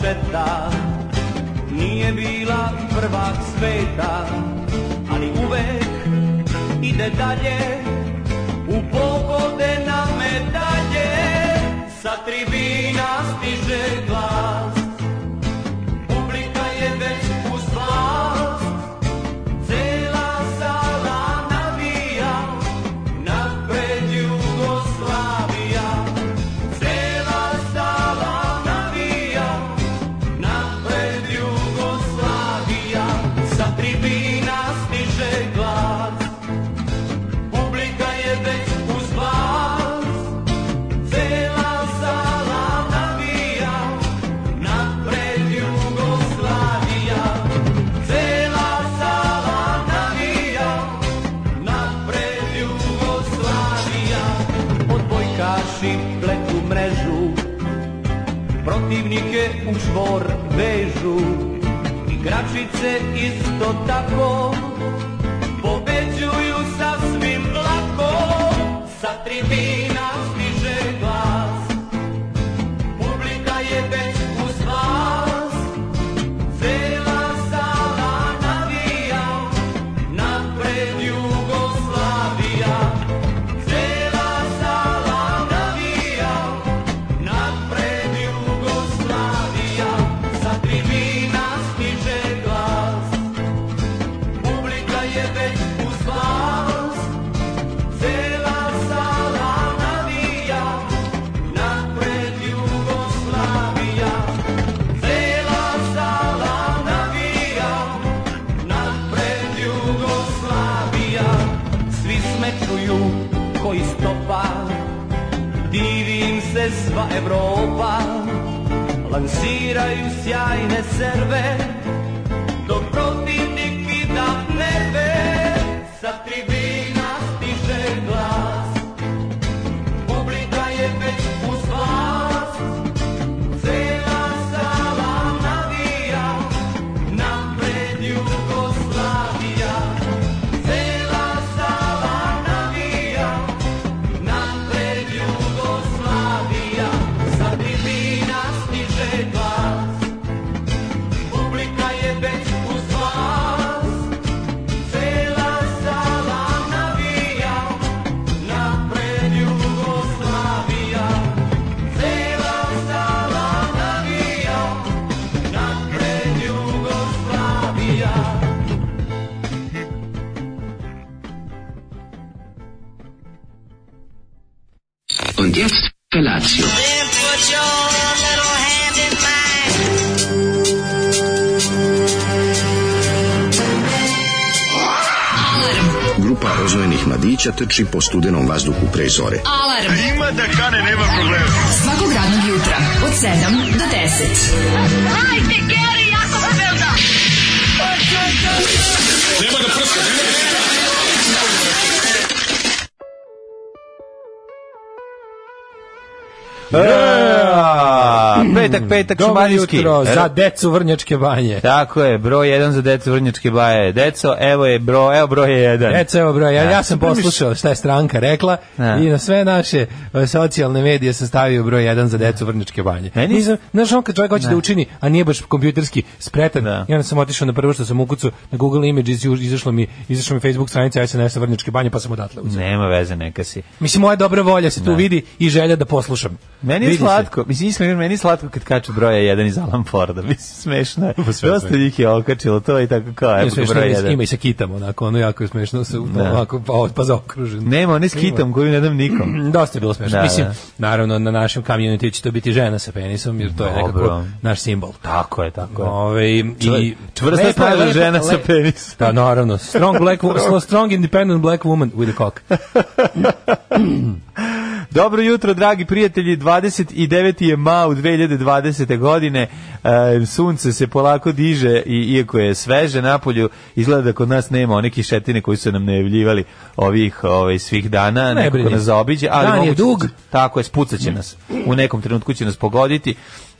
četa Nije bila prvak sveta Ali uvek ide dalje U pogode na medalje Sa tribina stiže glas Publika je već uz vlast Cela sala navija Napred Jugoslavija Cela sala navija Napred Jugoslavija Sa tribina stiže glas Publika je već uz vas Cela sala navija Napred Jugoslavija Cela sala navija Napred Jugoslavija Odbojkaši pletu mrežu Protivnike u čvor vežu Igračice isto tako Pobeđuju sasvim lako Sa tribina stiže glas Publika je već uz vas Cela sala navija Napred Jugoslavija Cela sala navija Napred Jugoslavija Sa tribina stiže glas Publika je već uz vas Cela sala navija Napred Jugoslavija Cela sala navija Napred Jugoslavija Svi smećuju koji stopa Divim se sva Evropa Lansiraju sjajne serve Dok protivnik kida nebe Sa tribina stiže glas Publika je već uz vas Cela sala navija Napred Jugoslavija Cela sala navija Napred Jugoslavija Sa tribina stiže glas Publika je već uz vas Cela sala navija Napred Jugoslavija Cela sala navija Napred Jugoslavija Und jetzt Felatio. Grupa roznojenih mladića trči po studenom vazduhu pre zore. Alarm. A ima da kane, nema problema. Svakog radnog jutra, od 7 do 10. Hajde, Geri, jako Belda! Nema da prska, nema da Eee, Petak, petak, Dobro šumadijski. jutro E, za decu Vrnjačke banje. Tako je, broj 1 za decu Vrnjačke baje. Deco, evo je broj, evo broj je 1. Deca, evo broj, ja, Da. ja sam poslušao šta je stranka rekla Da. i na sve naše e, socijalne medije sam stavio broj 1 za decu Vrnjačke banje. Meni- Nisam, znaš, on kad čovjek hoće da učini, a nije baš kompjuterski spretan, Da. i onda sam otišao na prvo što sam ukucao na Google Images i izašlo mi, izašlo mi Facebook stranica SNS-a Vrnjačke banje, pa sam odatle uzeo. Nema veze, neka si. Mislim, moja dobra volja se tu vidi i želja da poslušam. Meni je Vidi se. slatko, mislim, iskreno, meni je slatko kad kače broja 1 iz Alan Forda, mislim, Pa smešno je. sve Dosta smešno. njih je okačilo to i tako kao, evo Ima, ga smešno, broj ima- 1. ima i sa kitama, onako, ono jako je smešno, se, ovako, pa, pa zaokružen. Nema, on je s kitom koju ne dam nikom. Dosta je bilo smešno. Da, Mislim, da. naravno, na našem community će to biti žena sa penisom, jer to je Dobro. nekako naš simbol. Tako je, tako je. Ove, i, Čvrsta- i čvrsta Lepa, snažna lepa, žena lepa. sa penisom. Da, Pa, naravno. Strong, black, wo- strong independent black woman with a cock. Dobro jutro, dragi prijatelji, 29. je mao 2020. godine, e, sunce se polako diže, i, iako je sveže napolju, izgleda da kod nas nema one kišetine koji su nam najavljivali ovih ovaj, svih dana, Ne nekako brini. nas zaobiđe, ali Dan je moguće- dug. Tako je, spucat će nas, u nekom trenutku će nas pogoditi,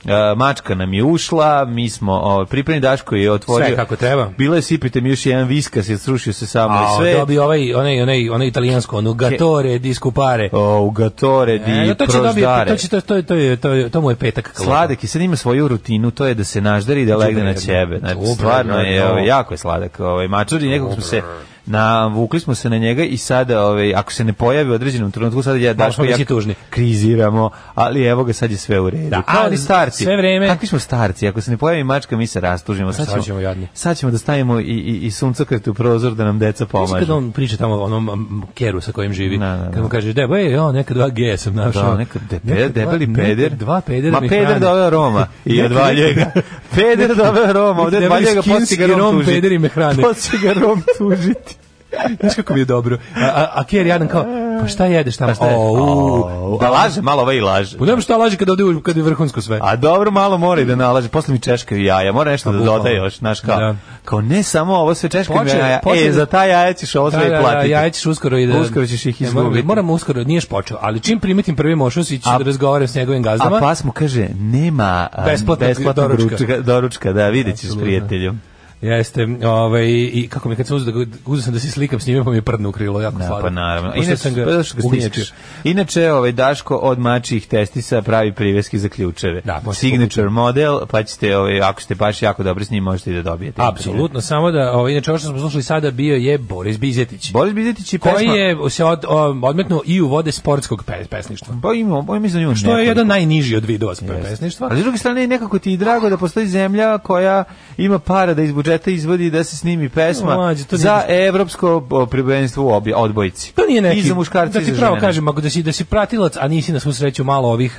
E, mačka nam je ušla, mi smo ovaj, pripremni Daško je otvorio. Sve kako treba. Bilo je sipite mi još jedan viskas, je srušio se samo i A sve. dobio ovaj, onaj, onaj, onaj italijansko, ono, gatore, discupare. O, u gatore, di E, to će dobiti, proždare. to, će, to, to, to, je- to, je- to mu je petak. Sladak i sad ima svoju rutinu minuto je da se naždari i da legne na ćebe. Znači, stvarno je, ovaj, jako je sladak. Ovaj, mačar i nekog smo se navukli smo se na njega i sada ovaj ako se ne pojavi u određenom trenutku sada ja daš ja tužni kriziramo ali evo ga sad je sve u redu da, a, ali starci sve vreme kakvi smo starci ako se ne pojavi mačka mi se rastužimo sad, sad ćemo jadni sad ćemo da stavimo i i i suncokret u prozor da nam deca pomažu kad on priča tamo o onom keru sa kojim živi na, na, na. kad mu kažeš debo je on neka dva g sam našao da, ono, neka debe, debeli peder dva peder ma peder doveo Roma i odvaljuje ga peder doveo Roma ovde odvaljuje ga posle ga Rom pederi me hrane posle ga Rom tužiti Znaš kako mi je dobro. A, a, a Kjer Jadan kao, pa šta jedeš tamo? Pa šta jedeš? da laže, malo ovaj i laže. Pa nema šta laže kada ovde uđe, kada je vrhunsko sve. A dobro, malo mora i da nalaže. Posle mi češkaju jaja, mora nešto da doda još, znaš kao. Da. Kao ne samo ovo sve češkaju jaja, počne, e, za ta jaja ćeš ovo sve da, i platiti. jaja ćeš uskoro i da... Uskoro ćeš ih izgubiti. Moramo, moramo uskoro, niješ počeo, ali čim primitim prvi mošus i ću da razgovaram s njegovim gazdama. A pa- pas mu kaže, nema um, besplatnog, besplatnog doručka. doručka, da, vidjet ćeš prijatelju. Jeste, ovaj i kako mi kad sam uzeo da uzeo sam da se slikam s njime, pa mi je prdno krilo jako slatko. Da, pa naravno. Inače sam ga, pa što ga snimaš. Inače ovaj Daško od mačih testisa pravi priveski za ključeve. Da, Signature kupiti. model, pa ćete ovaj ako ste baš jako dobri s njim možete i da dobijete. Apsolutno, samo da ovaj inače ovo što smo slušali sada bio je Boris Bizetić. Boris Bizetić je koji pesma... je se od, odmetnuo i u vode sportskog pes, pesništva. Pa ima, pa ima za nju. Što je jedan najniži od vidova yes. pesništva. Ali s druge strane nekako ti je drago da postoji zemlja koja ima para da izbuđe budžeta izvodi da se snimi pesma Mlađe, to za nije... evropsko prvenstvo u obje odbojci. Znači, To nije neki. I za muškarce da ti pravo kažem, ako da si da si pratilac, a nisi na svu sreću malo ovih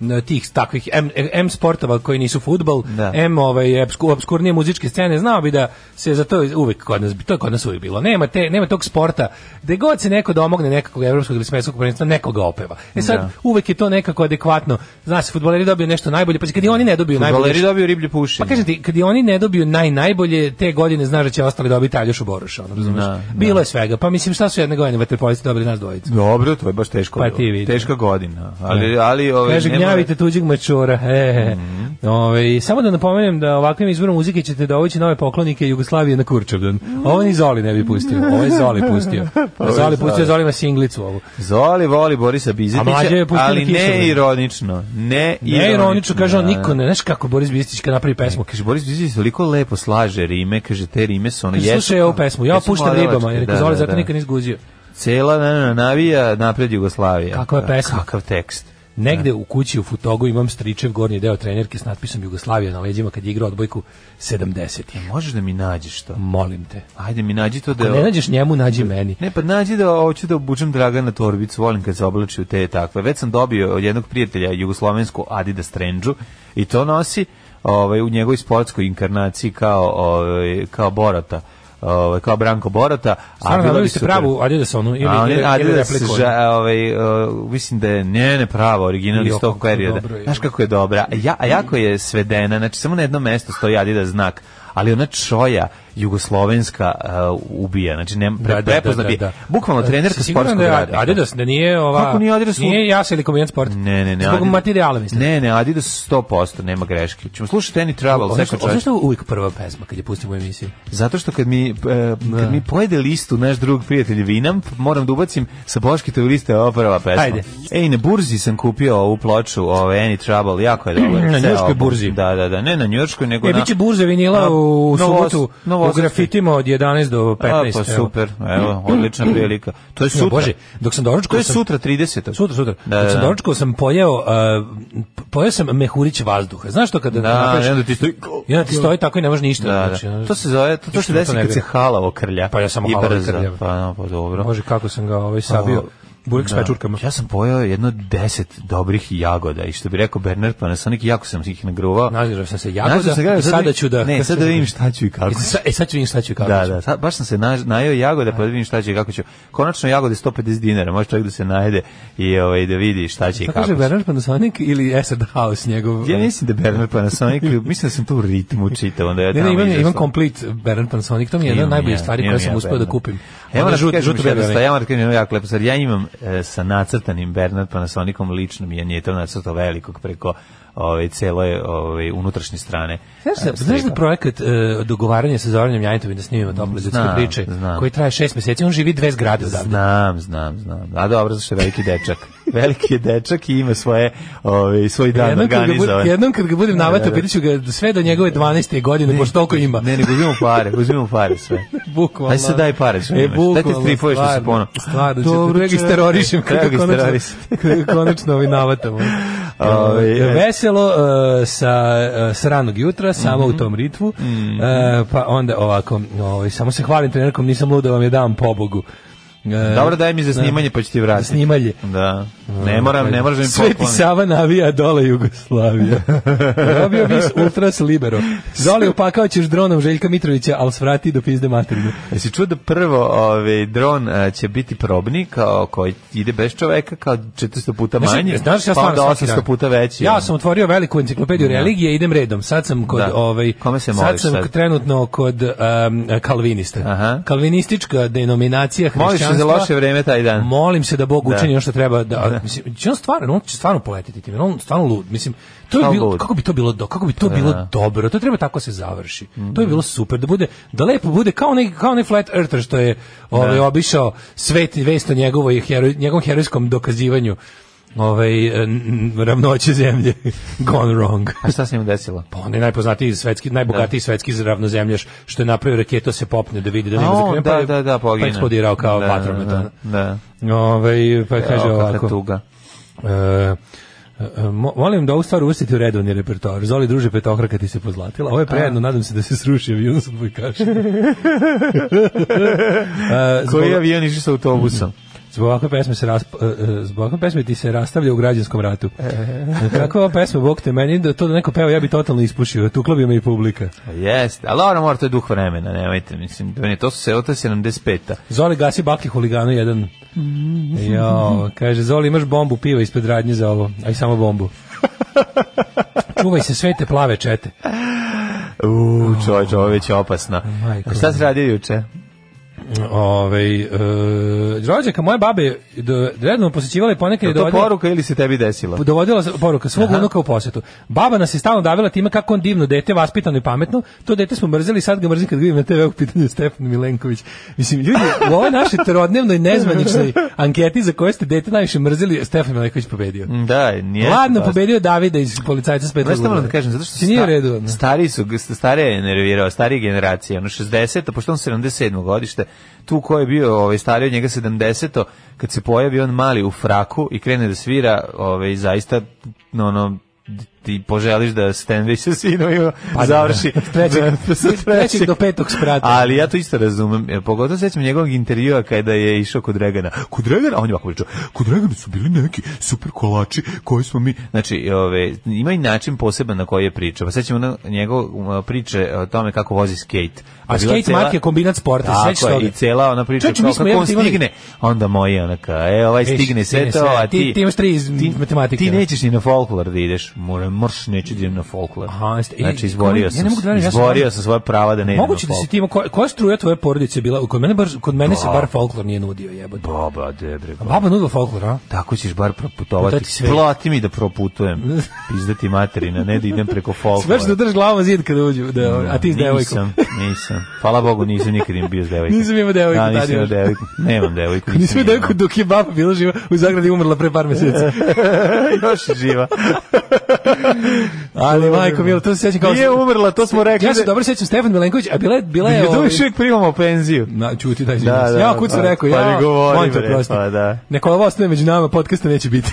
uh, tih takvih M, M sportova koji nisu fudbal, da. M ovaj obskur, obskurnije muzičke scene, znao bi da se za to uvek kod nas to je kod nas uvek bilo. Nema te nema tog sporta da god se neko domogne nekog evropskog ili svetskog prvenstva, nekoga opeva. E sad da. uvek je to nekako adekvatno. Znaš, fudbaleri dobiju nešto najbolje, pa kad i oni ne dobiju najbolje. Fudbaleri dobiju riblje pušenje. Pa kažem ti, kad i oni ne dobiju naj najbolje te godine znaš da će ostali dobiti Aljošu Boruša, ono razumeš. Da, da. Bilo je svega. Pa mislim šta su jedne godine vaterpolisti dobili nas dvojicu. Dobro, to je baš teško. Pa ti vidi. Teška godina. Ali da. ali ovaj, ove Kaže gnjavite mora... tuđeg mačora. E, mm -hmm. ove, samo da napomenem da ovakvim izborom muzike ćete dovući nove poklonike Jugoslavije na Kurčevdan. Ovo ni Zoli ne bi pustio. Ovo je Zoli pustio. Mhm. pa Zoli pustio Zoli ima singlicu ovu. Zoli voli Borisa Bizetića, ali ne ironično. Ne ironično. Ne ironično, kaže on niko ne, znaš kako Boris Bizetić kad napravi pesmu. Kaže Boris Bizetić toliko lepo slaže rime, kaže te rime su ono jesu. Slušaj ovu pesmu, ja puštam ribama, jer da, Zoli zato da. nikad ne izguzio. Cela na, na, navija napred Jugoslavija. Kakva je pesma? Kakav tekst. Negde u kući u Futogu imam stričev gornji deo trenerke s natpisom Jugoslavija na leđima kad je igrao odbojku 70. Ja, možeš da mi nađeš to? Molim te. Ajde mi nađi to da... Ako ne nađeš njemu, nađi meni. Ne, pa nađi da hoću da obučem Dragana Torbicu, volim kad se oblači u te takve. Već sam dobio od jednog prijatelja jugoslovensku Adidas Trendžu i to nosi ovaj u njegovoj sportskoj inkarnaciji kao ovaj kao Borata ovaj kao Branko Borata a bilo bi se pravu Adidas onu ili a, ili, Adidas ili ža, ovaj uh, mislim da je ne ne pravo original iz tog perioda znaš kako je dobra ja a jako je svedena znači samo na jedno mesto stoji Adidas znak ali ona čoja jugoslovenska uh, ubija. Znači ne pre, da, prepozna da, da, da, da. Bukvalno trenerka sportskog E, da je radnika. Adidas da nije ova Kako nije Adidas? Nije ja se ili Komijan Sport. Ne, ne, ne. Zbog Adidas, materijala mislim. Ne, ne, Adidas 100% nema greške. Ćemo slušati Any Trouble, sve što. Zašto uvijek prva pesma kad je pustimo u emisiji? Zato što kad mi e, kad mi pojede listu naš drug prijatelj Vinam, moram da ubacim sa Boškite u liste ova prva pesma. Ajde. Ej, na burzi sam kupio ovu ploču, ovaj Any Trouble, jako je dobro. na njujorškoj burzi. Da, da, da, ne na njujorškoj, nego e, na biće burza vinila u subotu. U grafitima od 11 do 15. A, pa super, evo, odlična prilika. To je sutra. Bože, dok sam doručkao To je sutra 30. Sutra, sutra. Da, dok sam da. doručkao sam pojeo, uh, pojeo sam mehurić vazduha. Znaš to kada da, napraviš? Da, ti stoji. Ja ono- ti stoji tako i ne može ništa. Da, da. Znači, to se zove, to, to se desi kad se halavo krlja. Pa ja sam halavo krlja. Pa, no, pa dobro. Može kako sam ga ovaj sabio. Burek da. s pečurkama. Ja sam pojao jedno deset dobrih jagoda i što bi rekao Bernard Panasonic, jako sam ih nagruvao. Nazirao sam se jagoda sam se gledao, i sada, sada ću da... Ne, sada da vidim šta ću i kako ću. E, sa, e sad ću vidim šta ću i kako da, ću. Da, da, baš sam se na, najeo jagoda pa da vidim šta će i kako ću. Konačno jagode 150 dinara, može čovjek da se najede i ovaj, da vidi šta će i kako će. Tako Bernard Panasonic ili Esad House njegov... Ja mislim da Bernard Panasonic, mislim da sam tu u ritmu čitao. Onda ja ne, ne, imam, imam complete Bernard Panasonic, to mi je jedna od najboljih stvari koje sam uspio da kupim. Evo da kažem što ja imam e, sa nacrtanim Bernard pa Panasonicom ličnom ja nije to nacrtao velikog preko ove cele ove unutrašnje strane. Znaš, znaš da projekat e, dogovaranja sa Zoranom Janjetovićem da snimimo tople ljudske priče znam. koji traje šest mjeseci, on živi dve zgrade Znam, znam, znam. A dobro, zašto je veliki dečak. Veliki je dečak i ima svoje, ovaj, svoj dan jednom kad, ga, organizovan. bu- jednom kad ga budem navatao, pitaću ga sve do njegove 12. godine, pošto toliko ima. Ne, nego uzimamo pare, uzimamo pare sve. Bukvalno. Aj sad daj pare što E, imaš. Daj bukvalno. te stripove što si stvarno, pono. Stvarno, Dobro Dobro, ga čoveče. isterorišem Treba kako ga konačno, isterorisati. kako konačno ovi navatamo. Ovaj, Ovaj, e. Veselo e, sa, e, sa ranog jutra, samo Mhm. u tom ritvu. E, pa onda ovako, ovaj, samo se hvalim trenerkom, nisam luda vam je dam pobogu. E, Dobro, daj mi za snimanje pa ću ti vratiti. Snimalje. Da. Ne moram, ne moram mi Sveti pokloniti. Sava navija dole Jugoslavija. Dobio bis ultras libero. Zoli upakao ćeš dronom Željka Mitrovića, ali svrati do pizde materne. Jesi čuo da prvo ovaj, dron a, će biti probni, kao koji ide bez čoveka, kao 400 puta Znaš, manji, znaš, ja pa onda stvarno svaki 800 dan. puta veći. ono. Ja sam otvorio veliku enciklopediju religije, idem redom. Sad sam kod Da. ovaj Kome se sad moliš sam sad? trenutno kod um, kalvinista. Aha. Kalvinistička denominacija Moliš se hrišćanstva. za loše vreme taj dan. Molim se da Bog Da. učini ono što treba da mislim će on stvarno on će stvarno poletiti time. On stvarno lud, mislim to je Stvarno bilo lud. kako bi to bilo do, kako bi to bilo dobro. To treba tako se završi. To Mhm. je bilo super da bude da lepo bude kao neki kao onaj flat earther što je ovaj obišao svet i vest o njegovoj heroj, njegovom herojskom dokazivanju ovaj n- n- ravnoće zemlje gone wrong. A šta se im desilo? Pa on je najpoznatiji svetski, najbogatiji svetski ravnozemljaš što je napravio raketo se popne da vidi da nema A on, zakriven, da, je- da, da, pa je pogine. eksplodirao kao Da, vatromet. da, ono. Da. Ovaj pa kaže Evo, kakva ovako. tuga. E, e, mo- molim da ovu stvar uvrstite u redovni repertoar. Zoli druže petokraka ti se pozlatila. Ovo je prejedno, nadam se da se sruši avion sa bojkaša. E, Koji avion išli sa autobusom? Zbog ovakve pesme se rasp... e, e, zbog ovakve pesme ti se rastavlja u građanskom ratu. E. E, Kako ova pesma, bog te meni, da to da neko peva, ja bi totalno ispušio. Tukla bi me i publika. Pa Jeste, ali ono mora, to je duh vremena, nemojte, mislim, to je- to su se, to je 75-a. Zoli gasi baklje huliganu jedan. Mm-hmm. Jo, kaže, Zoli imaš bombu piva ispred radnje za ovo, aj samo bombu. Čuvaj se svete plave čete. Uuu, čovječ, ovo je već opasno. Oh. Majko A šta si radio juče? Ove, e, rođaka moje babe do, redno posjećivala i ponekad Je je to dovodila, poruka ili se tebi desilo? dovodila s- poruka svog unuka u posetu. Baba nas je stalno davila time kako on divno dete, vaspitano i pametno. To dete smo mrzeli, sad ga mrzim kad ga vidim na TV u pitanju Stefan Milenković. Mislim, ljudi, u ovoj našoj trodnevnoj nezvaničnoj anketi za koje ste dete najviše mrzeli, Stefan Milenković pobedio. Da, nije. Ladno baš. pobedio Davida iz policajca Mm, s pa- Znaš šta Petrograda. moram da kažem, zato što Ti nije u sta- redu. ono. stari su, stare je nervirao, starije generacije, ono 60, a pošto on 77. godište, tu ko je bio ovaj, stariji od njega 70. kad se pojavi on mali u fraku i krene da svira, ovaj, zaista, no, ono, ti poželiš da Stanley sa sinom da, pa, završi od trećeg- Da, sa od trećeg do petog sprata. Ali ja to isto razumem, jer pogotovo sećam njegovog intervjua kada je išao kod Dragana. Kod Dragana, a on je ovako pričao, kod Dragana su bili neki super kolači koji smo mi... Znači, ove, ima i način poseban na koji je pričao. Pa sećam ono njegov um, priče o tome kako vozi skate. Pa A bila skate cela- marke je kombinat sporta, sećaš Tako toga? je, i cela ona priča Čovječe, mi kao smo kako on jebote imali- stigne. Onda moji onaka, e, ovaj Viš, stigne sve stigne to, sve, a ti- ti... ti imaš tri iz ti- matematike, Ti ono. nećeš ni na folklor da ideš. Moram, mrš, neću da idem na folklor. Aha, jeste. I- Znači, izborio ja sam, ne mogu da verujem, ja sam- izborio sam svoje prava da ne idem na Moguće da folklor. si ti imao, koja, koja struja tvoje porodice je bila, kod mene, bar, kod mene se bar folklor nije nudio, jebote. Baba, debre, baba. Baba nudila folklor, a? Tako ćeš bar proputovati. Putati sve. Plati mi da proputujem. Pizdati materina, ne da idem preko folklora. Smeš da držiš glavom zid kada uđu, da, a ti s devojkom. Nisam, nisam. Hvala Bogu, nisam nikad im bio s devojkom. Nisam imao devojku Da, tad nisam imao još. devojku. Nemam devojku. Nisam je imao. devojku dok je baba bila živa, u zagradi umrla pre par meseci. Još je živa. Ali, majko, milo, to se sjećam kao... Nije umrla, to smo rekli. Ja se da- dobro sjećam Stefan Milenković, a bila je... Bila je da ovaj- još uvijek primamo penziju. Na, čuti, daj Da, da, da, ja kud sam pa- rekao, pa ja, ne govori, molim te, bre, oprosti. pa da. Neka ovo ostane među nama, podcasta neće biti.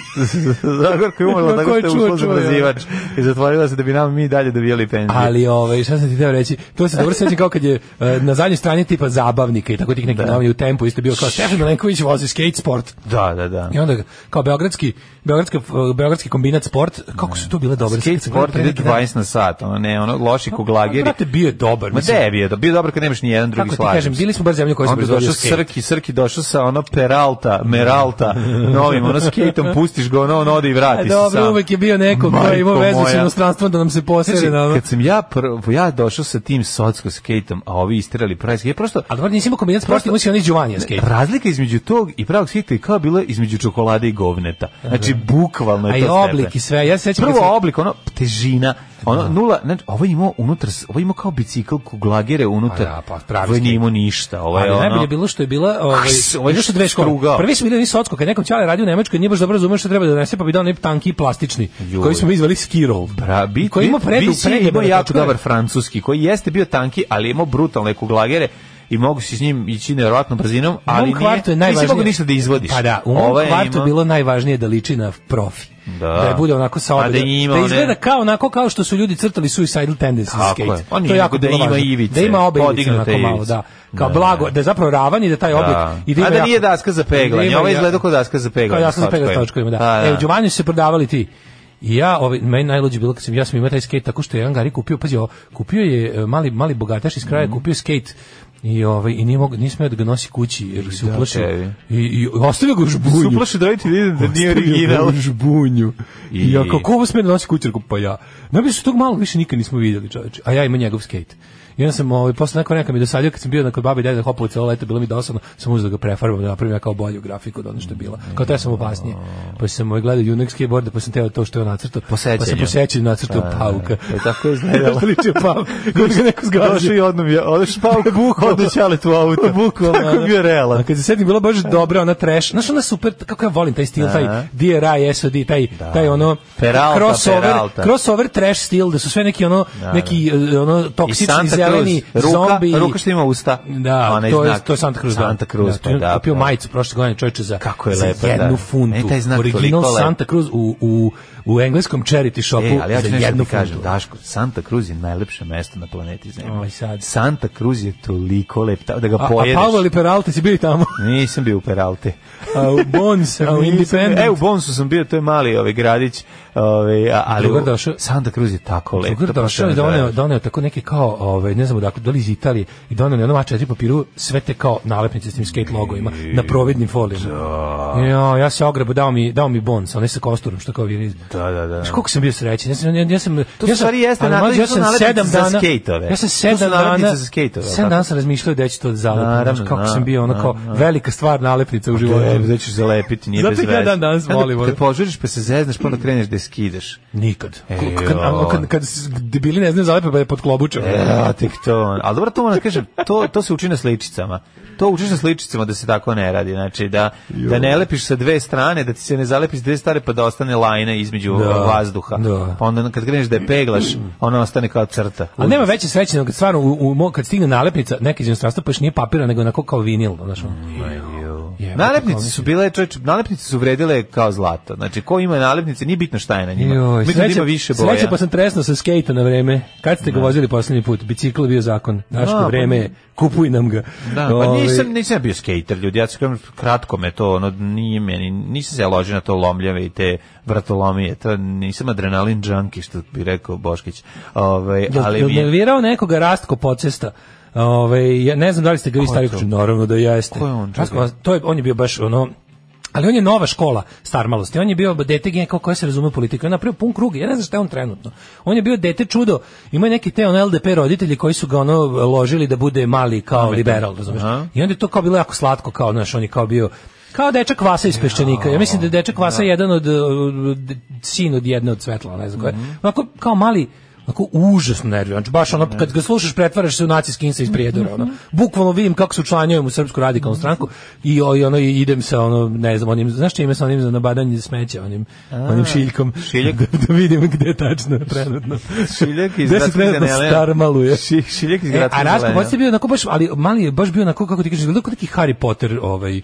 Zagorka je umrla, tako Ko je što je čuo, ušla za čuo je. brazivač. I zatvorila se da bi nam mi dalje dobijali penziju. Ali ovaj šta sam ti teo reći, to se dobro sećam kao kad je e, na zadnjoj strani tipa zabavnika i tako tih nekih novih u tempu isto je bio kao Stefan Milenković vozi skate sport. Da, da, da. I onda kao beogradski beogradski beogradski kombinat sport, kako su to bile dobre Skate skate sport ide 20 na sat, ono ne, ono loši kuglageri. Pa, Brate, bio je dobar, Ma mislim. da je bio, da bio dobro kad nemaš ni jedan drugi Kako ti slažem kažem, se. bili smo bar zemlju koju smo Onda izvodio došao skate. Srki, Srki došao sa ono Peralta, Meralta, novim, ono skateom, pustiš ga, ono, on ode i A vrati se sam. E, dobro, uvek je bio neko ko je imao Majko vezu s moja. inostranstvom da nam se Znači, posere na ono. kad sam ja, prvo, ja došao sa tim socko skateom, a ovi istrali pravi skate, ja prosto, A dobro, nisi imao kombinat sport, Prosto- imao si onaj Giovanni skate. razlika između tog i pravog skate je kao bila između čokolade i govneta. Znači, bukvalno je A to i stepen. oblik i sve. Ja se sećam Znači, kad Prvo smo- oblik, ono težina, ono nula, znači ovo ima unutra, ovo ima kao bicikl kuglagere unutar. Pa da, pa pravi ovo nije skate. imao ništa, ovo Ali je ono. najbolje je bilo što je bila ovaj s- ovaj bilo što je dve škole. strugao. Prvi smo bili oni socko kad nekom ćale radio u Nemačkoj, nije baš dobro razumeo što treba da donese, pa bi dao onaj tanki plastični Joj. koji smo mi izvali skirol. Bra, bi, koji ima predu Bici je predebele imao jako točkove. dobar francuski, koji jeste bio tanki, ali je imao brutalne kuglagere i mogu si s njim ići nevjerojatnom brzinom, U mom ali nije, kvartu je najvažnije. nisi mogu ništa da izvodiš. Pa da, u mom Ovaj je kvartu je imao- bilo najvažnije da liči na profi. Da. je bude onako sa A obe, da da, ima da one- izgleda kao onako kao što su ljudi crtali Suicidal Tendencies Tako skate. je. Pa to nije, je jako nego da bilo ima važno. ivice, Da ima obe ivice podignute onako malo, ivice. da. Kao Da, blago, da. da je zapravo ravan i da taj oblik Da. i da ima A da jako- nije daska za peglanje, ima ovo jako- izgleda kao daska za peglanje Kao daska s za peglanje s točkovima. točkovima, da. Da, da. E, u Đumanju su se prodavali ti. I ja, ovaj, meni najluđe bilo kad sam, ja sam imao taj skate tako što je jedan gari kupio, pazi, ovo, kupio je e, mali, mali bogataš iz kraja, kupio skate i ovaj i nije mogao nije smeo da ga nosi kući jer se uplašio tebi. i, i ostavio ga u žbunju Suplaši da vidite vidim da nije Ostavio ga original. u žbunju. I- I ja kako ovo sme da nosi kućerku? Pa ja. Najbolje su tog malog više nikad nismo vidjeli, čoveče. A ja imam njegov skate. I onda sam ovaj, posle neko neka mi je dosadio kad sam bio na kod babi i dede da hopao celo leto, bilo mi dosadno, sam uzeo da ga prefarbam, da napravim ja kao bolju grafiku od ono što je bila. Kao to ja sam opasnije. Pa sam ovaj gledao Junak skateboarda, pa sam teo to što je on nacrtao. Pa sam Posećenje. posećen nacrtao Pa, pauka. e, tako je izgledalo. Što liči pauk. Kako ga neko Došao zgađa. i odnom je, odeš pa u kuhu, odeš ali tu auto. Bukvalno. Tako je bio realan. A kad se setim, bila baš dobra ona trash. Znaš, ona super, kako ja volim taj stil, Aha. taj DRI, SOD, taj, taj ono... Peralta, crossover, Peralta. crossover trash stil, da su sve neki ono, neki eh, ono, I toksični, Santa zeleni, Cruz, ruka, zombi. ruka što ima usta. Da, Onaj to je, znak. to je Santa Cruz. da. Santa Cruz, da, pa to je da, kupio da. majicu prošle godine čovječe za, Kako je za lepa, jednu da. Meni funtu. taj znak Original toliko lep. Santa Cruz u, u, u engleskom charity shopu E, ali ja ću za nešto ti jednu kažem, funtu. Daško, Santa Cruz je najlepše mesto na planeti Zemlji. Oj, sad. Santa Cruz je toliko lep, ta- da ga A, a pojedeš. Pavel i Peralta si bili tamo. Nisam bio u Peralte. A u Bones, a u Nisam- Independent. E, u Bonsu sam bio, to je mali ovaj gradić, ovaj, a- ali Drugar u- došao- Santa Cruz je tako lep. Drugar to došao i posebno doneo, traje. doneo tako neke kao, ovaj, ne znam odakle, da li iz Italije, i doneo na jednom A4 papiru sve te kao nalepnice s tim skate logovima na providnim folijama. Ja, ja se ogrebo, dao mi, dao mi bonus, onaj sa kosturom, što kao viriz. Da, da, da. Znaš koliko sam bio srećen. Ja sam, ja, ja sam, To ja u stvari jeste ali, nadležno- mlađe, ja to sam nalepnice sedam za dana, skejtove. ja sam To su sedam nalepnice dana, za skejtove, sedam tako? dana sam razmišljao da ću to da zalepim. Znaš Naravno, kako da, sam bio, ono kao, da, da. velika stvar nalepnica u životu. E, da ćeš zalepiti, nije Zato bez ih ja veze. dan danas Onda volim, ono. Kad požuriš pa se zezneš, pa onda kreneš da je skidaš. Nikad. E, Ko- Kad, joj. kad, kad, s- debili ne znaju zalepe, pa je pod klobučom. Ja, E, tek to. Ali dobro, to moram da kažem, to, to se uči na sličicama. To učiš na sličicama da se tako ne radi. Znači, da, da ne lepiš sa dve strane, da ti se ne zalepiš sa dve strane, pa da ostane lajna između Da. vazduha. Da. Pa onda kad kreneš da je peglaš, ona ostane kao crta. Ali nema veće sreće nego kad stvarno u, u, mo- kad stigne nalepnica neka iz inostranstva pa još nije papira nego onako kao vinil, znaš. ono. Jebote, Nalepnice kao su bile, čovječ, nalepnice su vredile kao zlato. Znači, ko ima nalepnice, nije bitno šta je na njima. Joj, Mislim da ima više boja. sreće pa sam tresno sa skejta na vreme. Kad ste ga vozili poslednji put? Bicikl je bio zakon. Daško, Da, pa- vreme je. Kupuj nam ga. Da, pa Ovaj, nisam, nisam ja bio skater, ljudi, ja sam kažem, kratko me to, ono, nije meni, nisam se ja ložio na to lomljave i te vratolomije, to nisam adrenalin junkie, što bi rekao Boškić, Ovaj, Jel, ali jel mi je, nervirao nekoga Rastko Pocesta? Ove, ja ne znam da li ste ga vi je stari to? kuću, naravno da jeste. Ko je on, Rastko čekaj? Poc- to je, on je bio baš ono, ali on je nova škola star malosti. On je bio dete kao koje se razume u politiku. On je napravio pun krug. Ja ne znam šta je on trenutno. On je bio dete čudo. Ima neki te ono LDP roditelji koji su ga ono ložili da bude mali kao liberal, razumeš? Aha. I onda je to kao bilo jako slatko, kao, znaš, on je kao bio Kao dečak Vasa iz Peščanika. Ja mislim da je dečak Vasa jedan od, uh, d- sin od jedne od Svetla, ne znam koje. Onako, kao mali, onako užasno nerviran. Znači, baš ono, kad ga slušaš, pretvaraš se u naci skinsa iz Prijedora. Ono. Bukvalno vidim kako se učlanjujem u Srpsku radikalnu stranku i, o- i ono, i idem sa ono, ne znam, onim, znaš čime sa onim za nabadanje smeća, onim, onim šiljkom. šiljak. da, da vidim gde tačno je trenutno. Šiljak iz Gde se Gradskog trenutno zelenja. starmaluje. Ši- šiljak iz E, Gradskog A Raško zelenja. Boc je bio onako baš, ali mali je baš bio onako, kako ti kažeš, izgledao kao neki Harry Potter, ovaj,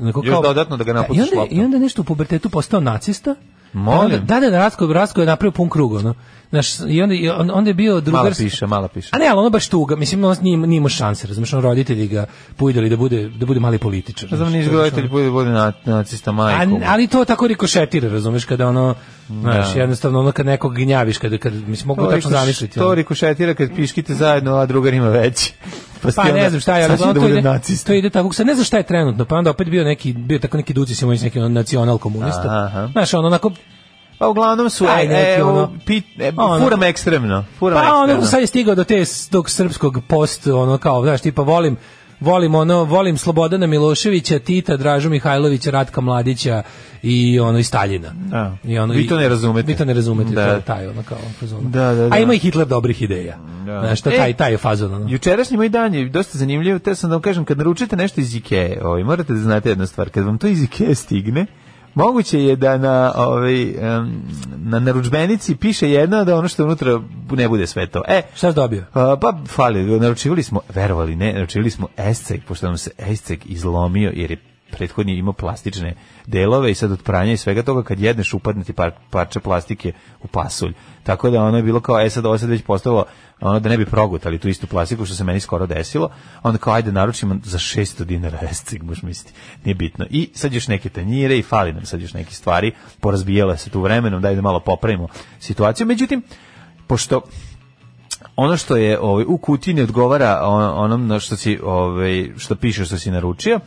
onako Mhm. Još dodatno da ga napustiš i, onda, loptom. I onda je nešto u pubertetu postao nacista. Pa Molim? Onda- Da, da, da, Rasko, Rasko je napravio pun krug, ono. Znaš, i onda, i on- onda je bio drugar... mala piše, mala piše. A ne, ali ono baš tuga, mislim, on nije, nije imao šanse, razumiješ, ono roditelji ga pujdali da bude, da bude mali političar. Znam, znaš, niš to je baš ono- gledatelj bude, bude na, nacista majku. a, ali to tako rikošetira, razumeš, kada ono, znaš, jednostavno ono kad nekog gnjaviš, kada, kad, mislim, mogu To tačno rikoš- zamisliti. ono. To rikošetira kad piškite zajedno, a drugar ima veći. Pa, Pa ne znam šta je, sad ali ću da uglavnom to bude ide, nacista. to ide tako. Sad ne znam šta je trenutno, pa onda opet bio neki, bio tako neki Duci Simonić, neki ono nacional Aha, komunista. aha. Znaš, ono onako, Pa uglavnom su, Aj, e, neki e, ono- ovo, pit, e, Ono. furam ekstremno. Furam pa ekstremno. ono sad je stigao do te, s- tog srpskog post, ono kao, ono, znaš, tipa volim, volim ono, volim Slobodana Miloševića, Tita, Dražu Mihajlovića, Ratka Mladića i ono i Staljina. Da. I ono Vi i- to ne razumete. Vi to ne razumete, Da. to je taj ono kao fazon. Da, da, da. A ima i Hitler dobrih ideja. Da. Znaš, to E, taj taj je fazon. Ono. Jučerašnji moj dan je dosta zanimljiv, te sam da vam kažem, kad naručite nešto iz Ikea, ovaj, morate da znate jednu stvar, kad vam to iz Ikea stigne, moguće je da na, ovaj, em, na naručbenici piše jedno, a da ono što je unutra ne bude sve to. E, Šta si dobio? A, pa fali, naručivali smo, verovali ne, naručivali smo escek, pošto nam se escek izlomio jer je prethodni imao plastične delove i sad od pranja i svega toga kad jedneš upadne ti par, parče plastike u pasulj. Tako da ono je bilo kao, e sad ovo sad već postalo ono da ne bi progutali tu istu plastiku što se meni skoro desilo, onda kao ajde naručimo za 600 dinara escek, možeš misliti, nije bitno. I sad još neke tanjire i fali nam sad još neke stvari, porazbijala se tu vremenom, daj da malo popravimo situaciju. Međutim, pošto ono što je ovaj u kutiji ne odgovara on- onom na što si ovaj što piše što si naručio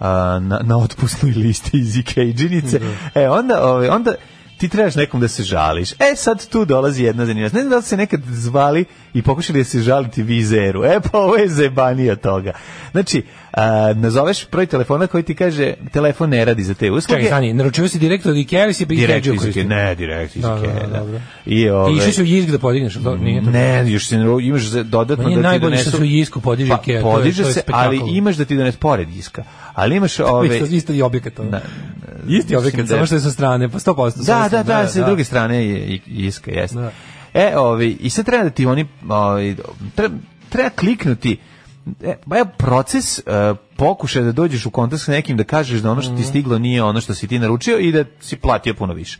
a, na na otpusnoj listi iz Ikea džinice. E onda ovaj onda ti trebaš nekom da se žališ. E sad tu dolazi jedna zanimljivost. Ne znam da li se nekad zvali i pokušali da se žaliti vizeru. E pa ovo je zebanija toga. Znači, a, nazoveš broj telefona koji ti kaže telefon ne radi za te usluge. Čekaj, znači, stani, naručio si direkt od Ikea ili si bi Direkt Ikea iz Ikea, ne, direkt iz Da, da, Ikea, da, da. dobro. I, ovaj, I išli su u Jizg da podigneš, ali to nije to. ne, još se ne- imaš za- dodatno Meni je da ti najbolje što donesu- Pa, se u Jisku podiže Ikea, to je- podiže to je se, ali spektakl. imaš da ti donese pored diska. Ali imaš ove Isto, isto i objekat. ono. Da. Isti objekat, Mislim da- samo što je sa strane, pa 100%. sa Da, ove da, strane, da, sa druge strane je i- iska, jeste. Da. E, ovi, i sad treba da ti oni, ovi, treba, treba kliknuti, e, ba je proces e, pokušaja da dođeš u kontakt sa nekim, da kažeš da ono što ti Mhm. stiglo nije ono što si ti naručio i da si platio puno više.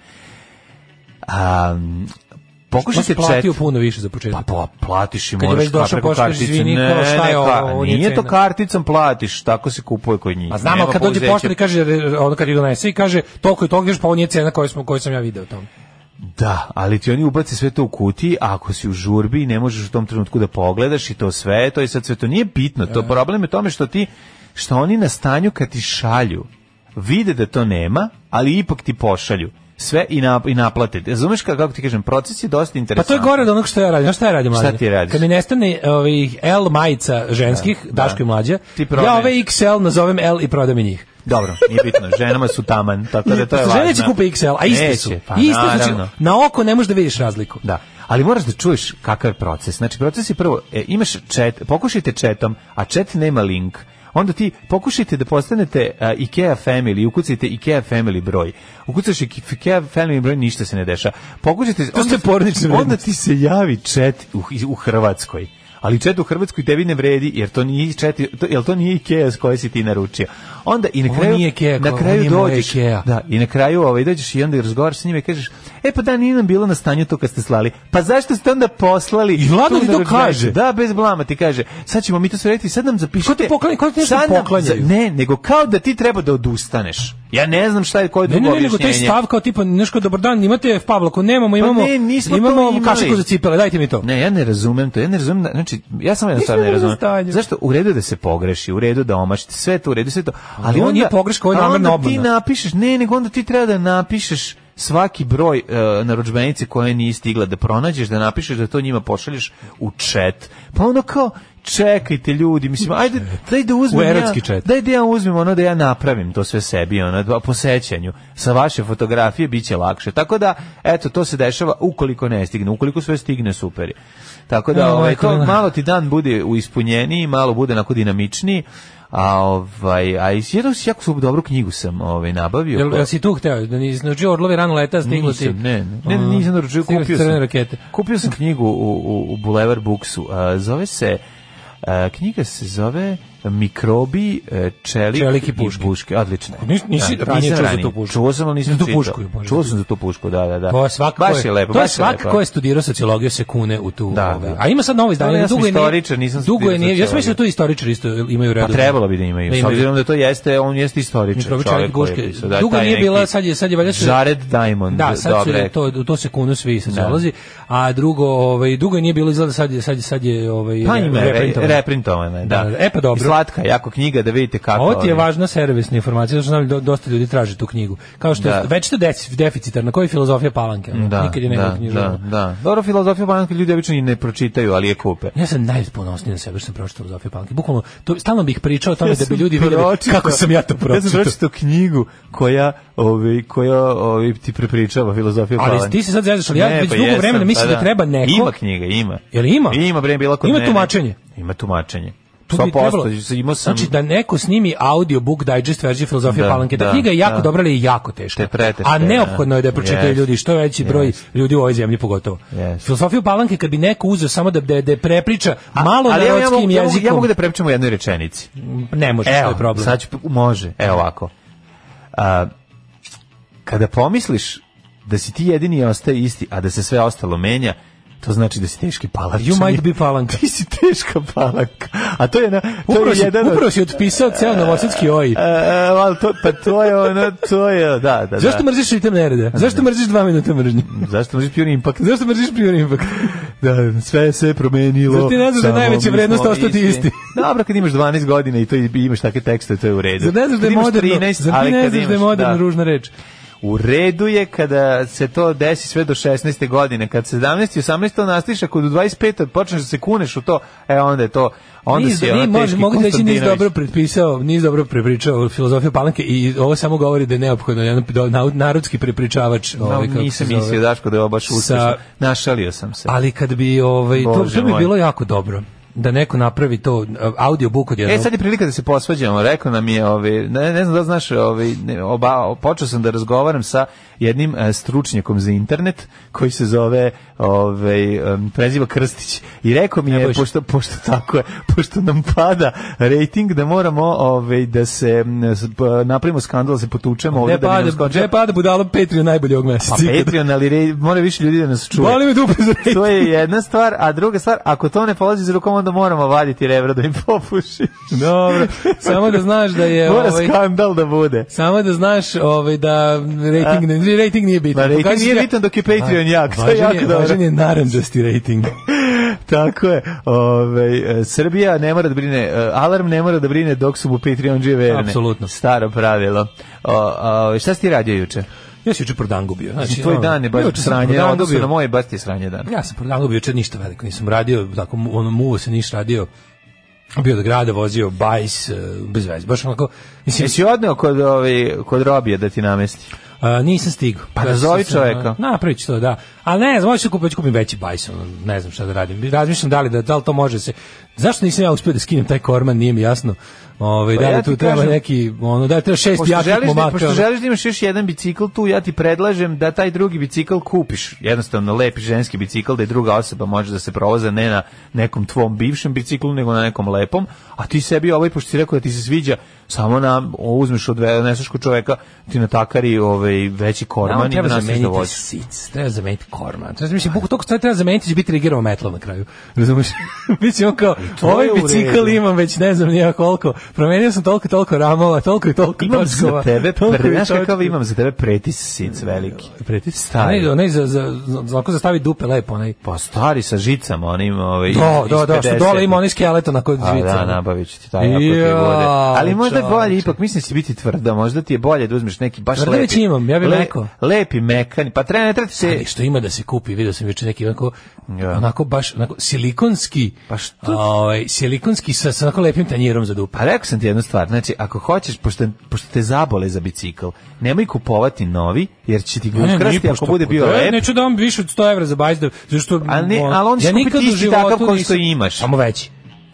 A, Pa pokušaj se si čet... platio puno više za početak. Pa, pa platiš i je možeš već došao, preko poštaš, kartice. izvini, ne, kao šta je ne, ovo, ka- ovo nije nije to cena. karticom platiš, tako se kupuje kod njih. A znam, Nema ali kad dođe pouzeća. poštar i kaže, re- ono kad ju donese i kaže, toliko i toliko, još pa ovo nije cena koju, smo, koju sam ja video u tom. Da, ali ti oni ubace sve to u kutiji, a ako si u žurbi ne možeš u tom trenutku da pogledaš i to sve, to je sad sve to nije bitno. To E. problem je u tome što ti što oni na stanju kad ti šalju vide da to nema, ali ipak ti pošalju sve i, na, i naplate. Razumeš ka- kako ti kažem, proces je dosta Pa to interesantan. je gore od onog što ja radim. Znaš šta ja radim, Šta mlađe? ti radiš? Kad mi nestane ovih L majica ženskih, Daško i mlađa, Ti ja prodaješ. ove XL nazovem L i prodam i njih. Dobro, nije bitno, ženama su taman, tako da to je Pošto važno. pa žene će kupe XL, a iste su. Neće, pa iste su, znači, naravno. na oko ne možeš da vidiš razliku. Da. Ali moraš da čuješ kakav je proces. Znači, proces je prvo, e, imaš chat, pokušajte chatom, a chat nema link. Onda ti pokušajte da postanete a, IKEA family, ukucajte IKEA family broj. Ukucaš Ike- IKEA family broj, ništa se ne deša. Pokušajte... To ste porodične Onda ti se javi chat u, u Hrvatskoj. Ali chat u Hrvatskoj tebi ne vredi, jer to nije chat, to, jer to nije IKEA s koje si ti naručio. Onda i na Ovo kraju, nije IKEA, na ovo kraju nije moja dođeš, IKEA. da, i na kraju ovaj, dođeš i onda razgovaraš s njima i kažeš, e pa da, nije nam bilo na stanju to kad ste slali. Pa zašto ste onda poslali? I ladno tu ti to naručnjaku? kaže. Da, bez blama ti kaže, sad ćemo mi to sve rediti, sad nam zapišite. Ko ti poklanja- ko ti nešto Sad nam- poklanjaju? za- Ne, nego kao da ti treba da odustaneš. Ja ne znam šta je, koje Ne, drugo ne, ne, objašnjenje. nego taj stav kao tipa, nešto dobar dan, imate F Pavlaku, nemamo, imamo, Pa ne, nismo to imamo imali. kašiku za cipele, dajte mi to. Ne, ja ne razumem to. Ja ne razumem, znači ja sam Nismo jednostavno ne bili na razumem. stanju. Zašto u redu je da se pogreši, u redu da omašite, sve to u redu, sve to. Ali Ovo onda nije pogreška, ovo je a namerna onda ti obmana. napišeš, ne, nego onda ti treba da napišeš svaki broj e, narudžbenice koje nije stigla da pronađeš, da napišeš da to njima pošalješ u chat. Pa onda kao čekajte ljudi, mislim, ajde, daj da uzmem U ja- erotski chat. daj da ja uzmem ono da ja napravim to sve sebi, ono, dva- po sećanju. Sa vaše fotografije bit će lakše. Tako da, eto, to se dešava ukoliko ne stigne. Ukoliko sve stigne, super je. Tako da, Ja, ovaj, E, majko, to ne. malo ti dan bude u ispunjeniji, malo bude onako dinamičniji, a ovaj a iz jednu jako su dobru knjigu sam ovaj nabavio. Jel, koja- jel si tu hteo? Da nisi naručio Orlovi rano leta, stiglo ti? Nisam, ne, ne, ne, nisam naručio, Stigle kupio ti crvene sam. rakete. Kupio sam knjigu u, u, u Boulevard Booksu. A, zove se, a, knjiga se zove Mikrobi, e, čelik, Čelik i puške. buške. Odlično. je. Nis- nisi ranije nisam čuo za tu pušku. Čuo sam, ali nisam Za tu čitao. pušku je, bože. Čuo sam za tu pušku, da, da, da. To je svako baš ko je lepo, to je baš svako lepo. ko je studirao sociologiju se kune u tu. Da, ovaj. da. A ima sad novo izdanje, Ali ja sam dugo je istoričar, nisam Dugo je studirao nije. Ja sam sociologiju. mislio da to istoričari isto imaju Pa redu. trebalo bi da imaju, Da s imaju. obzirom da to jeste, on jeste istoričar. Mikrobičari čovjek koji je guške. pisao, da, Dugo taj nije neki bila, sad je sad je valjda su- Jared Diamond, Da, sad su, dobre. je to u to se kunu svi sociolozi. A drugo, ovaj dugo je nije bilo izgleda sad je sad je sad je ovaj Pa ima, reprintovano. reprintovane, da. Da, da, e, pa dobro. I slatka, jako knjiga da vidite kako. Ovo ti je važna servisna informacija, zato što znam, dosta ljudi traži tu knjigu. Kao što Da. je već to deci- deficitarna, koja je filozofija palanke? ono? Da, Nikad je nema da, knjižara. da, da. Dobro, filozofiju banka ljudi obično i ne pročitaju, ali je kupe. Ja sam najponosniji na sebe što sam pročitao filozofiju palanke. Bukvalno, to, stalno bih pričao o tome da bi sam ljudi vidjeli pročitao- kako sam ja to Ja sam pročitao. pročitao knjigu koja, ovaj, koja ovaj, ti prepričava filozofiju ali Palanke. ti se sad zezaš, ali ja Ne, već pa dugo jesam, vremena pa mislim da treba neko- Ima knjiga, ima. Jel ima? Ima, bre, bila kod Ima mene. tumačenje? Ima tumačenje. Tu bi 100%, imao sam... Znači da neko snimi audiobook digest verziju filozofije Da, Palanke. Ta da, knjiga je jako da. dobra, ali je jako teška. Te preteška, A neophodno je da je pročitaju Yes. ljudi, što veći broj ljudi u ovoj zemlji pogotovo. Yes. Filozofiju Palanke kad bi neko uzeo samo da da je- da je prepriča malo ali ja, ja, mogu, ja, narodskim mogu, ja mogu jezikom, da prepričam u jednoj rečenici. ne može, to Evo, je problem. sad ću, može, evo ovako. A, kada pomisliš da si ti jedini ostaje isti, a da se sve ostalo menja, to znači da si teški palančanin. You might be palanka. Ti si teška palanka. A to je, na, to Upravo je si, jedan... od- upravo si otpisao ceo novosadski oj. E, e, ali to, pa to je ono, to je, da, da, Zašto da. mrziš ritem nereda? Zašto mrziš dva minuta mržnje? Zašto mrziš pjuni impact? Zašto mrziš prior impact? Da, sve se promenilo. Zar ti ne znaš da je samo najveća mi smo vrednost ostati isti? Dobro, kad imaš 12 godina i to i imaš takve tekste, to je u redu. Zar ne znaš da Kad je imaš moderno, 13, zar ti ali ne kad znaš da je imaš- moderno da. ružna reč? U redu je kada se to desi sve do 16. godine, kad 17. i 18. to nastiš, a kod u 25. počneš da se kuneš u to, e onda je to, onda Niz- si ni- ono može- teški Mogu reći nis Konstantinović. dobro pretpisao, nis dobro prepričao filozofiju Palanke i ovo samo govori da je neophodno jedan do- nau- narodski prepričavač. No, ovaj, kako se nisam zove. mislio, Daško, da je ovo baš Sa- uspešno. Našalio sam se. Ali kad bi, ovaj, to, Bože to bi moj. bilo jako dobro da neko napravi to audio book od E, jednog. sad je prilika da se posvađamo. Rekao nam je, ove, ne, ne znam da li znaš, ove, ne, oba, počeo sam da razgovaram sa jednim e, stručnjakom za internet koji se zove ove, em, preziva Krstić. I rekao mi je, bojiš. pošto, pošto tako je, pošto nam pada rating, da moramo ove, da se m, s- p- napravimo skandal, da se potučemo ovde, ne da bi pada, nam skočio- ne pada budalo Patreon najbolje ovog meseca. Pa Patreon, ali re, mora više ljudi da nas čuje. Boli me dupe za rating. To je jedna stvar, a druga stvar, ako to ne polazi iz rukom, onda moramo vaditi rebra da im popuši. Dobro, samo da znaš da je... Mora ovaj, skandal da bude. Samo da znaš ovaj, da rating, ne, rating nije bitan. Ma rating Pokaži nije se- bitan dok je Patreon A, jak, to je važan jako dobro. Važan je naranđasti rating. Tako je. Ove, e, Srbija ne mora da brine, e, alarm ne mora da brine dok su mu Patreon džije verne. Apsolutno. Staro pravilo. O, o, šta si ti radio juče? Ja sam juče prodangu bio. Znači, Tvoj ono, dan je baš juče sam sranje, prodangu onda su bio. na moje baš ti je sranje dan. Ja sam prodangu bio juče ništa veliko, nisam radio, tako mu- ono muvo se niš radio. Bio do grada, vozio bajs, e, bez veze, baš onako, mislim, Jesi odneo kod, ove, kod Robija da ti namesti? a, e, nisam stigao. Pa Ja nazovi sam, a, čoveka. Napravit ću to, da. Ali ne znam, možda ću kupiti, kupim veći bajs, ono, ne znam šta da radim. Razmišljam da li, da, da li to može se, zašto nisam ja uspio da skinem taj korman, nije mi jasno. Ove, Pa da li ja ti tu treba kažem- neki, ono, da li treba šest Pošto jakih želiš, da, momaka. pošto ono. želiš da imaš još jedan bicikl tu, ja ti predlažem da taj drugi bicikl kupiš. Jednostavno, lepi ženski bicikl da je druga osoba može da se provoza ne na nekom tvom bivšem biciklu, nego na nekom lepom, a ti sebi ovaj, pošto si rekao da ti se sviđa, samo na, o, uzmeš od neseš kod čoveka, ti natakari ovaj, veći Nama korman i treba nasiš da zameniti voziš. sic, treba zameniti korman. Treba, Pa. mislim, bukvalno toliko stvari treba zameniti, će biti triggerao metal na kraju. Razumeš? mislim, on kao, to je ovaj u redu. bicikl imam već ne znam nija koliko, promenio sam toliko i toliko ramova, toliko i toliko Imam za točkova, tebe, toliko i pre, znaš toliko. kakav imam za tebe pretis sic veliki. Pretis? Stari. Onaj, onaj za, za, za, za, onako za staviti dupe lepo, onaj. Pa stari sa žicama, onim ovaj, Do, iz do, do, što 50. dole ima onaj skeleton na kod Pa žica. da, ono. nabavit ću ti taj ako ti bude. Jao, Ali možda je bolje, čoveče. ipak mislim si biti tvrda, možda ti je bolje da uzmeš neki baš Tvrde lepi. već imam, ja bih rekao. Lepi, mekani, pa treba ne treba ti se... Ali što ima da se kupi, video sam juče neki onako, Ja. onako baš onako silikonski, Pa što- ovaj, silikonski sa, sa onako lepim tanjirom za dupe. Pa rekao sam ti jednu stvar, znači ako hoćeš, pošto, pošto te zabole za bicikl, nemoj kupovati novi, jer će ti ga Ne, pa nije ukrasti ako pošto- bude bio Da, lep. Neću da vam više od 100 evra za bajs, da, zašto... A ne, ono, ali on će kupiti nikad u isti životu takav kao nisam- što imaš. Samo veći.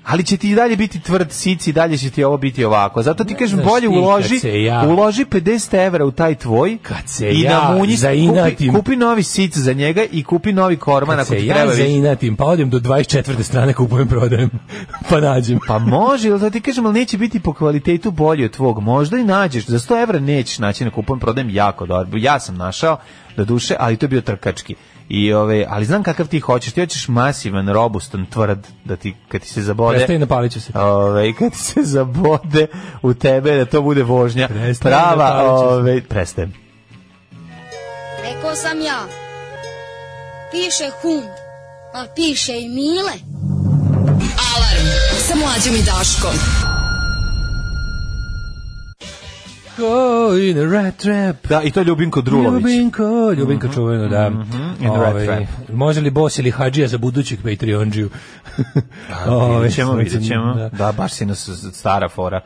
Ali će ti i dalje biti tvrd sici, i dalje će ti ovo biti ovako. Zato ti kažem, znaš bolje ti, kad uloži, se ja- uloži 50 evra u taj tvoj Kad se i ja namunji, kupi, zainatim. kupi novi sic za njega i kupi novi korman ako Se ti ja treba više. zainatim, pa odem do 24. strane, kupujem, prodajem, pa nađem. Pa može, ali da ti kažem, ali neće biti po kvalitetu bolji od tvog. Možda i nađeš. Za 100 evra nećeš naći na kupujem, prodajem jako dobro. Ja sam našao, do duše, ali to je bio trkački. I ove, ali znam kakav ti hoćeš, ti hoćeš masivan, robustan, tvrd, da ti, kad ti se Prestaje, zabode, napalit ću se. ove, i kad ti se zabode u tebe, da to bude vožnja, Prestaje, prava, napalit ću se. ove, prestajem. Rekao sam ja. Piše hum, a piše i mile. Alarm sa mlađom i Daškom. Go in a rat trap. Da, i to je Ljubinko Drulović. Mhm, Ljubinko, Ljubinko čuveno, da. in a rat Ovaj, trap. Može li Bos ili Hadžija za budućeg Patreonđiju? Ovaj, Pa, Vidjet ćemo, vidjet ćemo. da. Da, baš si nas stara fora.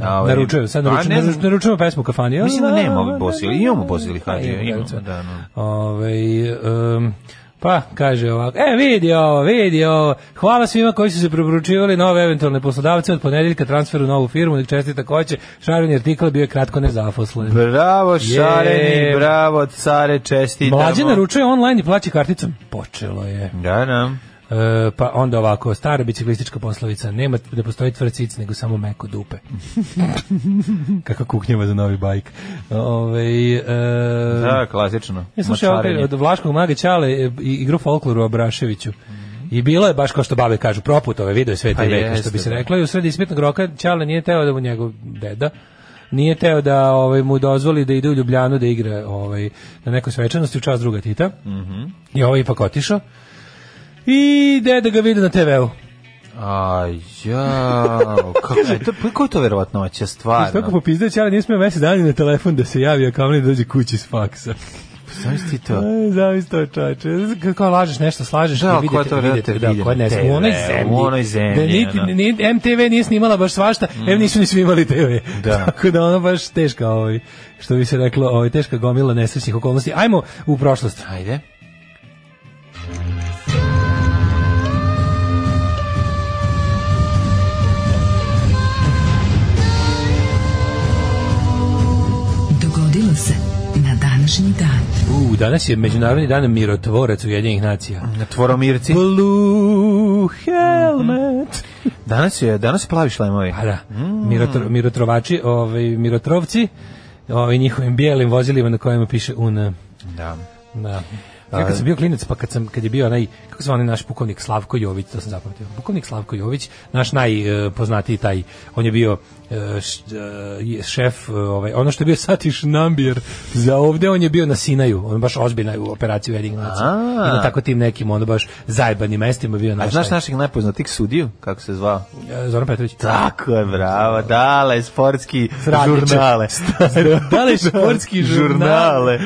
Ovaj, Naručujem, sad pa naručujem, ne znam, naručujem, naručujemo pesmu u kafani. Mislim da nema ovih Bosi, ili imamo Bosi ili Hadžija, Pa imamo, Hadžija. da, no. Ovaj, em, pa, kaže ovako, e, vidi ovo, vidi ovo, hvala svima koji su se preporučivali nove eventualne poslodavce od ponedeljka transfer u novu firmu, nek čestite ko će, šareni artikl bio je kratko nezafoslen. Bravo, šareni, Je. bravo, care, čestitamo. Mlađe naručuje online i plaća karticom. Počelo je. Da, da. E, pa onda ovako, stara biciklistička poslovica, nema ne postoji tvrcic, nego samo meko dupe. Kako kuknjava za novi bajk. Ovaj e, Da, klasično. ja slušaj ovdje Mačarenje. od Vlaškog maga Ćale e, i igru folkloru o Abraševiću. I bilo je baš kao što babe kažu, proput ove video sve Pa te veka, što jeste, bi se da. reklo. I u sredi ispitnog roka Ćale nije teo da mu njegov deda nije teo da ovaj mu dozvoli da ide u Ljubljanu da igra ovaj na nekoj svečanosti u čast druga Tita. Mhm. I ovaj je ipak otišao. I deda ga vidi na TV-u. Aj, jao, kako je to, pa kako je to verovatnoća, Tako stvarno? popizdeo Ćale, nije smio mesec dana ni na telefon da se javi, a kamoli da dođe kući s faksa. Znaš ti to? Aj, Zavis to čače. Kako lažeš nešto, slažeš, Da, da, ali ko vidite, je to vidite, redatelj da, vidi ko na ne TV, u onoj u zemlji. onoj zemlji, Da niti, ono. ni, MTV nije snimala baš svašta, em nisu ni snimali TV. Da. Tako da ono baš teška, ovaj, što bi se reklo, ovaj, teška gomila nesrećnih okolnosti. Ajmo u prošlost. Ajde. Dogodilo se na današnji dan. U, danas je Međunarodni dan mirotvorac Ujedinjenih nacija. Na Tvoromirci. Mhm. Blue helmet. Danas je, danas je plavi šlemovi. Pa da, Mm. Mirotro- mirotrovači, ovaj, mirotrovci, ovaj, njihovim bijelim vozilima na kojima piše UN. Da. Da. Ja kad sam bio klinac, pa kad, sam, kad je bio onaj, kako se zove onaj naš pukovnik Slavko Jović, to sam zapamtio, pukovnik Slavko Jović, naš najpoznatiji taj, on je bio e, š- e, je šef, e, ovaj, ono što je bio Satiš Nambir za ovde, on je bio na Sinaju, on baš ozbiljna je u operaciju Jedinih nacija. A. I na tako tim nekim, ono baš zajebanim mestima bio naš, A znaš taj, našeg najpoznatijih sudiju, kako se zvao? e, Zoran Petrović. Tako je, bravo, dale, sportski Sradničar. žurnale. Dale, sportski žurnale.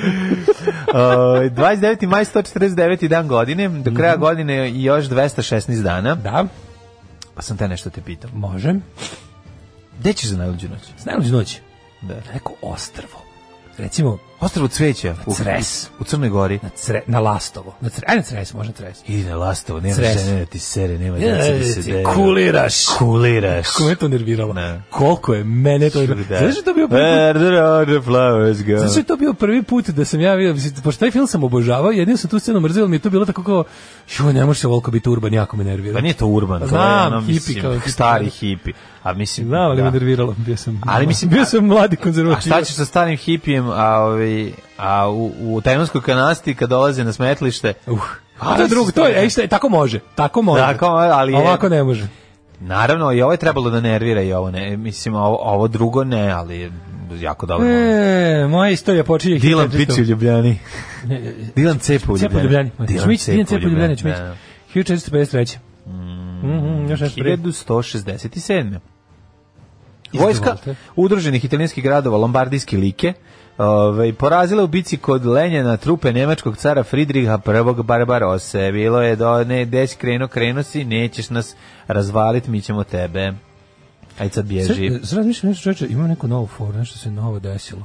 Ovaj, 29. maj 149. dan godine, do kraja Mhm. godine još 216 dana. Da, Pa sam te nešto te pitao. možem. Gde ćeš za najluđu noć? Znajluđu noć. Da. Neko ostrvo. Recimo, Ostrvo cveća. U, Cres. U Crnoj Gori. na, cre, na Lastovo. Na cre, ajde na Cres, može na Cres. Idi na lastovo, nema Cres. žene da ti sere, nema djece da se ti dere. kuliraš. Kuliraš. Kako me to nerviralo. Ne. Koliko je mene to... Da. Znaš što je to bio prvi Where put? the other flowers go. Znaš što je to bio prvi put da sam ja vidio, mislim, pošto taj film sam obožavao, jedino sam tu scenu mrzio, ali mi je to bilo tako kao, joj, ne može se ovoliko biti urban, jako me nervira. Pa nije to urban, to je Znam, ono, hipi mislim, kao hipi. stari hipi. A mislim, Znam, ali da. me nerviralo, bio sam, Ali mislim- bio sam mladi konzervativ. A šta ćeš sa starim hipijem, a, ovi, a u, u tajmanskoj kanasti kad dolaze na smetlište, Uh, a to je drugo, to je, ej, šta, je, tako može, tako može. Tako, ali je- Ovako ne može. naravno i ovo je trebalo da nervira i ovo ne, mislim, ovo, ovo drugo ne, ali je jako dobro. E, moja istorija počinje... Dilan 1400. Pici u Ljubljani. Dilan Cepa u e, Cepa u Ljubljani. Ljubljani. Dilan Cepa u Ljubljani. ću da. Mm-hmm, mići. 1453. Mhm, još nešto prije. 1167. Vojska Izvolite. udruženih italijanskih gradova Lombardijske like Ove, porazila u bici kod Lenjena trupe nemačkog cara Fridriha I Barbarose. Bilo je do ne, desi kreno, kreno si, nećeš nas razvalit, mi ćemo tebe. Aj sad bježi. Sad, sad razmišljam nešto čoveče, imam neku novu foru, nešto se novo desilo.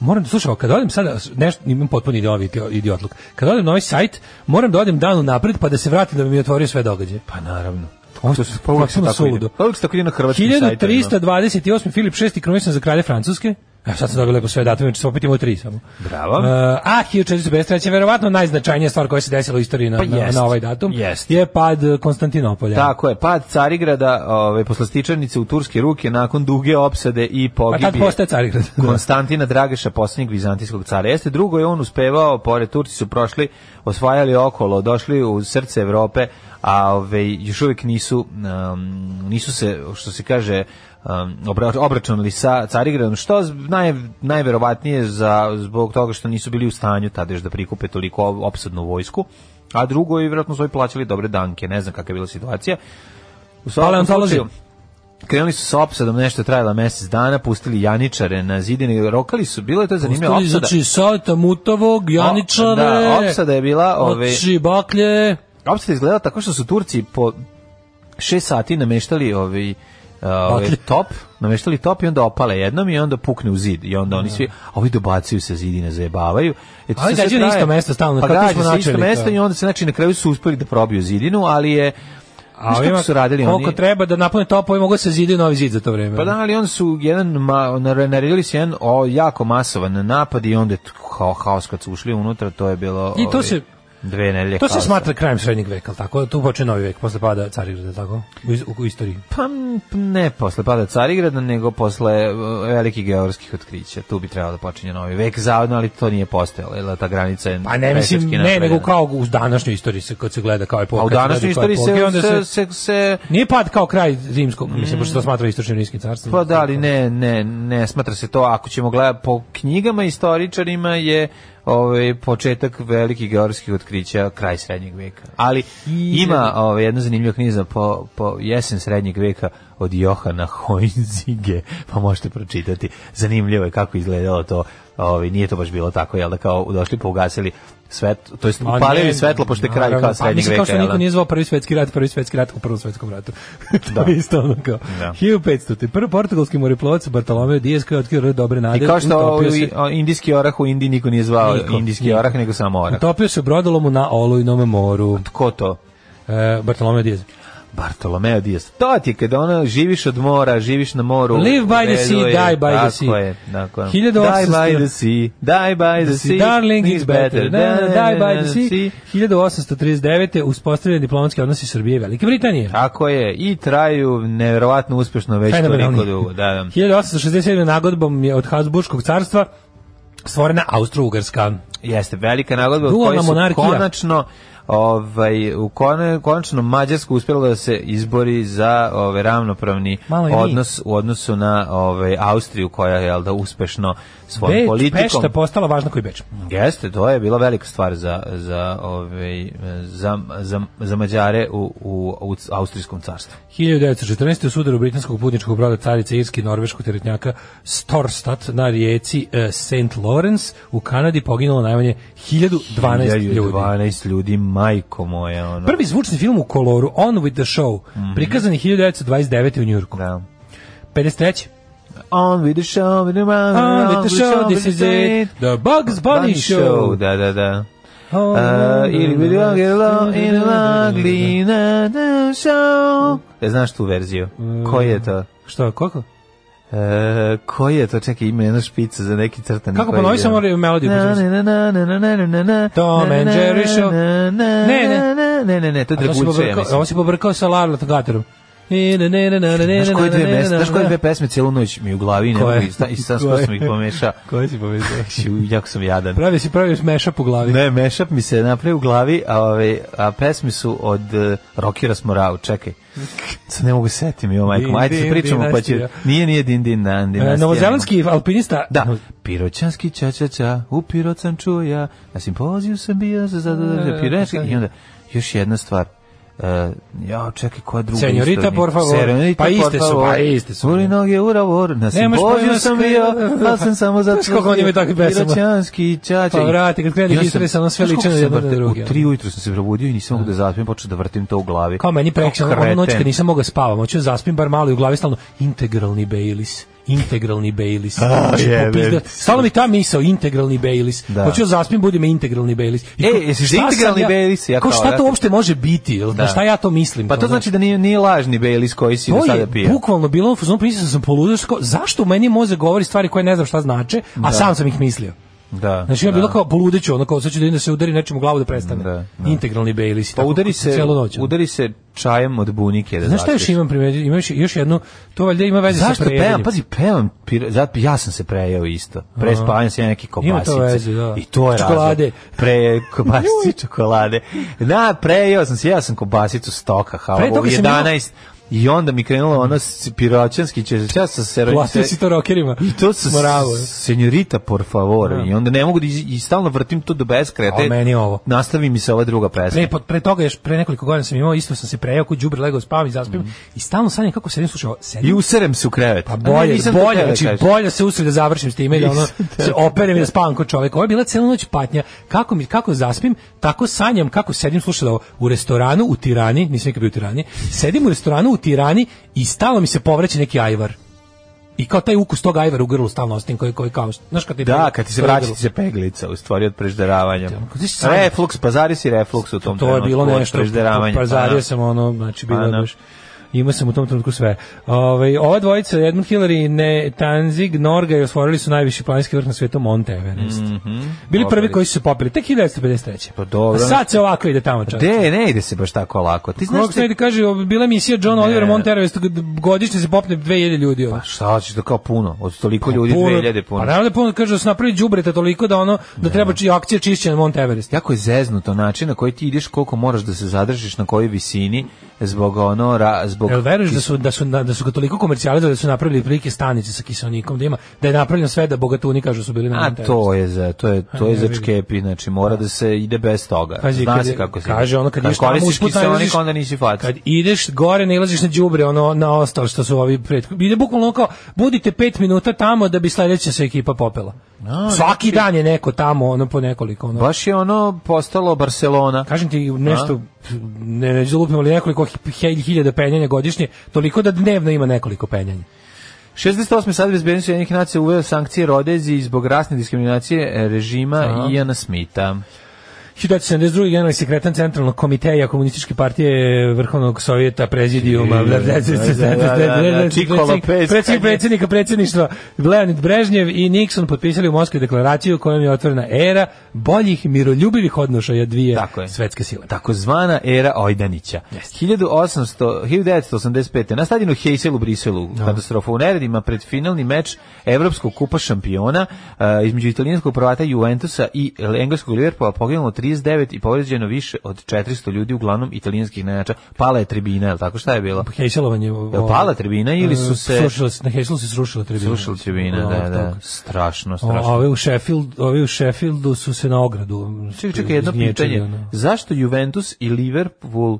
Moram da slušam, kad odem sada, nešto, imam potpuno idiovi, idiotluk. Kad odem na ovaj sajt, moram da odem dan unapred pa da se vratim da bi mi otvorio sve događaje. Pa naravno. Ovo To je se pa uvijek se potpuno tako ide. suludo. Pa uvijek se tako ide na hrvatskim sajtovima. 1328. Filip VI krunisan za kralje Francuske. Evo sad sam dobio lepo sve datume, znači sam opet imao tri samo. Bravo. E, a 1453. verovatno najznačajnija stvar koja se desila u istoriji na, Pa na, jest. na ovaj datum Jest. je pad e, Konstantinopolja. Tako je, pad Carigrada, ove, poslastičarnice u turske ruke nakon duge opsade i Pa pogibije. tad postaje Carigrad. Konstantina Drageša, posljednjeg vizantijskog cara. Jeste drugo je on uspevao, pored Turci su prošli, osvajali okolo, došli u srce Evrope, a ove, još uvijek nisu, um, nisu se, što se kaže, um, obra- obračunali sa Carigradom, što z- naj, najverovatnije za, zbog toga što nisu bili u stanju tada još da prikupe toliko opsadnu vojsku, a drugo je vjerojatno su ovi plaćali dobre danke, ne znam kakva je bila situacija. U svakom Paleontolozi. slučaju, Krenuli su sa opsadom, nešto je trajalo mesec dana, pustili janičare na zidine, rokali su, bilo je to zanimljivo. Pustili, Opsada, znači, Saveta Mutovog, Janičare, da, opsada je bila, ove- Oči, baklje, opsada je izgledala tako što su Turci po šest sati nameštali ovaj ovaj Baklje. top, nameštali top i onda opale jednom i onda pukne u zid i onda oni svi, a ovi dobacuju sa zidine, zajebavaju. Eto, sad Ali sve gađaju na traje. isto mesto stalno, pa kao tu gađaju smo se na isto načeli, mesto kao. i onda se znači na kraju su uspeli da probiju zidinu, ali je A Znaš kako ovima su radili koliko oni? treba da napune topove, mogu da se zidaju novi zid za to vreme. Pa da, ali on su jedan ma, nar- naredili su jedan o, jako masovan napad i onda je kao haos kad su ušli unutra, to je bilo I to ovaj, se- dve nedelje To se haosa. smatra krajem srednjeg veka, ali tako? Tu počne novi vek, posle pada Carigrada, tako? U, iz- u istoriji. pa m, ne posle pada Carigrada, nego posle e, velikih geografskih otkrića. Tu bi trebalo da počinje novi vek zavodno, ali to nije postojalo, jer ta granica je Pa ne mislim, pešački ne, napravljena. nego kao u današnjoj istoriji se, kad se gleda kao epoka. A u kad se današnjoj gleda kao istoriji epoka, i onda se, se, se, se Nije pad kao kraj rimskog, mislim, pošto to smatra istočnim rimskim carstvom. Pa da, ali ne, ne, ne smatra se to. Ako ćemo gledati po knjigama istoričarima je ovaj početak velikih geografskih otkrića kraj srednjeg veka. Ali ima ovaj jedna zanimljiva knjiga po, po jesen srednjeg veka od Johana Hoinzige, pa možete pročitati. Zanimljivo je kako izgledalo to. Ovaj nije to baš bilo tako, jel da kao došli pa ugasili svet, to jest Pa upalili ne, svetlo pošto je kraj naravno, kao Pa srednjeg mislim veka. kao što jel da? niko nije zvao prvi svetski rat, prvi svetski rat u prvom svetskom ratu. to Da. je isto ono kao. Da. 1500. Prvi portugalski moreplovac Bartolomeo Diaz koji je otkrio R. dobre nade. I kao što ovaj utopio se- o, indijski orah u Indiji niko nije zvao Niko, indijski niko. orah, nego samo orah. Utopio se u brodolomu na Olujnom moru. Ko to? E, Bartolomeo Diaz. Bartolomeo Diaz. To ti je kada ono živiš od mora, živiš na moru. Live by the sea, Reduje. die by the Tako sea. Je, tako je. 1800 Die by the sea, die by the, sea. Darling is is better. Da, da, die by the sea. 1839. uspostavljen diplomatski odnosi Srbije i Velike Britanije. Tako je. I traju nevjerovatno uspešno već Fenomenalni. toliko dugo. Da, da. 1867. nagodbom je od Habsburgskog carstva stvorena Austro-Ugarska. Jeste velika nagodba u Dualna kojoj su monarhija. konačno ovaj u kone, konačno Mađarska uspjela da se izbori za ovaj ravnopravni Malo i mi. odnos u odnosu na ovaj Austriju koja je jel da uspešno svojom Beč, politikom Pešta postala važna koji Beč. Jeste, to je bila velika stvar za za ovaj za za, za Mađare u, u, u austrijskom carstvu. 1914. u sudaru britanskog putničkog broda carice Irske i norveškog teretnjaka Storstad na rijeci eh, St. Lawrence u Kanadi poginulo najmanje 1012 ljudi. 12 ljudi, majko moja, ono. Prvi zvučni film u koloru, On with the Show, prikazan je 1929. u Njurku. Da. 53. On with the show, with the On with the show, this is it, the Bugs Bunny show. Da, da, da. Oh, Uh, ili with the girl in the da, ugly na the show. E, znaš tu verziju? Koji je to? da. Što, kako? E, koji je to? Čekaj, ima jedna špica za neki crtani. Kako koji ponovi je- samo melodiju? Na, na, na, na, na, na, na, na, na. Tom and Jerry show. Na, na, Ne, ne. na, ne, ne, ne, to je A to si Draguća, ja pobrkao- mislim. Ovo si pobrkao sa Larla Tagatorom. Znaš Znaš koje dve pesme, znaš koje dve pesme cijelu noć mi u glavi, ne mogu Koje? i sta- i sad skoro sam ih pomešao. Koje si povezao? Ju, Jako sam jadan. Pravi si pravi smeša po glavi. Ne, mashup mi se napravi u glavi, a, ove, a pesme su od uh, Rokira Smorau, čekaj. Sad ne mogu setim, jo, majko, Din, ajde se din, pričamo, pa će... dinastija. Nije, nije Din Din Dan, dinastija. E, Novozelandski alpinista Da, piroćanski ča ča ča, u pirot sam čuo ja, na simpoziju sam bio za E, zadovoljstvo piroćanski, i onda još jedna stvar, Uh, ja, čekaj, koja druga Senjorita, isto mi- por favor. Senjorita, Pa por iste su, favor. pa iste su. Uri noge u ravor, na Nemaš simpoziju pojma sam s kojim- bio, ali sam samo zato... Znaš koliko oni imaju takvih pesama? Piroćanski ča ča. Pa vrati, kad krene Ja sam- histerija, samo sve Znaš koliko liči na sam jedno na vrte- drugo. U tri ujutru sam se probudio i nisam mogu da zaspim, počeo da vrtim to u glavi. Kao meni prekšan, ono kreten. noć kad nisam mogao spavam, hoću da zaspim bar malo i u glavi stalno integralni Baileys integralni Baileys. Znači, jebem popizda- ti. Stalno mi ta misao, integralni Baileys. Da. Hoću da zaspim, budi me integralni Baileys. I E, kao, jesi šta za integralni sam Baileys? Ja Kao kao, šta vrati. to uopšte može biti? Jel, Da. da. Šta ja to mislim? Pa kao, to znaš? znači da nije, nije lažni Baileys koji si do Ono- to sada je pio. bukvalno bilo u fazonu mislio sam poludačko. Zašto u meni mozak govori stvari koje ne znam šta znače, a sam sam ih mislio. Da, Znači ja da. bilo kao poludeću, ono kao sad ću da idem da se udari nečim u glavu da prestane. Da, da. Integralni Baileys. Pa tako udari se se, celu noć. ono. udari se čajem od bunike. Da Znaš šta još zaspiš. imam primetio? Imam još, još jednu, to valjda ima veze Zašto sa prejedanjem. pevam? Pazi, pevam, pir- zato ja sam se prejao isto. Pre spavanja sam ja neke Ima to kobasice. veze, da. I to je razlog. Čokolade. Pre kobasice, čokolade. Da, prejao sam se, ja sam kobasicu stoka, hava, Pre u toga sam 11, I onda mi krenulo ono s- piroćanski će ja sa se Platio si to rokerima. I to sa Moravo. senjorita por favor. I onda ne mogu da iz- i stalno vrtim to do beskraja. A, meni je ovo. Nastavi mi se ova druga pesma. Pre, E, pod- pre toga još pre nekoliko godina sam imao, isto sam se prejao kod đubre legao spavam i zaspim Mhm. i stalno sanjam kako se ne slušao. I Sedim userem se u krevet. Pa A ne, bolje, nisam to bolje, htio da znači kažem. bolje se usred da završim s time da ono Nisam se operem i da spavam kod čoveka. Ovo je bila cela noć patnja. Kako mi kako zaspim, tako sanjam kako sedim slušam da ovo, u restoranu u Tirani, nisam nikad bio u Tirani. Sedim u restoranu u Tirani i stalno mi se povraća neki ajvar. I kao taj ukus tog ajvara u grlu stalno ostajem koji koji kao, znaš kad ti Da, kad ti se to je vraća grlo. ti se peglica, u stvari od prežderavanja. Kad ti se- Refluks, pazari si refluks u tom to je trenutku bilo od nešto prežderavanja. ono Pa pazario da. sam ono znači bilo Pa je da. baš imao sam u tom trenutku sve Ovaj, ova dvojica Edmund Hillary i ne Tanzig Norga i osvojili su najviši planinski vrh na svetu Monte Everest Mhm. bili prvi popeli koji su se popili tek 1953 Mm, Pa dobro. A sad se ovako ide tamo čovječe. De, ne ide se baš tako lako. Ti znaš Kako te- se ide, kaže, bila je misija John Oliver Monte Everest, godišnje se popne 2000 ljudi. ono. Pa šta hoćeš da kao puno? Od toliko ljudi Puno- 2000 puno. Pa naravno da puno, kaže, da su napravili đubreta toliko da ono, da treba či, akcija čišćenja Monte Everest. Jako je zeznuto način na koji ti ideš, koliko moraš da se zadržiš, na kojoj visini, zbog ono, ra, zbog... Jel veruješ da su da su da su ga toliko komercijalizovali da su napravili prilike stanice sa kiseonikom da ima da je napravljeno sve da bogatuni kažu su bili na A Monteverestu. to je za to je to A, je ne za vidim. čkepi, znači mora da se ide bez toga. Pazi, Zna kad se je- kako se. kaže ono kad, kad ideš tamo koristiš usput kiseonik, nailaziš- onda nisi faca. Kad ideš gore nailaziš na đubre ono na ostalo što su ovi pred ide bukvalno ono kao budite 5 minuta tamo da bi sledeća se ekipa popela. Svaki dan je neko tamo ono po nekoliko ono. znači- Baš je ono postalo Barcelona. Kažem ti nešto, ne neću da lupim, ali nekoliko hi- hi- hiljada penjanja godišnje, toliko da dnevno ima nekoliko penjanja. 68. sad bezbednosti jednih nacija uveo sankcije Rodezi zbog rasne diskriminacije e, režima Aha. Iana Smitha. 1972. generalni sekretar Centralnog komiteja komunističke partije Vrhovnog sovjeta prezidijuma Da, da, da, da, Čiko Lopez. predsjednik predsjednika predsjedništva Leonid Brežnjev i Nixon potpisali u Moskvi deklaraciju kojom je otvorena era boljih miroljubivih odnošaja dvije Tako je. svetske sile. takozvana era Ojdanića. 1800, 1985. na stadionu Heysel u Briselu, katastrofa u neredima pred finalni meč Evropskog kupa šampiona eh, između italijanskog prvata Juventusa i engleskog Liverpoola poginulo 39 i povređeno više od 400 ljudi, uglavnom italijanskih najjača. Pala je tribina, je li tako šta je bilo? Hejselovanje. e, Je li pala tribina ili su se... Srušila se, na Hejselu se srušila tribina. Slušali tribina, Ono, da, da. tako. Strašno, O, strašno. Ovi u, Sheffield, ovi u Sheffieldu su se na ogradu. Čekaj, čekaj, jedno izgnječili, pitanje. ono. Zašto Juventus i Liverpool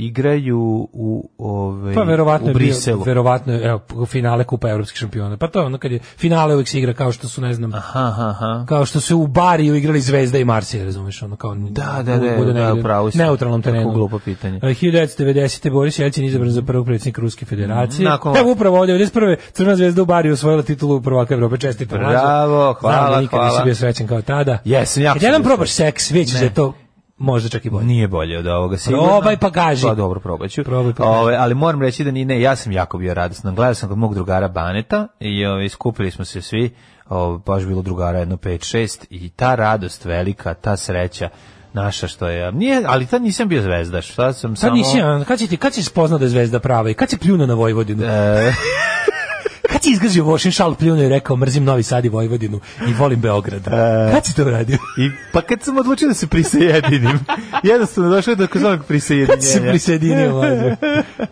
igraju u ove Pa verovatno u je bio, Briselu? verovatno je, evo, u finale kupa evropskih šampiona. Pa to je ono kad je finale uvek se igra kao što su ne znam Aha, aha, aha. kao što su u Bariju igrali Zvezda i Marsija, razumeš, ono kao Da, da, da, da, bude negde upravo si. neutralnom terenu. Kako glupo pitanje. E, 1990. Boris Jelcin izabran za prvog predsjednika Ruske federacije. Nakon- Evo upravo ovdje, 91. Crna zvezda u Bariju osvojila titulu prvaka Evrope. Čestito. mlađo. Bravo, hvala, Znam da nikad hvala. nisi bio srećen kao tada. Jesam, jako Kad sam jedan bio probaš seks, vidjet ćeš da je to možda čak i bolje. Nije bolje od ovoga sigurno. Probaj pa kaži. Pa dobro, probaću. Probaj pa kaži. Ove, ali moram reći da ni ne, ja sam jako bio radostan. Gledao sam kod mog drugara Baneta i ove, skupili smo se svi, ove, baš bilo drugara jedno 5-6 i ta radost velika, ta sreća naša što je, nije, ali tad nisam bio zvezdaš, sad sam Sad samo... Pa, nisi, a, kad si, ti, kad si spoznao da je zvezda prava i kad si pljuno na Vojvodinu? E. kad si izgazio Vošin šal pljuno i rekao mrzim Novi Sad i Vojvodinu i volim Beograd? E. kad si to uradio? I, pa kad sam odlučio da se prisajedinim, jednostavno došao je do kozovnog Kad si se prisajedinjenja. prisjedinio, mlađe?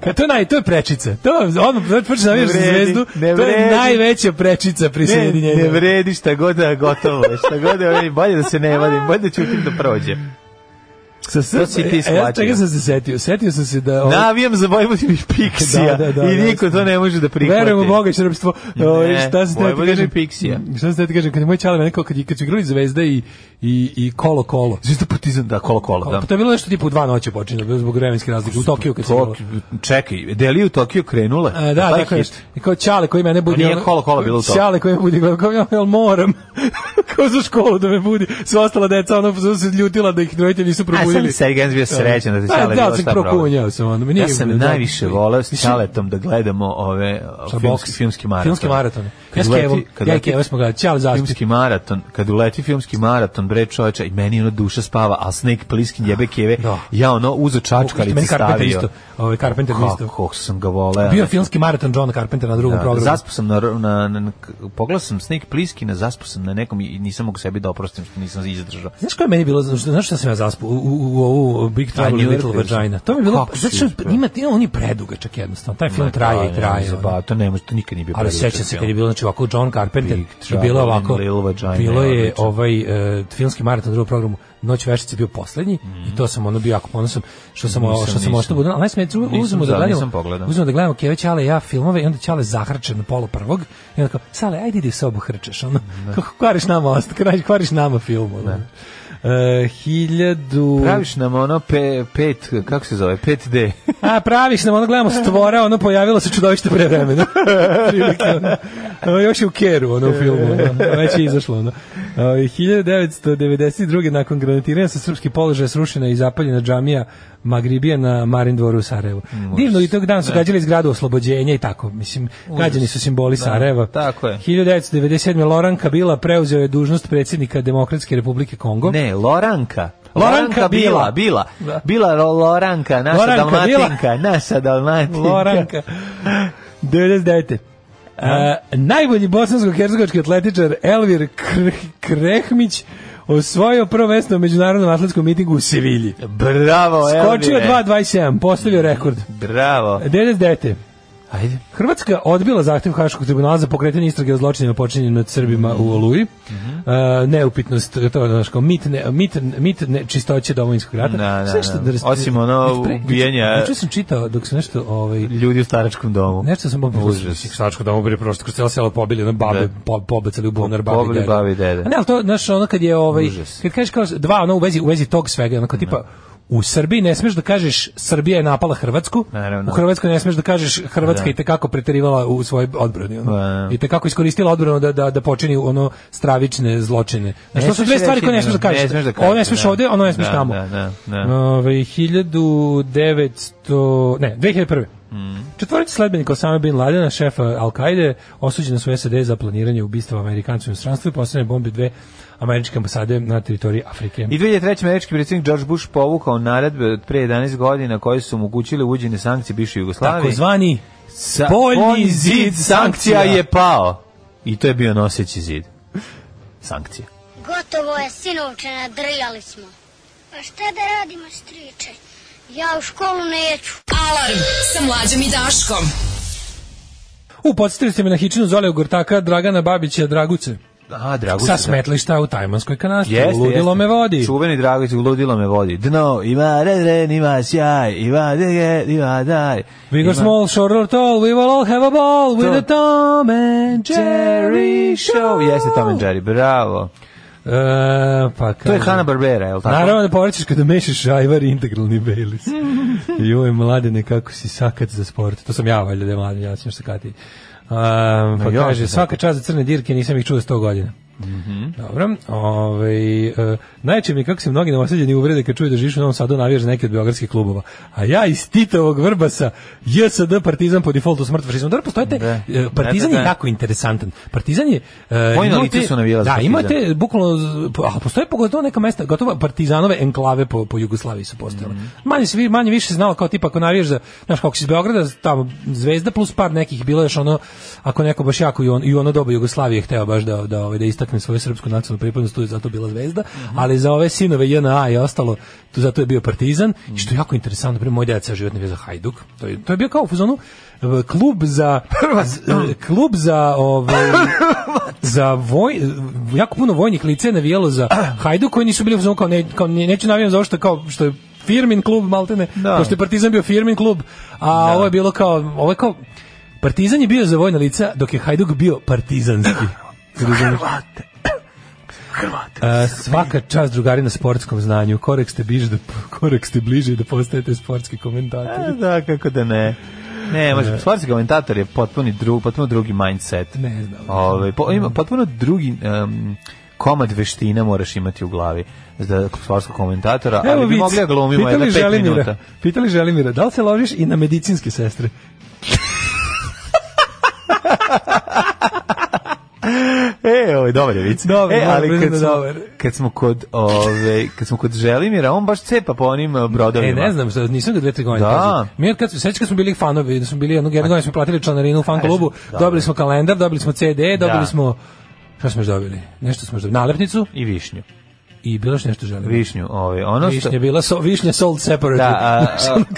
Kad to, naj, to je prečica. To, ono, prvo što navijaš za vredi, zvezdu, ne to je vredi. najveća prečica Ne, prisjedinjenja. ne vredi šta god da gotovo, je, šta god da je, bolje da se ne vadim, bolje da ćutim da prođe. Sa sve- To si ti e, shvatio. Ja čega sam se setio? Setio sam se da... ovo- Navijam za Vojvodinu i Piksija Da, da, da, i niko jasno. to ne može da prihvati. Verujem u Boga i srpstvo. Ovaj, Ne, šta se te Vojvodina kažem? i Piksija. Šta se te kažem? Kad je moj čale mene kao kad, je- kad su igrali Zvezda i, i, i Kolo Kolo. Zvezda Partizan, da, kolo kolo, da. Pa to je bilo nešto tipa u dva noće počinje, bilo zbog vremenske razlike. U Tokiju kad se igralo. Tok- čekaj, deli u Tokiju krenule. E, da, Pa Taj tako je. hit. Pa I kao Ćale koji mene budi. nije ono- Kolo Kolo bilo u Tokiju. Ćale koji me budi, kao ja, jel moram. kao za školu da me budi. Sva ostala deca ono su se ljutila da ih roditelji nisu A probudili. sam Sergens bio srećan da se A, Ćale da, bilo sam šta probao. prokunjao sam ono. mi nije Ja sam bilo, da. najviše voleo s Mislim, Čaletom da gledamo ove o, Sa filmski, boks. filmski maraton. Filmski maraton. Ja Kad s uleti- Kevom, kad ja i uleti Kevom smo gledali. Ćale zaspit. Filmski maraton, kad uleti filmski maraton, bre čoveče, i meni ono duša spava, a Snake Plissken jebe keve, Da. ja ono uzo Isto čačkalice Meni Carpenter stavio. isto. Ovaj Carpenter mi isto. Kako sam ga voleo. Bio je filmski maraton John Carpenter na drugom Da, programu. Zaspao sam na, na, na, na pogledao sam Snake Plissken, zaspao sam na nekom i i nisam mogu sebi da oprostim što nisam izdržao. Znaš ko je meni bilo, znaš, znaš šta sam ja zaspao u, u, u ovu Big Trouble in New Little York, Vagina? To mi je bilo, Kako zato si što uspeo? ima, ima, on je predugačak jednostavno, taj film traje i traje. ono. Ba, to ne može, to nikad nije bio. Ali predugačak sećam se film. kad je bilo znači ovako John Carpenter Big i Trouble bilo in ovako Little Vagina, bilo je odlično. ovaj e, filmski maraton u drugom programu Noć veštice je bio poslednji i to sam ono bio jako ponosan što sam Nisam, što sam nisam. ostao budan. Alaj smet Nisam uzmemo da za- gledamo. nisam pogledao. Uzmemo da gledamo Keve Ćale i ja filmove i onda Ćale zahrčen na polu prvog i onda kao Sale ajde idi u sobu hrčeš ono. Kako kvariš nama ost, kvariš, kvariš nama film ono. E, hiljadu... Praviš nam ono pe, pet, kako se zove, 5D. A praviš nam, ono gledamo stvora, ono pojavilo se čudovište pre vremena. Prilike, ono. Ono, još je u keru, ono u filmu, ono. već je izašlo. Ono. A, 1992. nakon granatiranja sa srpski položaj srušena i zapaljena džamija Magribija na Marin dvoru u Sarajevu. Mm, Divno i tog dana su gađali zgradu oslobođenja i tako. Mislim, gađani su simboli Sarajeva. tako je. 1997. Loran Kabila preuzeo je dužnost predsjednika Demokratske republike Kongo. Ne, Loranka. Loranka bila. bila, bila. Da. Bila Ro- Loranka, naša Loranka dalmatinka, naša dalmatinka. Loranka. 99. A, najbolji bosansko-hercegovački atletičar Elvir Kr Krehmić osvojio prvo mesto na međunarodnom atletskom mitingu u Sevilji. Bravo, Skočio Elvire. 2.27, postavio rekord. Bravo. 99. Ajde. Hrvatska odbila zahtev Haškog tribunala za pokretanje istrage o zločinima počinjenim nad Srbima u Oluji. Mhm. E, neupitnost, to je znaš, kao mit, ne, mit, mit ne, čistoće domovinskog rata. Da, da, Sve što da. ras- Osim ono Pre- ubijenja- Juče sam čitao dok sam nešto... Ovaj, Ljudi u staračkom domu. Nešto sam pobili. Užas. Sačko da mu bi prosto kroz celo selo pobili, na babe Da. po, pobacali u bunar babi. pobili babi i dede. A ne, ali to znaš ono kad je ovaj Užas. kad kažeš kao dva ono u vezi u vezi tog svega, onako tipa U Srbiji ne smeš da kažeš Srbija je napala Hrvatsku. Naravno. U Hrvatskoj ne smeš da kažeš Hrvatska Da. i tekako preterivala u svojoj odbrani. Ono. Da, da. I tekako iskoristila odbranu da, da, da počini ono stravične zločine. Znaš, Ne to su smeš dve stvari reći, koje ne smeš da ne kažeš. smeš da Ovo ne kažeš, smeš da. ovde, ono ne smeš Da, tamo. da, da, da. Ove, 1900... Ne, 2001. Mhm. Mm. Četvorica sledbenika Osama Bin Ladena, šefa Al-Qaide, osuđena su u SAD za planiranje ubistava Amerikancu u inostranstvu i posljedne bombe dve američke ambasade na teritoriji Afrike. I 2003. američki predsjednik George Bush povukao naredbe od pre 11 godina koje su omogućile uđene sankcije bivše Jugoslavije. Takozvani Sa- spoljni zid sankcija. sankcija je pao. I to je bio noseći zid. Sankcija. Gotovo je, sinovče, nadrljali smo. A šta da radimo, striče? Ja u školu neću. Alarm sa mlađom i Daškom. U, podsjetili ste me na hičinu Zole Gortaka, Dragana Babića, Draguce. A, drago Sa smetlišta u Tajmanskoj kanastri. Ludilo me vodi. Čuveni Dragović, ludilo me vodi. Dno, ima redren, ima sjaj, ima dege, ima daj. Big or Ima- small, short or tall, we will all have a ball with the Tom and Jerry show. Jeste Tom and Jerry, bravo. E, pa To je kaže- Hanna Barbera, je li tako? Naravno da povrćeš kada mešaš ajvar i integralni Baileys. Joj, mladene, kako si sakac za sport. To sam ja, valjda da je mladen, ja sam još sakatiji. Um, pa ja sam Mhm. kaže, sakac. svaka čast za crne dirke, nisam ih čuo 100 godina. Dobro. Ovaj e, najčešće mi je kako se mnogi novosađeni uvrede kad čuju da živiš u Novom Sadu navijaš za neki od beogradskih klubova. A ja iz Titovog Vrbasa, JSD Partizan po defaultu smrt fašizmu. Dobro, postoje te, Da. e, Partizan Da, je da, da. jako interesantan. Partizan je e, Vojna imao lica te- su navijala za Da, ima Partizan. te E, bukvalno z- po- a postoje pogotovo neka mesta, gotovo partizanove enklave po, po Jugoslaviji su postojale. Mhm. Manje se vi- manje više se znalo kao tipa ako navijaš za znaš kako si iz Beograda, tamo Zvezda plus par nekih bilo je još ono ako neko baš jako i, on, i u ono doba Jugoslavije hteo baš da da ovaj, da istakne svoju srpsku nacionalnu pripadnost, tu je zato bila Zvezda, Mhm. ali za ove sinove JNA i ostalo, tu zato je bio Partizan i Mhm. što je jako interesantno, pre moj deca životni vez za Hajduk. To je to je bio kao u fazonu e, klub za e, klub za ovaj za voj, jako puno vojnih lice je navijalo za Hajdu koji nisu bili u fazonu kao, ne, kao ne- neću navijam za ovo što je kao što je Firmin klub maltene, Da. pošto je Partizan bio Firmin klub, a ovo je bilo kao ovo je kao Partizan je bio za vojna lica dok je Hajduk bio partizanski. Razumeš? A, svaka čast drugari na sportskom znanju. Korek ste, bliže da, korek ste bliže i da postajete sportski komentatori. E, Da, kako da ne. Ne, može, sportski komentator je potpuno drug, potpuno drugi mindset. Ne znam. Ovaj, po, ima potpuno drugi em, komad veština moraš imati u glavi za sportskog komentatora, ali bi vic. mogli da glumimo jedno Pitali 5 Želimira- minuta. Pitali Želimira, da li se ložiš i na medicinske sestre? E, ovaj dobar je vic. Dobar, e, moram ali priznat kad smo, dobar. kad smo kod, ovaj, kad smo kod Želimira, on baš cepa po onim eh, E, brodovima. ne znam, što, nisam ga dve, tri godine. Da. Da. Mi od kad smo, sećam kad smo bili fanovi, da smo bili jednog jednog godine smo platili članarinu u fan klubu, Kažem, E, da. dobili smo kalendar, dobili smo CD, dobili Da. smo Šta smo još dobili? Nešto smo još dobili. Nalepnicu i višnju. i bilo što nešto želim. Višnju, ovaj, ono što... Višnja je bila so, višnja sold separate. Da, a,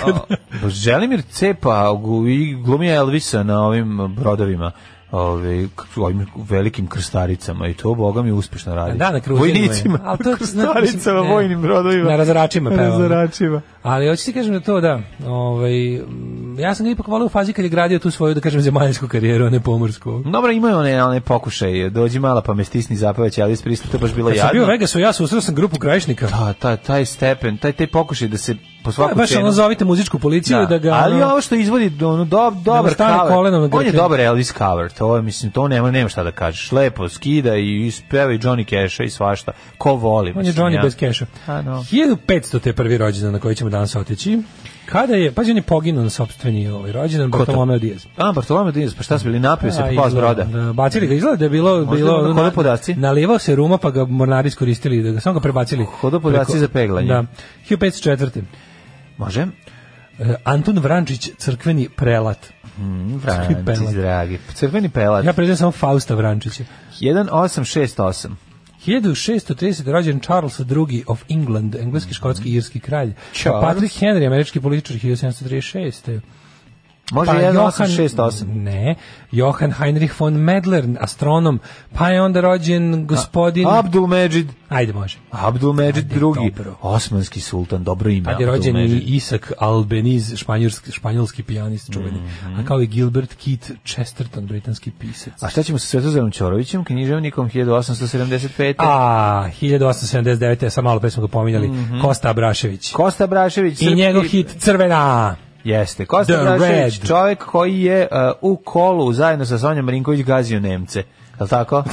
a, a, Želimir Cepa gu- i glumio Elvisa na ovim brodovima ove, k- ovim velikim krstaricama i to, boga mi, uspešno radi. Da, na kruzinima je. Vojnicima, Ali to je- krstaricama, ne. vojnim brodovima. Na razaračima peva. razaračima. Ali hoću ti kažem da to, da. Ovaj, m, ja sam ga ipak volio u fazi kad je gradio tu svoju, da kažem, zemaljsku karijeru, a ne pomorsku. Dobro, imaju one, one pokušaje, dođi mala pa me stisni zapevać, ali pristup, to je baš bilo Kad sam bio u jadno. Vegasu, ja susreo sam grupu krajišnika. Da, taj, taj stepen, taj, taj pokušaj da se po To je svaku baš cenu... ono, zovite muzičku policiju da, ga... ali ono, ovo što izvodi do- ono dob dobar vrtane cover. kolenom na on je grklinu. dobar Elvis cover. To je mislim to nema nema šta da kažeš. Lepo skida i ispeva i Johnny Cash i svašta. Ko voli? On je mislim, Johnny ja. bez keša. A, no. 1500 te prvi rođendan na koji ćemo danas otići. Kada je, pazi, on je poginuo na sopstveni ovaj rođendan, to? Bartolomeo Diaz. A Bartolomeo Diaz, pa šta su bili napio se A, pa s broda. izgleda, Da, bacili ga, izgleda da je bilo... Možda bilo je ono hodo podaci? Nalivao se ruma, pa ga mornari iskoristili, da ga, samo ga prebacili. Hodo podaci preko- za peglanje. Da. 1504. Može? E, Anton Vrančić, crkveni prelat. Mm, Crkveni Francis, pelat. dragi. Crveni pelat. Ja prezivam samo Fausta Vrančića. 1868. 1630. rođen Charles II of England, engleski, škotski i irski kralj. Mhm. Charles. Patrick Henry, američki političar 1736. Može Pa 1868. Johan- Ne, Johan Heinrich von Medler, astronom, pa je onda rođen gospodin... Abdul Mejid, Ajde, može. Abdul Mejid Ajde, drugi, dobro. osmanski sultan, dobro ime. Tad Pa je rođen i Abdulmedžid. Isak Albeniz, španjolski, španjolski pijanist čuveni, a kao i Gilbert Keith Chesterton, britanski pisac. A šta ćemo sa Svetozarom Ćorovićem, književnikom 1875. A, 1879. ja sam malo pre smo ga pominjali, Kosta Abrašević. Kosta Brašević. I srpski- njegov hit Crvena. Jeste, Kosta The Brašević, Red. čovjek koji je uh, u kolu zajedno sa Sonjom Marinković gazio Nemce. Je li tako?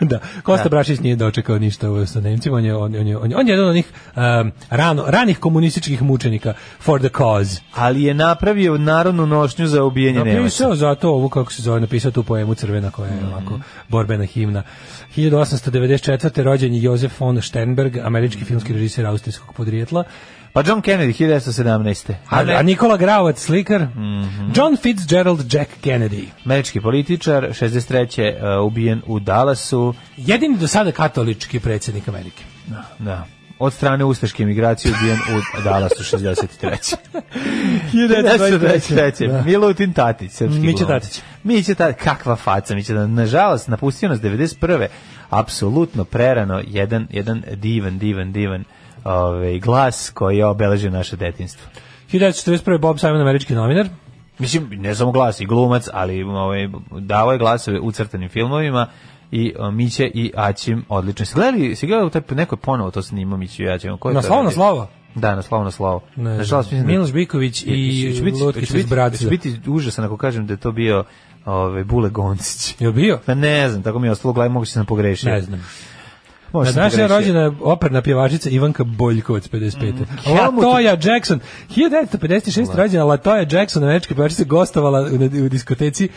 da, Kosta Brašić nije dočekao ništa u- sa Nemcima, on je, on, je- on, je, on, je, on je jedan od onih um, rano, ranih komunističkih mučenika for the cause. Ali je napravio narodnu nošnju za ubijenje Nemaca. Napisao zato ovu, kako se zove, napisao tu poemu Crvena koja Mhm. je ovako borbena himna. 1894. rođen je Josef von Sternberg, američki Mhm. filmski režiser austrijskog podrijetla. Pa John Kennedy, 1917. A, Ale- a Nikola Grauac, slikar. Mhm. John Fitzgerald Jack Kennedy. Američki političar, 63. Uh, ubijen u Dallasu. Jedini do sada katolički predsjednik Amerike. Da. Od strane ustaške migracije ubijen u Dallasu, 63. 1923. Da. Milutin Tatić, srpski Miće glumac. Tatić. Miće Tatić, kakva faca, Miće Tatić. Nažalost, napustio nas 91. Apsolutno prerano, jedan, jedan divan, divan, divan ovaj, glas koji je obeležio naše detinstvo. 1941. Bob Simon, američki novinar. Mislim, ne samo glas i glumac, ali ovaj, davo je glasove u crtanim filmovima i o, Miće i Aćim odlično. Si gledali, si gledali taj, neko je ponovo to snimao Miću i Aćim? Ko je Na to slovo, na radio? slovo. Da, na slovo, na slovo. Ne Nažalost, znam. mislim da- Miloš Biković i Hoće biti- Lutkić hoće iz biti- Bradza. hoće biti užasan ako kažem da je to bio ovaj, Bule Goncić. Je bio? Pa ne znam, tako mi je ostalo u glavi, moguće sam pogrešio. Ne znam. Možda Na sam Mm, današnji dan pogrešio. rođena je operna pjevačica Ivanka Boljkovac 55. Helmut- Latoja Jackson 1956 rođena Latoja Jackson, američka pjevačica gostovala u, u diskoteci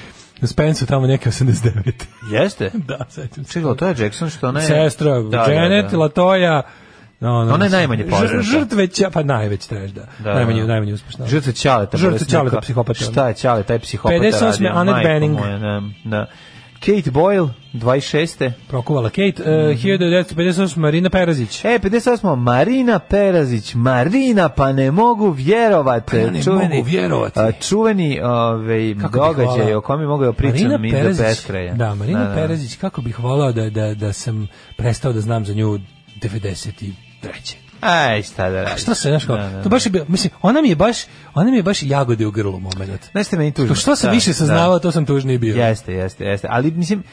u Spensu tamo neke 89. Jeste? da, sećam se. Čekaj, to je Jackson što ona je... Sestra Janet Latoja No, no, Ona je najmanje poznata. Žrtve će, pa najveć traži, da. Da, najmanje, da. najmanje uspešna. Žrtve Ćaleta. Žrtve bolesnika. Ćaleta, psihopata. Šta je Ćale, taj psihopata 58 radio? Annette majko Bening. moja, da, da. Kate Boyle, 26. Prokovala Kate. Mhm. eh, 1958 Marina Perazić. E, 58. Marina Perazić, Marina, pa ne mogu vjerovati. Pa ja ne mogu vjerovati. A, čuveni ovaj, Kako bih događaj volao. o kojem bi mogao Marina pričam mi do Perezić- beskraja. Da, Marina Perezić, kako bih volao da, da, da sam prestao da znam za nju 93. Aj, šta da radiš. Šta se, znaš kao, Da, da, to baš je bilo, mislim, ona mi je baš, ona mi je baš jagode u grlu moment. Znaš što je meni tužno? Što, što Pa sam Da, više da. saznavao, to sam tužniji bio. Jeste, jeste, jeste. Ali, mislim,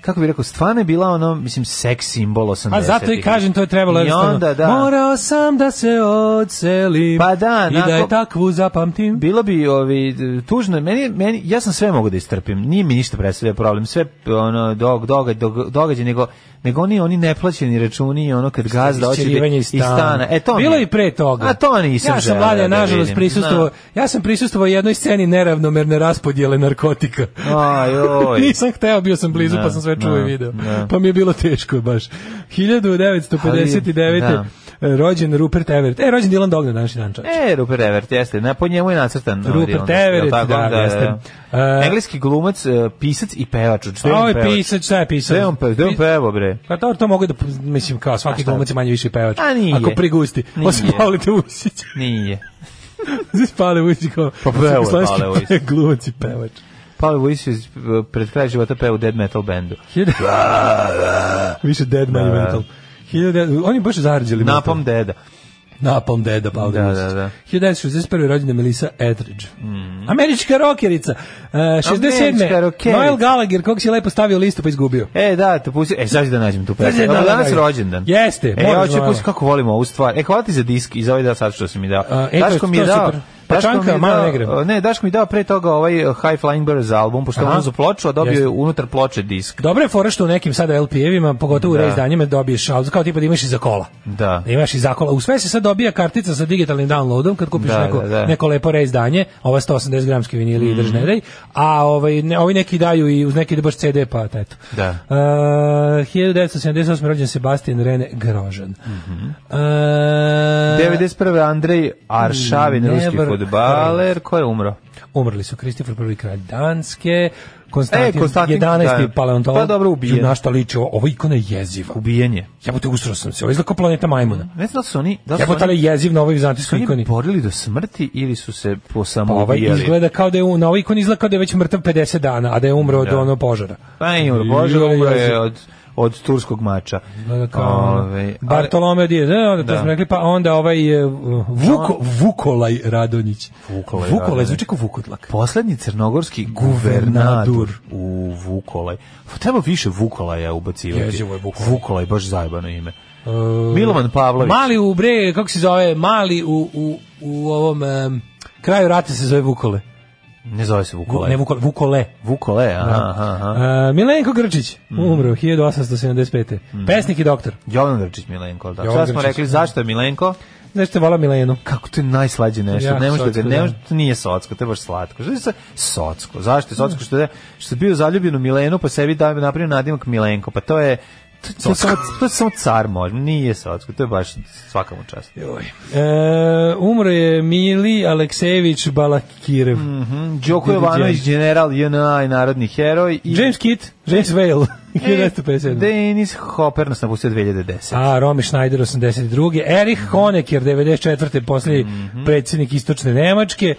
kako bi rekao, stvarno je bila ono, mislim, seks simbol 80-ih. A zato i kažem, to je trebalo I jednostavno. onda, da. Morao sam da se odselim. Pa da, I da nakon- je takvu zapamtim. Bilo bi ovi tužno, meni meni ja sam sve mogao da istrpim. Nije mi ništa predstavlja problem. Sve ono dog doga, dog, događaj nego nego oni oni neplaćeni računi i ono kad gazda hoće da Isćerivanje iz stana. E to mi- Bilo je i pre toga. A to nisam Ja sam želeo mladen, da nažalost vidim. prisustvovao. Da. Ja sam prisustvovao jednoj sceni neravnomerne raspodjele narkotika. Ajoj. Nisam hteo, bio sam blizu, Da, pa sam sve čuo da, i video. da. Pa mi je bilo teško baš. 1959. Ali, da. rođen Rupert Everett. E, rođen Dylan Dog na današnji dan, čovječe. E, Rupert Everett, jeste. Na, po njemu je nacrtan. ovaj Rupert Dylan, jel Everett, tako? da, jeste. E, Engleski glumac, e, pisac i pevač. Što je on Ovo je pevač? pisac, šta je pisac? Gde je on pevač? Gde je on pevo, bre? Pa dobro, to mogu da, mislim, kao svaki glumac je manje više pevač. A nije. Ako prigusti. Nije. Osim Pavle Vusić. Nije. Znači Pavle Vusić kao... Pa pevao je jugoslovenski Pavle Vusić. Glumac i pevač. Pavel Vujs je e, pred kraj života peva u dead metal bendu. Više dead man metal. 1900 Oni baš zarđeli. metal. Napom deda. Napom pa deda Pavle Da, Vusić. da, da. 1961. rođena Melissa Etheridge. Američka rokerica. E, 67. Američka rokerica. Noel Gallagher, kog si lepo stavio listu pa izgubio. E, da, te pusti. E, sad ću da nađem tu pesmu. Da, da, Evo, da, danas da. rođendan. Jeste, E, moraš ja ću malo. pustiti kako volimo ovu stvar. E, hvala ti za disk i za ovaj dao sad što si mi dao. A, e, to je- Daško mi je to je dao... super. Pa Daško čanka, mi je malo dao- ne grem. Ne, Daško mi je dao pre toga ovaj e, High Flying Birds album, pošto je Aha. on za ploču, a dobio Jeste. je unutar ploče disk. Dobro je fora što u nekim sada LP-evima, pogotovo u Da. race danjima, dobiješ, ali kao tipa da imaš i za kola. Da. Da imaš i za kola. U sve se sad dobija kartica sa digitalnim downloadom kad kupiš Da, neko, da, Mhm. da. neko lepo reizdanje, ova 180 gramski vinili i drž ne daj, a ovaj, ne, ovi neki daju i uz neki da baš CD, pa eto. Da. Uh, 1978. rođen Sebastian Rene Grožan. Mhm. E, Uh, 91. E, Andrej Aršavin, Never ruski heard. fudbaler, ko je umro? Umrli su Kristofer prvi kralj Danske, Konstantin, E, Konstantin, 11. da. paleontolog. Pa dobro, ubijen. Na šta liči ovo? Ovo ikona je jeziva. Ubijen je. Ja te usro sam se. Ovo izgleda kao planeta majmuna. Ne znam da li su oni... Da li Ja su bih je oni, jeziv na ovoj vizantijskoj su oni ikoni. borili do smrti ili su se po Pa Ovaj samoubijali? izgleda kao da je u- na ovoj ikoni izgleda kao da je već mrtav 50 dana, a da je umro od Da. onog požara. Pa nije umro, Bože, Joj, umro je jezivo. od, od turskog mača. Izgleda kao Ove, ali- Bartolome Diaz, da, onda to Da. smo rekli, pa onda ovaj e, Vuko, Vukolaj Radonjić. Vukolaj Vukolaj, Radonjić. zvuči kao Vukotlak. Poslednji crnogorski guvernadur u Vukolaj. Pa Treba više Vukolaja ubacivati. Jezivo je Vukolaj. E, Vukolaj, baš zajebano ime. Milovan Pavlović. Mali u bre, kako se zove, mali u, u, u ovom em, kraju rata se zove Vukole. Ne zove se Vu, Vukolaj. ne Vukole, Vukole. Vukole, aha, aha, aha. Mm. E, Milenko Grčić, umro 1875. Pesnik i doktor. Jovan Grčić Milenko, da. Jovan Šta smo Grčić, rekli, da. zašto je Milenko? Znaš te volao Milenu. Kako to je najslađe nešto, Jako ne možeš da ga, socko, ne da. možeš, to nije socko, to je baš slatko. Što je sa socko? Zašto je socko? Što je, što je bio zaljubljen u Milenu, pa sebi dao napravio nadimak Milenko, pa to je, to, to, je samo, to je samo car može, nije socko, to je baš svakamu čast. E, umro je Mili Aleksejević Balakirev. Mhm, Đoko Jovanović, general JNA i narodni heroj. I James Kitt, James Vale, E, 1957. Denis Hopper nas napustio 2010. A, Romy Schneider, 82. Erich Honecker, 94. posljednji Mhm. predsjednik Istočne Nemačke.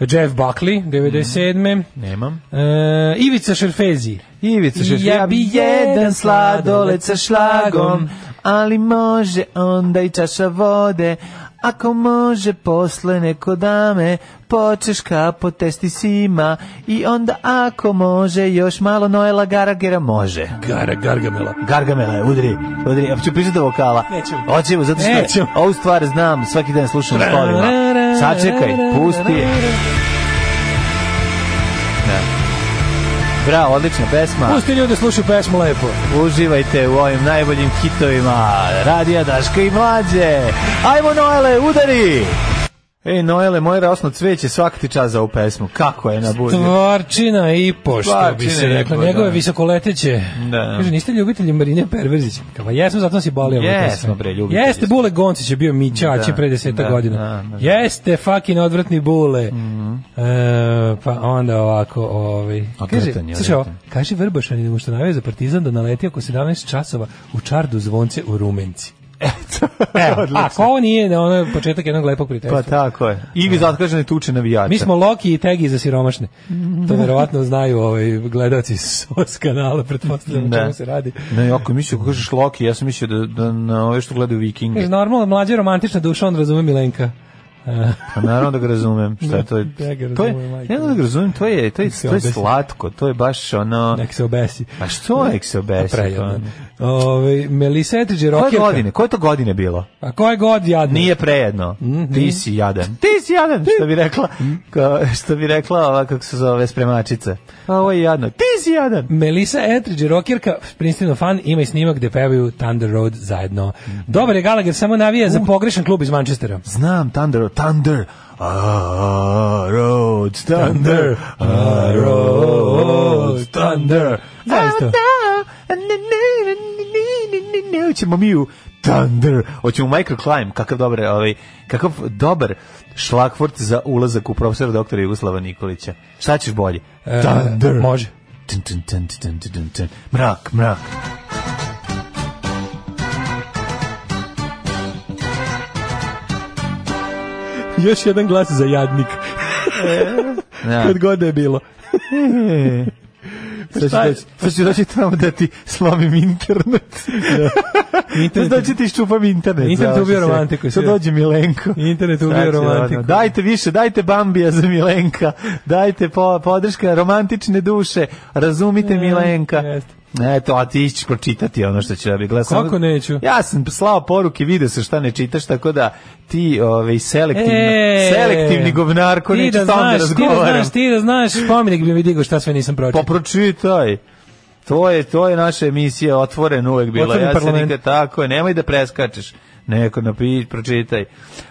Jeff Buckley, 97. Nemam. E, Ivica Šerfezi. Mhm. Ivica Šešlja. Ja bi jedan sladoled sa šlagom, ali može onda i čaša vode. Ako može posle neko dame, počeška po testi sima i onda ako može još malo Noela Garagera može. Gara Gargamela. Gargamela, udri, udri, ja ću pričati do vokala. Nećemo. Hoćemo, zato što Nećemo. ovu stvar znam, svaki dan slušam u školima. Sačekaj, pusti je. Da. Bravo, odlična pesma. Pusti ljude slušaju pesmu lepo. Uživajte u ovim najboljim hitovima Radija Daška i Mlađe. Ajmo Noele, udari! Ej, Noele, moje rasno cveće svaki ti čas za ovu pesmu. Kako je na burzi? Tvarčina i pošto bi Tvarčina se i reklo. po, Njegove da. visokoleteće. Da. Kaže, niste ljubitelji Marine Perverzić. Kao, jesmo, zato si bolio. ovo Jesmo, pesme. bre, ljubitelji Jeste, smo. Bule Goncić je bio Mićači Da, pre deseta da, godina. da, Mhm. da. Jeste, fucking odvrtni Bule. E, pa onda ovako, ovaj. Kaže, Odvratan je, slušaj ovo, odvratan. kaže Vrbašanin mu što navija za partizan da naleti oko 17 časova u čardu zvonce u Rumenci. Evo, ako ovo nije, ne, ono je početak jednog lepog prijateljstva. Pa tako je. Ili zatkažene tuče navijača. Mi smo Loki i Tegi za siromašne. To verovatno znaju ovaj gledaoci s s kanala, pretpostavljam o čemu se radi. Ne, ako je mislio, kako kažeš Loki, ja sam mislio da, da na ove što gledaju Kaže, vikinge. normalno, mlađa romantična duša, on razume Milenka. Pa naravno da ga razumem. Šta je to? je- Da ga to je, razumem, majko. ja da ga razumem, to je, to je, se to je obesi. slatko, to je baš ono... Nek se obesi. A što je se obesi? pa. Prejedno. Ovaj, Ove, Melisa Etriđe, Koje rokerka. godine? Koje to godine bilo? A koje god jadno. Nije prejedno. Ti si jadan. Mhm. Ti si jadan, što bi rekla, kao, što bi rekla ova, kako se zove, spremačica. A Pa ovo je jadno. Ti si jadan. Melisa Etriđe, rokerka, Princetonov fan, ima i snimak gde pevaju Thunder Road zajedno. Dobar je Gallagher, samo navija za pogrešan klub iz Manchestera. Znam, Thunder, Thunder, a, road, Thunder, a, road, Thunder. Zaista. A, da, a, ne, ne, ne, ne, ne, ne, ne, krećemo mi u Thunder. Hoćemo u microclimb, kakav dobar, ovaj, kakav dobar šlakvort za ulazak u profesora doktora Jugoslava Nikolića. Šta ćeš bolje? E, Thunder. može. Tun, tun, tun, tun, tun, tun, tun. Mrak, mrak. Još jedan glas za jadnik. Ja. Kad god da je bilo. Sad ću Pa Šta je- doći- Sad Pa ću doći tamo da ti slomim internet. Internet. Znači ti iščupam internet. Internet završi ubio se. romantiku, Sad sve. dođe Milenko. Internet ubio Sad će, ono, romantiku. Dajte više, dajte Bambija za Milenka. Dajte po, podrška romantične duše. Razumite Milenka. E, jeste. Eto, a ti ići pročitati ono što će da bi glasao. Kako neću? Ja sam slao poruke, vidio se šta ne čitaš, tako da ti ovaj, selektivno, E, selektivni govnarko, ti neću da s tobom da znaš, Ti da razgovaram. znaš, ti da znaš, spomenik bi mi digao šta sve nisam Pa pročitao. pročitaj. To je, to je naša emisija otvorena uvek bila. Otvoren ja se parlament. nikad tako je. Nemoj da preskačeš. Neko napi, pročitaj.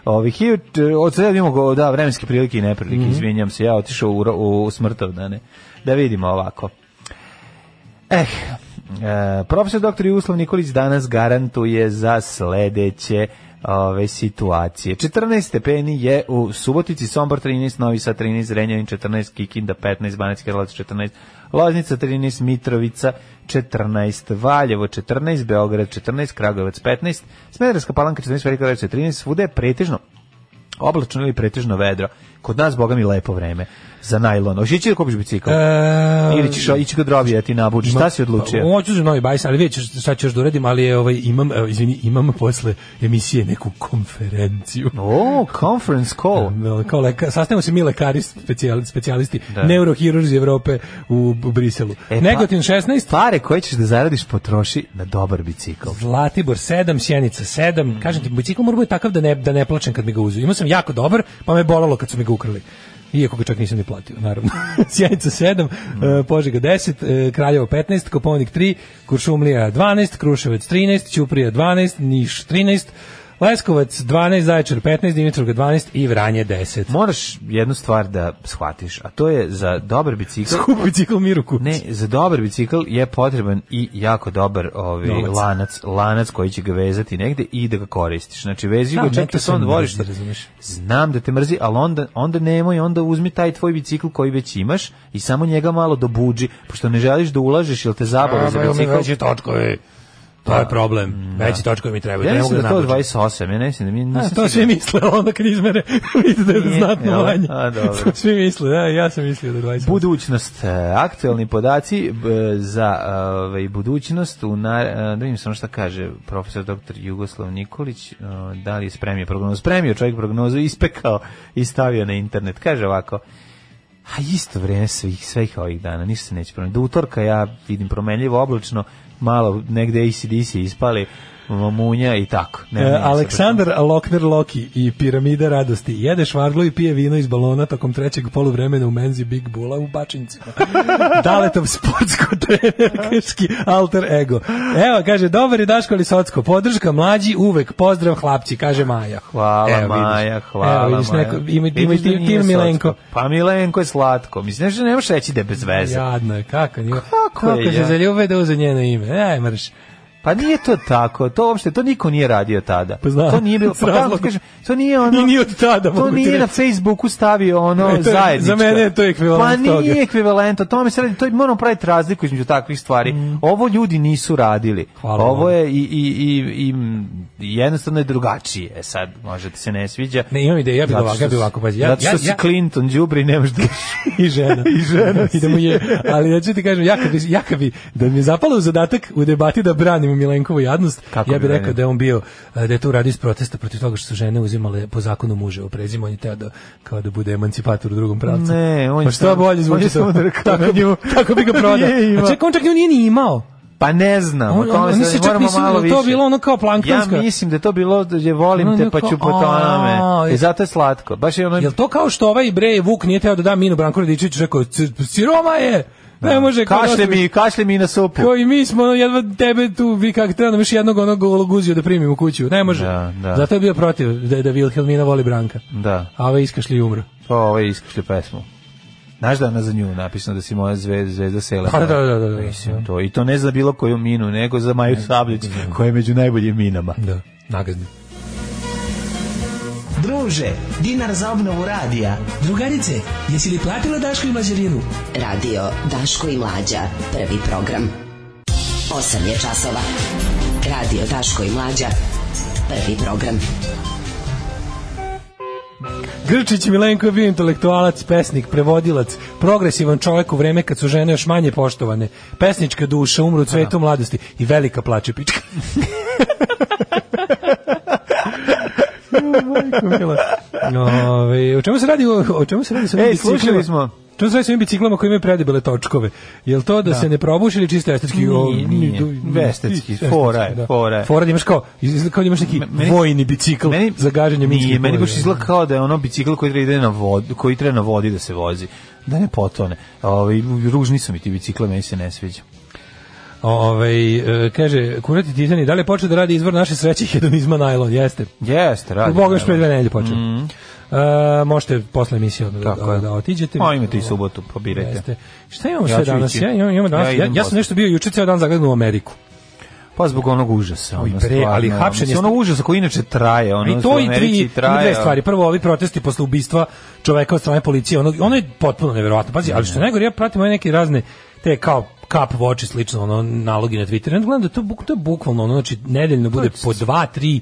Ovi, hiljad, od sada imamo, go- da, vremenske prilike i neprilike, izvinjam se, ja otišao u, ro- u, u smrtovdane. Da vidimo ovako. Eh, e, profesor dr. Jugoslav Nikolić danas garantuje za sledeće ove situacije. 14 stepeni je u Subotici, Sombor 13, Novi Sad 13, Renjanin 14, Kikinda 15, Banacki Karlovac 14, Loznica 13, Mitrovica 14, Valjevo 14, Beograd 14, Kragujevac 15, Smederska Palanka 14, Velika Rečica 13, svuda je pretežno oblačno ili pretežno vedro. Kod nas, boga mi, lepo vreme za najlon. Ošići da kupiš bicikl? E, Ili ćeš ići kod Robija ti nabuđi, šta si odlučio? Pa, Hoću za novi bajs, ali vidjet ćeš šta ću još da uradim, ali je, ovaj, imam, evo, izvini, imam posle emisije neku konferenciju. Ono, O, conference call. Kao leka, sastavimo se mi lekari specijali, specijalisti, Da. neurohirurzi Evrope u, u Briselu. E, pa- Negotin 16, Pare koje ćeš da zaradiš potroši na dobar bicikl. Zlatibor 7, Sjenica 7. Kažem ti, bicikl mora bude takav da ne, da ne plačem kad mi ga uzu. Imao sam jako dobar, pa me bolalo kad su mi ga ukrali. Iako ga čak nisam ni platio, naravno. Sjenica 7, eh, Požega 10, eh, Kraljevo 15, Koponik 3, Kuršumlija 12, Kruševac 13, Ćuprija 12, Niš 13, Leskovac 12, Zaječar 15, Dimitrovka 12 i Vranje 10. Moraš jednu stvar da shvatiš, a to je za dobar bicikl... Skup bicikl miru kupci. Ne, za dobar bicikl je potreban i jako dobar ovaj Novac. lanac, lanac koji će ga vezati negde i da ga koristiš. Znači vezi Znam, ga mene čak to i sve on mrzi, dvorište. razumeš? Znam da te mrzi, ali onda onda nemoj, onda uzmi taj tvoj bicikl koji već imaš i samo njega malo dobuđi, pošto ne želiš da ulažeš jel te zabava za Trebaju mi bicikl. veći točkovi. To je problem. Veći točkovi mi trebaju. Ja ne mislim mogu da to je nabučem. 28, ja ne mislim da mi nisam A, to svi siguran. misle, a onda kad izmere vidite da je Nije, znatno jel? manje. A, dobro. To svi misle, da, ja sam mislio da je 20. Budućnost, e, aktuelni podaci b- za ovaj, budućnost, u na, e, da vidim samo šta kaže profesor dr. Jugoslav Nikolić, e, da li je spremio prognozu, spremio čovjek prognozu, ispekao i stavio na internet, kaže ovako, a isto vreme svih, svih ovih dana, ništa se neće promeniti, do utorka ja vidim promenljivo oblačno, malo negde ACDC ispali, m- munja i tako. Ne, E, ne, Aleksandar Lokner Loki i Piramida radosti jede švarglu i pije vino iz balona tokom trećeg poluvremena u menzi Big Bulla u Bačincima. Daletov sportsko trenerski alter ego. Evo, kaže, dobar je Daško Lisocko, podrška mlađi uvek, pozdrav hlapci, kaže Maja. Hvala Evo, vidiš. Maja, hvala Evo, vidiš, Maja. neko, ima, Vidiš ima, da tim- nije tim slatko. Milenko. Pa Milenko je slatko. Mislim, nešto ne možeš reći da je bez veze. Jadno je, kako nije. E Kako je se jadno? zaljube da uze njeno ime. Aj, mrš. Pa nije to tako. To uopšte, to niko nije radio tada. Pa znam, To nije bilo, s pa kako razlogom. ti kažem, to nije ono... I ni od tada, To mogu ti nije na reći. Facebooku stavio ono Ne, to je- zajedničko. za mene je to ekvivalent Pa nije toga. ekvivalent, o tome se radi, to moramo praviti razliku između takvih stvari. Ovo ljudi nisu radili. Mm. Hvala Ovo vam. je i, i, i, i m, jednostavno je drugačije. E sad, možda ti se ne sviđa. Ne, imam ideju, ja bih Zato ovako, što ja bih si- ovako, pazi. Ja, zato što ja, si ja, Clinton, Đubri, nemaš dušu. i žena. I žena si. Idemo je. Ali ja ću ti kažem, ja kad bi, ja kad bi da mi je zapalo u zadatak u debati da branim Milenkovu jadnost, Kako ja bi bih rekao branio? da je on bio, e, da je to radio iz protesta protiv toga što su žene uzimale po zakonu muže u prezimu, on je teo da, kao da bude emancipator u drugom pravcu. Ne, on je pa što samo- bolje on je zvuči samo to. da rekao Tako, na nju. tako bi ga prodao. Nije imao. A čekaj, on čak nju nije ni imao. Pa ne znam, On- o tome on- se oni se čak moramo nisu- malo to više. bilo ono kao planktonska- Ja mislim da je to bilo da je volim Ono te pa kao, ću po a, tome. je- I zato je slatko. Baš je ono... Jel to kao što ovaj bre Vuk nije teo da da Minu Branko Radičiću, rekao, "C- siroma je! Ne može kao kašlje dosta- mi, kašlje mi na supu. Kao i mi smo ono, jedva tebe tu, vi kak treba nam još jednog onog gologuziju da primimo u kuću. Ne može. Da, da. Zato je bio protiv da, da Wilhelmina voli Branka. Da, A ovaj iskašlji i umro. pa ovo je iskašlje pesmu. Znaš da je ona za nju napisano da si moja zvezda, zvezda sela. Pa da, da, da, da. Mislim, to. I to ne za bilo koju minu, nego za Maju Sabljić, koja je među najboljim minama. Da, nagazni. Druže, dinar za obnovu radija. Drugarice, jesi li platila Daško i Mlađarinu? Radio Daško i Mlađa, prvi program. 8 je časova. Radio Daško i Mlađa, prvi program. Grčić Milenko je bio intelektualac, pesnik, prevodilac, progresivan čovjek u vreme kad su žene još manje poštovane. Pesnička duša, umru u cvetu mladosti i velika plače pička. Majko mila. Ove, o čemu se radi? O, o čemu se radi sa ovim Ej, biciklima? slušali smo. O Čemu se radi sa ovim biciklama koji imaju predebele točkove? Jel to da, se ne probuši ili čisto estetski? O, Nije, ni- nije. du- Vestetski, fora je, fora je. Fora da imaš kao, izgleda kao da imaš neki Pa Meni- vojni bicikl za gaženje minskih Nije, meni polja. baš izgleda kao da je ono bicikl koji treba ide na vodu, koji treba na vodi da se vozi. Da ne potone. Ovaj ružni su mi ti bicikla, meni se ne sviđa. Ovaj, e, kaže, kurati Titani, da li je počeo da radi izvor naše sreće hedonizma najlon? Jeste. Jeste, radi. ono. Radi, Boga još pre dve evo. nedelje počeo. E, možete posle emisije odmah da, Mhm. Tako da, je. da otiđete. A imate i subotu, pa birajte. Jeste. Šta imamo Ja sve ću danas? ići. Ja, imam, imam danas. Ja Ja, ja, idem sam posle. nešto bio juče ceo dan zagledan u Ameriku. Pa zbog onog užasa. Oj, ono, bre, stvarno, ali hapšenje- mislim, Ono užasa koji inače traje. Ono, I to u i Americi tri, ima traje, ono. dve stvari. Prvo, ovi protesti posle ubistva čoveka od strane policije. Ono, ono je potpuno neverovatno. Pazi, ali što je najgore, ja pratim ove neke razne te kao kap voči slično, ono, nalogi na Twitteru. Ja gledam da to, buk, to je bukvalno, ono, znači, nedeljno bude po dva, tri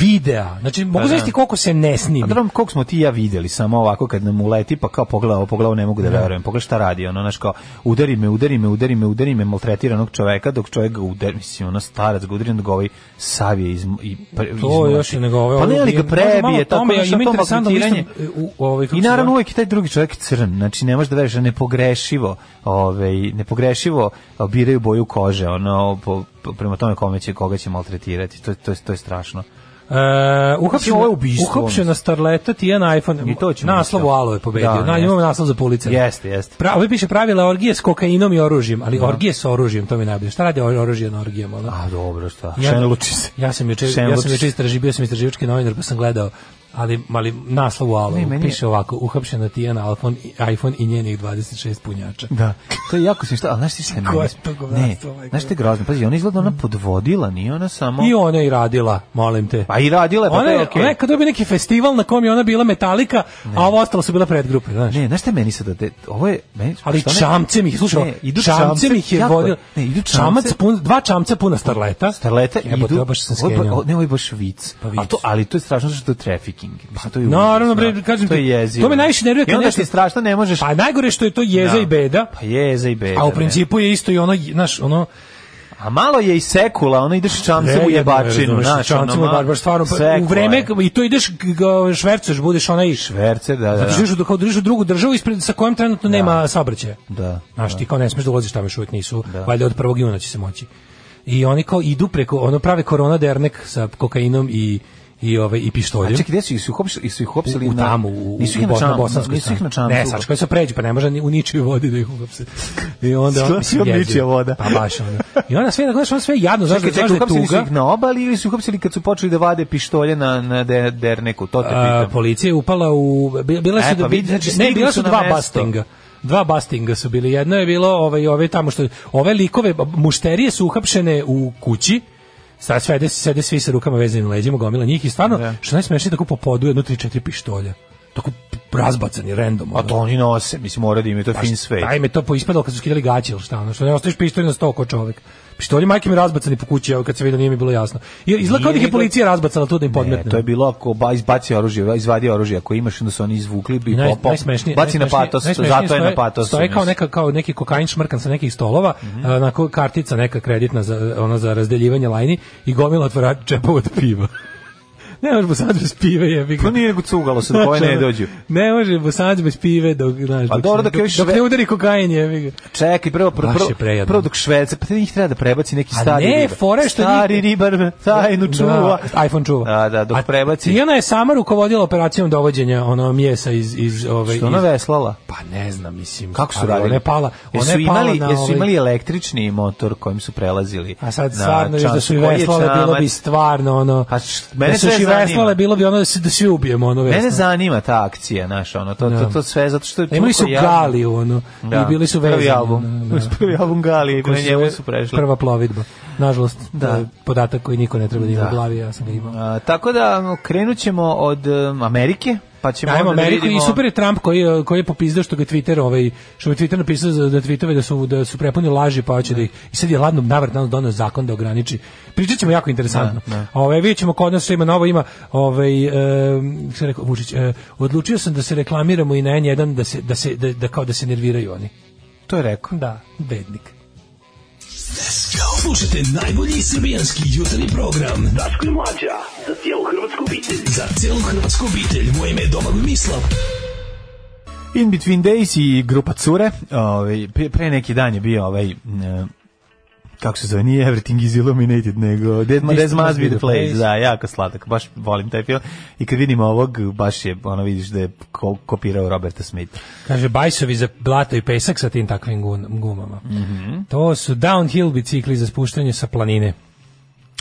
videa. Znači, mogu Pa, da. znaći koliko se ne A snimi. dobro, Pa koliko smo ti i ja vidjeli samo ovako kad nam uleti, pa kao pogledao, pogledao ne mogu da verujem. Pogledaj šta radi, ono, znaš kao, udari me, udari me, udari me, udari me, maltretira onog čoveka, dok čovek ga udari, mislim, ono, starac ga udari, onda ga ovaj savije iz, i pre, To izmlači. još je nego ove. Pa ne, ovo- ali ga možda malo prebije, tako tome, znaš, ima na to interesantno, maltretiranje. mislim, u- u ovoj, kako I se naravno zove? uvijek i taj drugi čovjek crn, znači ne možeš da veruješ da nepogrešivo, ovaj nepogrešivo a, biraju boju kože, ono po, po- prema tome kome će koga će maltretirati. To to je- to je strašno. Uh, uhapšena, Mislim, ovo je ubistvo, uhapšena mislim. starleta Tijana iPhone. I to ćemo naslov isto. Alo je pobedio. Da, Na, jeste. imamo naslov za police. Jeste, jeste. Pra, ovo piše pravila orgije s kokainom i oružjem, ali orgije s oružjem, to mi je najbolje. Šta radi or- oružje na orgijama? ono? A Pa, dobro, šta? Ja- Šenluči se. Ja sam juče ja Šenluči sam juče se. istraži, bio sam istraživački novinar, pa sam gledao ali, ali naslov u Alo Ne, meni je- piše ovako, uhapšena Tijana Alfon, i- iPhone i njenih 26 punjača. Da. To je jako smiješno, ali znaš ti šta je meni? Gospod, Ne, govnarstvo, majko. znaš ti grozno, pazi, ona izgleda ona podvodila, nije ona samo... Mm. I ona je i radila, molim te. Pa i radila je, pa ona to je, je okej. ona je kad dobio neki festival na kom je ona bila metalika, a ovo ostalo su bila predgrupe, znaš. Ne, znaš šta je meni sada? De, ovo je... Meni, Ali što ne- čamcem ih, slušaj, Ne, idu idu čamcem, čamce, ih je jako- vodio. Ne, idu čamce- čamac pun, dva čamca puna starleta. Starleta Jebote, ja idu... baš sam ovo je ba- skenjao. o, Ne, ovo je baš vic. Pa Pa vic. A to, ali to je strašno zato što je trafficking. Mislim, to je Naravno, užasno. bre, kažem to ti, je jezivo. to me najviše nervira kad I onda nešto- što je strašno, ne možeš... Pa najgore što je to jeza Da. i beda. Pa jeza i beda. A u ne. principu je isto i ono, znaš, ono, A malo je i sekula, ono ideš čamcem u jebačinu. znaš, čamcem ono, u ma- jebačinu, baš stvarno, pa, u sekla vreme, je. i to ideš, g- g- švercuješ, budeš onaj, Verce, da, da, Zato da. što ideš u- kao da ideš u drugu državu ispred sa kojom trenutno nema saobraćaja. Da, Znaš, ti kao ne smeš da ulaziš tamo još uvijek nisu, Da. valjda od 1. juna će se moći. I oni kao idu preko, ono prave korona dernek sa kokainom i i ove i A pištoljem. čekaj, gde su ih su ih hopšili, su ih hopsili u, u na... tamo, u, nisu u, ih na Bosna, čamcu, bosanskoj Nisu ih na strani. čamcu. Ne, sačkaj se pređe, pa ne može ni u ničiju vodi da ih uhapse. I onda... Što mislim, si od jezivo. ničija voda? Pa baš ono. I onda sve, znaš, ono sve jadno, znaš, Čekaj, da- čekaj, znaš da je uhapsili su tuga. ih na obali ili su ih uhapsili kad su počeli da vade pištolje na, na de- derneku, to te A, pitam. policija je upala u bi- bila su E, da pa bi- vidi, znači, ne stigli bila su su na dva mesto. bastinga dva bastinga su bili jedno je bilo ovaj ove tamo što ove likove mušterije su uhapšene u kući sad sve sede svi sa rukama vezanim leđima gomila njih i stvarno Da. što najsmešnije tako po podu jedno tri četiri pištolja tako razbacani random A pa to oni nose, mislim, mora da imaju, to Pa je fin svet. Aj me to poispadalo kad su skidali gaće ili šta, ono što ne ostaviš pištolj na sto ko čovek. Pištolji majke mi razbacani po kući, evo kad se vidio nije mi bilo jasno. I izlako da ih je Nije, policija razbacala tu da im podmetne. Ne, E, to je bilo ako ba, izbaci oružje, izvadi oružje, ako imaš, onda su oni izvukli bi Naj, popao. najsmešnije, Baci na najsmešnije- patos, najsmešnije zato je stoje- na patos. Stoje kao neka kao neki kokain šmrkan sa nekih stolova, Mhm. onako kartica neka kreditna za ona za razdeljivanje lajni i gomila otvarača čepova od piva. ne može bosanac bez pive, jebi ga. Pa nije nego cugalo se, da koje ne Znači, ono, dođu. Ne može bosanac bez pive dok, znaš, Pa dok, dobro, dok dok, dok, je dok, još ne ve- udari kokain, jebi ga. Čekaj, prvo, prvo, Baš je prvo, prejedno. prvo dok švedce, pa te njih treba da prebaci neki A stari ne, ribar. fora je što stari njih- ribar tajnu čuva. Da, iPhone čuva. Da, da, dok A prebaci. Tijana je sama rukovodila operacijom dovođenja ono mjesa iz iz ove Što ona iz- veslala? Pa ne znam, mislim. Kako su ali radili? Ona je pala, ona Jesu je pala imali, na jesu ovaj- imali električni motor kojim su prelazili? A sad na stvarno još da su i čas- koji je veslale, bilo bi čamac? stvarno ono... Pa š- mene da su sve još i veslale, bilo bi ono da se da svi ubijemo ono veslo. Mene zanima ta akcija, znaš, ono, to, to, to sve, zato što... je Imali su toliko jadno. Galiju, ono, i bili su vezani. Prvi ono, album, Da, da. prvi album Gali, Koji na se njemu zove su prešli. Prva plovidba. Nažalost, Da. da. podatak koji niko ne treba da ima Da. u glavi, ja sam ga imao. A, tako da krenut ćemo od um, Amerike, pa ćemo Ajmo onda Ameriku da i vidimo... super je Trump koji je, koji je popizdao što ga Twitter ovaj što mu je Twitter napisao za- da tweetove da su da su prepuni laži pa hoće da ih i sad je ladno navrat nam doneo zakon da ograniči. Pričaćemo jako interesantno. Da, da. Ovaj videćemo kod nas što ima novo ima ovaj em, šta je rekao Vučić e, odlučio sam da se reklamiramo i na N1 da se da se da, da kao da se nerviraju oni. To je rekao. Da, bednik. Slušajte najbolji srbijanski jutarnji program. Daško i Mlađa. Za cijelu hrvatsku obitelj. Za cijelu hrvatsku obitelj. Moje ime je Domagoj Mislav. In Between Days i grupa Cure, ovaj, pre, pre neki dan je bio ovaj... m, kako se zove, nije Everything is Illuminated, nego Dead Ma, Dead Must Be The Place, da, jako sladak, baš volim taj film. I kad vidim ovog, baš je, ono vidiš da je ko, kopirao Roberta Smitha. Kaže bajsovi za blato i pesak sa tim takvim gun- gumama. Mhm. To su downhill bicikli za spuštanje sa planine.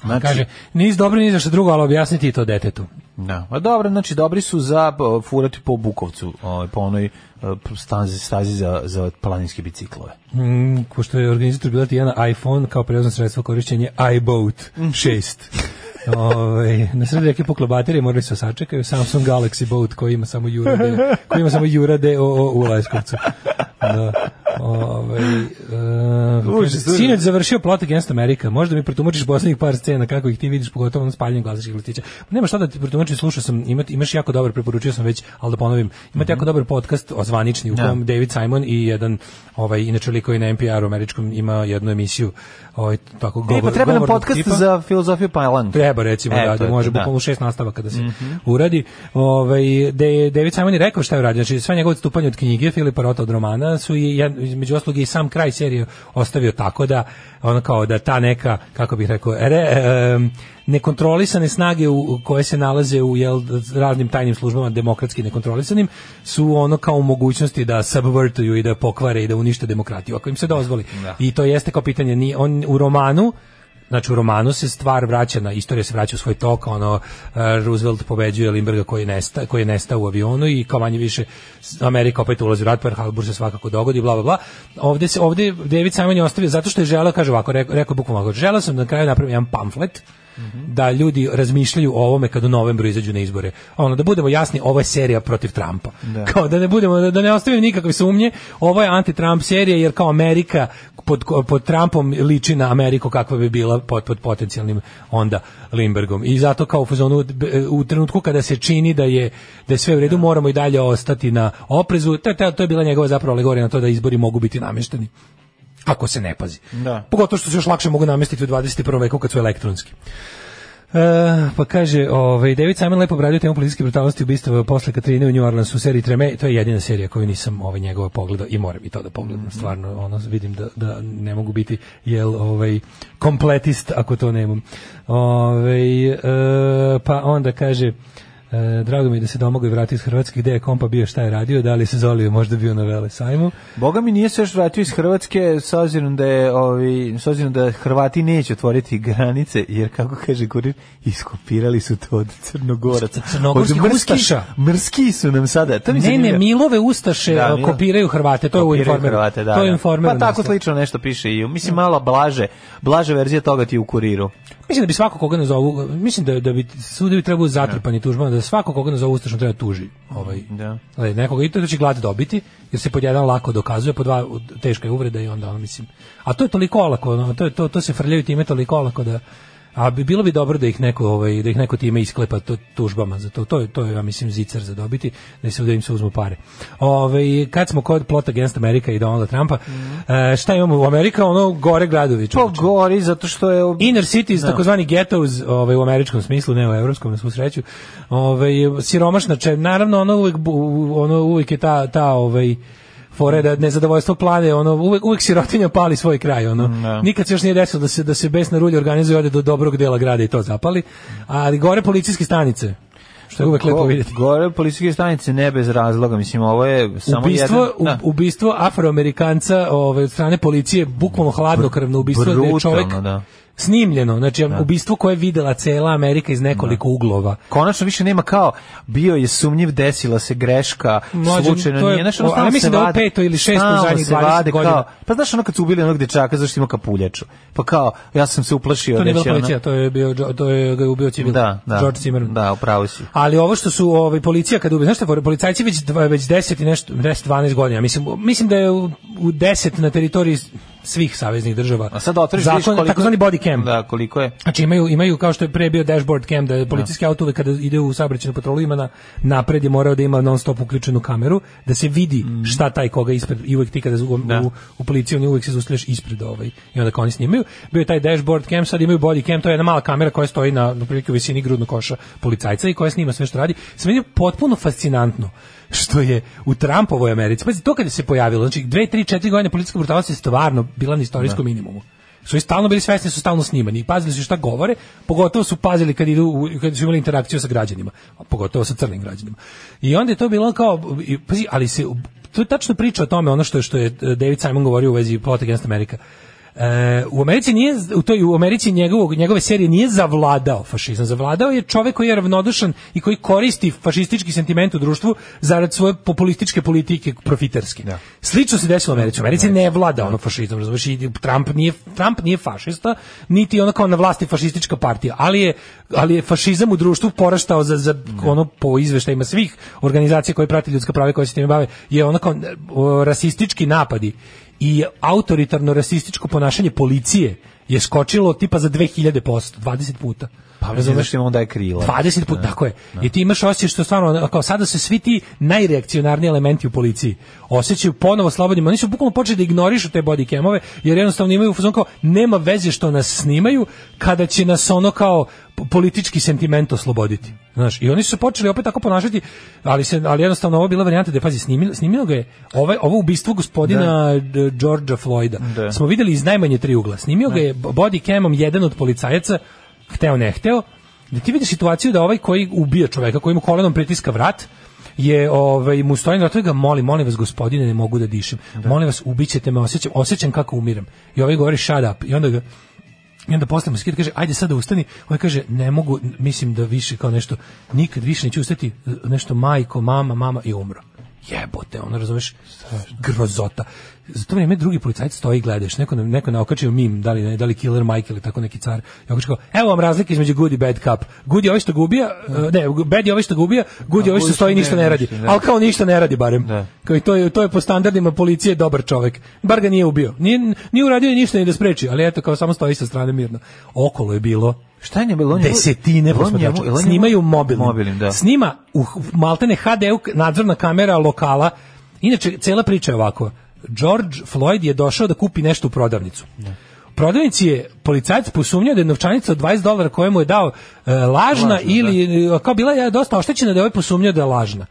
Znači, Kaže, niz dobro, ni za što drugo, ali objasniti i to detetu. Da. A dobro, znači dobri su za o, furati po Bukovcu, ovaj, po onoj o, stazi, stazi za, za planinske biciklove. Mm, ko što je organizator bila Tijana iPhone kao prevozno sredstvo korišćenje iBoat 6. Ove, na sredi reke poklobateri morali se sačekaju Samsung Galaxy Boat koji ima samo Jura D, koji ima samo Jura D o, o, u Leskovcu. Da. Ove, e, Užas, kaže, užas. sinoć završio Plot Against America. Možda mi pretumačiš poslednjih par scena kako ih ti vidiš, pogotovo na spaljanju glasačkih listića. Nema šta da ti pretumačim, slušao sam, ima, imaš jako dobar, preporučio sam već, ali da ponovim, imate jako dobar podcast o zvanični u Mhm. Da. kojem David Simon i jedan ovaj inače lik koji na NPR-u američkom ima jednu emisiju ovaj tako E, pa govor- treba nam govornog podcast tipa. za filozofiju Pajlan. Treba recimo E, da, to da je može to, da. bukvalno u šest nastavaka kada se uradi. Ovaj da je David Simon je rekao šta je uradio. Znači sve njegove odstupanje od knjige Filipa Rota od romana su i jed- između ostalog i sam kraj serije ostavio tako da ono kao da ta neka kako bih rekao re, em, nekontrolisane snage u, koje se nalaze u jel, raznim tajnim službama demokratski nekontrolisanim su ono kao u mogućnosti da subvertuju i da pokvare i da unište demokratiju ako im se dozvoli. I to jeste kao pitanje ni on u romanu Znači u romanu se stvar vraća na istorija se vraća u svoj tok, ono e, Roosevelt pobeđuje Lindberga koji nesta koji je nestao u avionu i kao manje više s- Amerika opet ulazi u rat, Pearl Harbor se svakako dogodi, bla bla bla. Ovde se ovde David Simon je ostavio zato što je želeo, kaže ovako, rekao, rekao je bukvalno ovako, želeo sam da na kraju napravim jedan pamflet Mhm. da ljudi razmišljaju o ovome kad u novembru izađu na izbore. Ono da budemo jasni, ovo je serija protiv Trumpa. Kao da ne budemo da, da ne ostavimo nikakve sumnje, ovo je anti-Trump serija jer kao Amerika pod, pod Trumpom liči na Ameriku kakva bi bila pod, pod potencijalnim onda Lindbergom. I zato kao u fazonu b- u trenutku kada se čini da je da je sve u redu, moramo i dalje ostati na oprezu. To, to, to je bila njegova zapravo alegorija na to da izbori mogu biti namešteni ako se ne pazi. Da. Pogotovo što se još lakše mogu namestiti u 21. veku kad su elektronski. E, pa kaže, ovaj, David Simon lepo obradio temu politiske brutalnosti i ubistava posle Katrine u New Orleansu u seriji Treme. To je jedina serija koju nisam ovaj, njegova pogledao i moram i to da pogledam. Mhm. Stvarno, ono, vidim da, da ne mogu biti jel, ovaj, kompletist ako to nemam. Ovaj, e, pa onda kaže, e, drago mi je da se domogao i vratio iz Hrvatske, gde je kompa bio, šta je radio, da li se zolio, možda bio na Vele Sajmu. Boga mi nije se još vratio iz Hrvatske s obzirom da je ovi s obzirom da Hrvati neće otvoriti granice jer kako kaže kurir iskopirali su to od Crnogoraca. Crnogorskih Od ustaša. Mrski su nam sada. To mi se Ne, ne, nije- Milove ustaše Da, e, Milo- kopiraju Hrvate, to je u Kopiraju informeru. Hrvate, da, to je da. informer. Pa tako slično nešto piše i u- mislim malo blaže, blaže verzija toga ti je u kuriru. Mislim da bi svako koga nazovu, mislim da, da bi sudovi trebaju zatrpani tužbama, da svako koga nazovu ustašom treba tuži. Ovaj, Da. ali nekoga i to će glad dobiti, jer se pod jedan lako dokazuje, pod dva teška je uvreda i onda ono, mislim. A to je toliko olako, ono, to, je, to, to se frljaju time toliko olako da A bi, bilo bi dobro da ih neko ovaj da ih neko time isklepa to, tužbama za to. To je to je ja mislim zicer za dobiti da se da im se uzmu pare. Ovaj kad smo kod plot against America i Donalda Trumpa, e, šta imamo u Amerika ono gore gradovi. To čoveče. Pa gori zato što je Inner cities, takozvani ghettos, ovaj, u američkom smislu, ne u evropskom, na svu sreću, ovaj, siromašna, če, naravno, ono uvek, bu- ono uvek je ta, ta ovaj, fore da nezadovoljstvo plane, ono, uvek, uvek sirotinja pali svoj kraj, ono. Nikad se još nije desilo da se, da se besna rulja organizuje ode do dobrog dela grada i to zapali, ali gore policijske stanice, što je uvek lepo Go- vidjeti. Gore policijske stanice ne bez razloga, mislim ovo je samo ubistvo, jedan da. u- ubistvo afroamerikanca ovaj, od strane policije, bukvalno hladnokrvno ubistvo, gde je čovek Brutalno, da. snimljeno, znači ubistvo koje je videla cela Amerika iz nekoliko uglova. Konačno više nema kao bio je sumnjiv, desila se greška, Mlađe, slučajno to je- nije. Znaš, ono, o, ali stalno mislim se da je ovo vade- peto ili šesto u stalno zadnjih se 20 vade godina. Kao, pa znaš ono kad su ubili onog dečaka, zašto ima kapuljaču? Pa kao, ja sam se uplašio. To da nije bila će ono- policija, to je bio Jo- to je ga je ubio civil. Da, da. George Zimmerman. Da, upravo si. Ali ovo što su ovaj policija kad ubi, znaš šta, policajci već dva- već 10 i nešto 10 12 godina. Mislim mislim da je u, u 10 na teritoriji svih saveznih država. A sad otvoriš vidiš Zakon, takozvani body cam. Da, koliko je. Znači imaju, imaju kao što je pre bio dashboard cam da je policijski auto uvek kada ide u saobraćajnu patrolu ima na napred je morao da ima non stop uključenu kameru da se vidi šta taj koga ispred i uvek ti kada u, u, u policiji oni uvek se zustavljaš ispred ovaj i onda kao oni snimaju bio je taj dashboard cam sad imaju body cam to je jedna mala kamera koja stoji na na prilike u visini grudnog koša policajca i koja snima sve što radi sve meni je potpuno fascinantno što je u Trumpovoj Americi pazi to kada se pojavilo znači 2 3 4 godine policijska brutalnost je stvarno bila na istorijskom minimumu su i stalno bili svesni, su stalno snimani i pazili su šta govore, pogotovo su pazili kad, idu, u- kad su imali interakciju sa građanima, a pogotovo sa crnim građanima. I onda je to bilo kao, i- pazi, ali se, to je tačno priča o tome, ono što je, što je eh, David Simon govorio u vezi Plot Against America. E, u Americi nije u toj u Americi njegovog njegove serije nije zavladao fašizam zavladao je čovjek koji je ravnodušan i koji koristi fašistički sentiment u društvu zarad svoje populističke politike profiterske slično se desilo u Americi u Americi ne vlada ono fašizam razumeš i Trump nije Trump nije fašista niti je ono kao na vlasti fašistička partija ali je ali je fašizam u društvu porastao za, za ono po izveštajima svih organizacija koje prate ljudska prava i koje se time bave je ono kao e, o, rasistički napadi i autoritarno rasističko ponašanje policije je skočilo tipa za 2000%, 20 puta. Pa mislim da što imamo da je krila. 20 puta, tako je. I ti imaš osjećaj što stvarno, kao sada se svi ti najreakcionarniji elementi u policiji osjećaju ponovo slobodnima. Oni su bukvalno počeli da ignorišu te body camove, jer jednostavno imaju fuzon kao, nema veze što nas snimaju, kada će nas ono kao p- politički sentiment osloboditi. Znaš, i oni su se počeli opet tako ponašati, ali se ali jednostavno ovo je bila varijanta da pazi snimilo, snimilo ga je ovaj ovo ubistvo gospodina D- Georgea Floyda. Da. Smo videli iz najmanje tri ugla. Snimio ga je b- body camom jedan od policajaca, hteo ne hteo, da ti vidiš situaciju da ovaj koji ubija čoveka, koji mu kolenom pritiska vrat, je ovaj mu stoji na vratu i ga moli, molim vas gospodine, ne mogu da dišem. Molim vas, ubićete me, osjećam, osjećam kako umirem. I ovaj govori shut up. I onda ga i onda posle mu skida kaže ajde sada ustani. On kaže ne mogu, mislim da više kao nešto nikad više neću ustati, nešto majko, mama, mama i umro. Jebote, ono razumeš? Grozota. Za to vrijeme drugi policajac stoji i gledaš. Neko nam neko naokačio mim, da li da li Killer Mike ili tako neki car. Ja kažem evo vam razlika između good i bad cup. Good je ovaj što gubija, ne, bad je ovaj što gubija, good je ovaj što good stoji i što ništa ne, ne radi. ništa, da. Al kao ništa ne radi barem. Da. Kao i to je to je po standardima policije dobar čovjek. Bar ga nije ubio. Nije nije uradio ništa ni da spreči, ali eto kao samo stoji sa strane mirno. Okolo je bilo Šta je njemu? bilo? desetine posmatrača. Snimaju mobilnim. Mobilnim, da. Snima u h- maltene HD u k- nadzorna kamera lokala. Inače, cela priča je ovako. George Floyd je došao da kupi nešto u prodavnicu. U prodavnici je policajac posumnjao da je novčanica od 20 dolara koju mu je dao e, lažna, ili e, kao bila je dosta oštećena da je ovaj posumnjao da je lažna.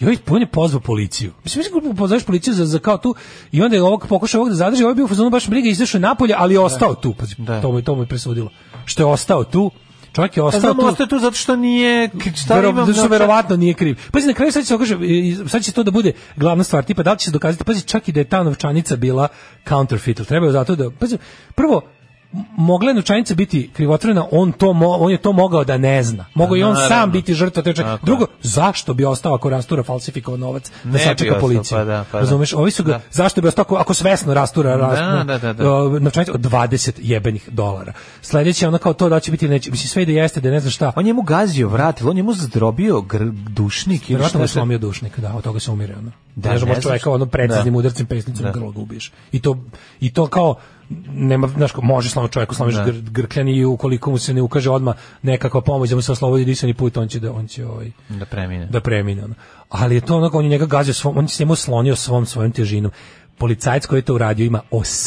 I ovaj on je pozvao policiju. Mislim, mislim kako pozoveš policiju za, za kao tu i onda je ovog pokušao ovog da zadrži, ovaj je bio u fazonu baš briga, izašao je napolje, ali je ostao tu. Pazi, to, mu, je- to mu je presudilo. Što je ostao tu, čovjek je Pa ostao znam, tu. ostaje tu zato što nije... Šta Vero, imam zato što novčanik? verovatno nije kriv. Pazi, na kraju sad će se okaže, i- i- sad će to da bude glavna stvar, tipa da li će se dokazati, pazi, čak i da je ta novčanica bila counterfeit, ili treba je zato da, pazi, prvo, m- mogla je novčanica biti krivotvorena, on, to mo- on je to mogao da ne zna. Mogao je i on Pa, Naravno. sam biti žrtva te čak- Tako je. Drugo, zašto bi ostao ako rastura falsifikovan novac da Ne bi sačeka ostao, policiju? pa da, pa da. Razumeš, ovi su ga, Da. zašto bi ostao ako, ako svesno rastura, rastura da, da, da. o, novčanicu od 20 jebenih dolara. Sledeće je ono kao to da li će biti ili neće, mislim sve i da jeste, da je ne znam šta. On je mu gazio vrat, ili on je mu zdrobio gr- dušnik ili Verovatno šta mu je se- slomio dušnik, da, od toga se umire. Ono. Da, Da, ne ne možeš znam čoveka što- ono preciznim da. udarcem pesnicom Da. da. grlo da ubiješ. I to, I to kao, nema, znaš, kao, može slomiti čoveku, slomiš Da. gr, grkljani i ukoliko mu se ne ukaže odmah nekakva pomoć da mu se oslobodi disani put, on će da, on će ovaj, Da premine. da premine. Ono. Ali je to onako, on je njega gazio, svom, on se njemu slonio svom svojom težinom. Policajac koji je to uradio ima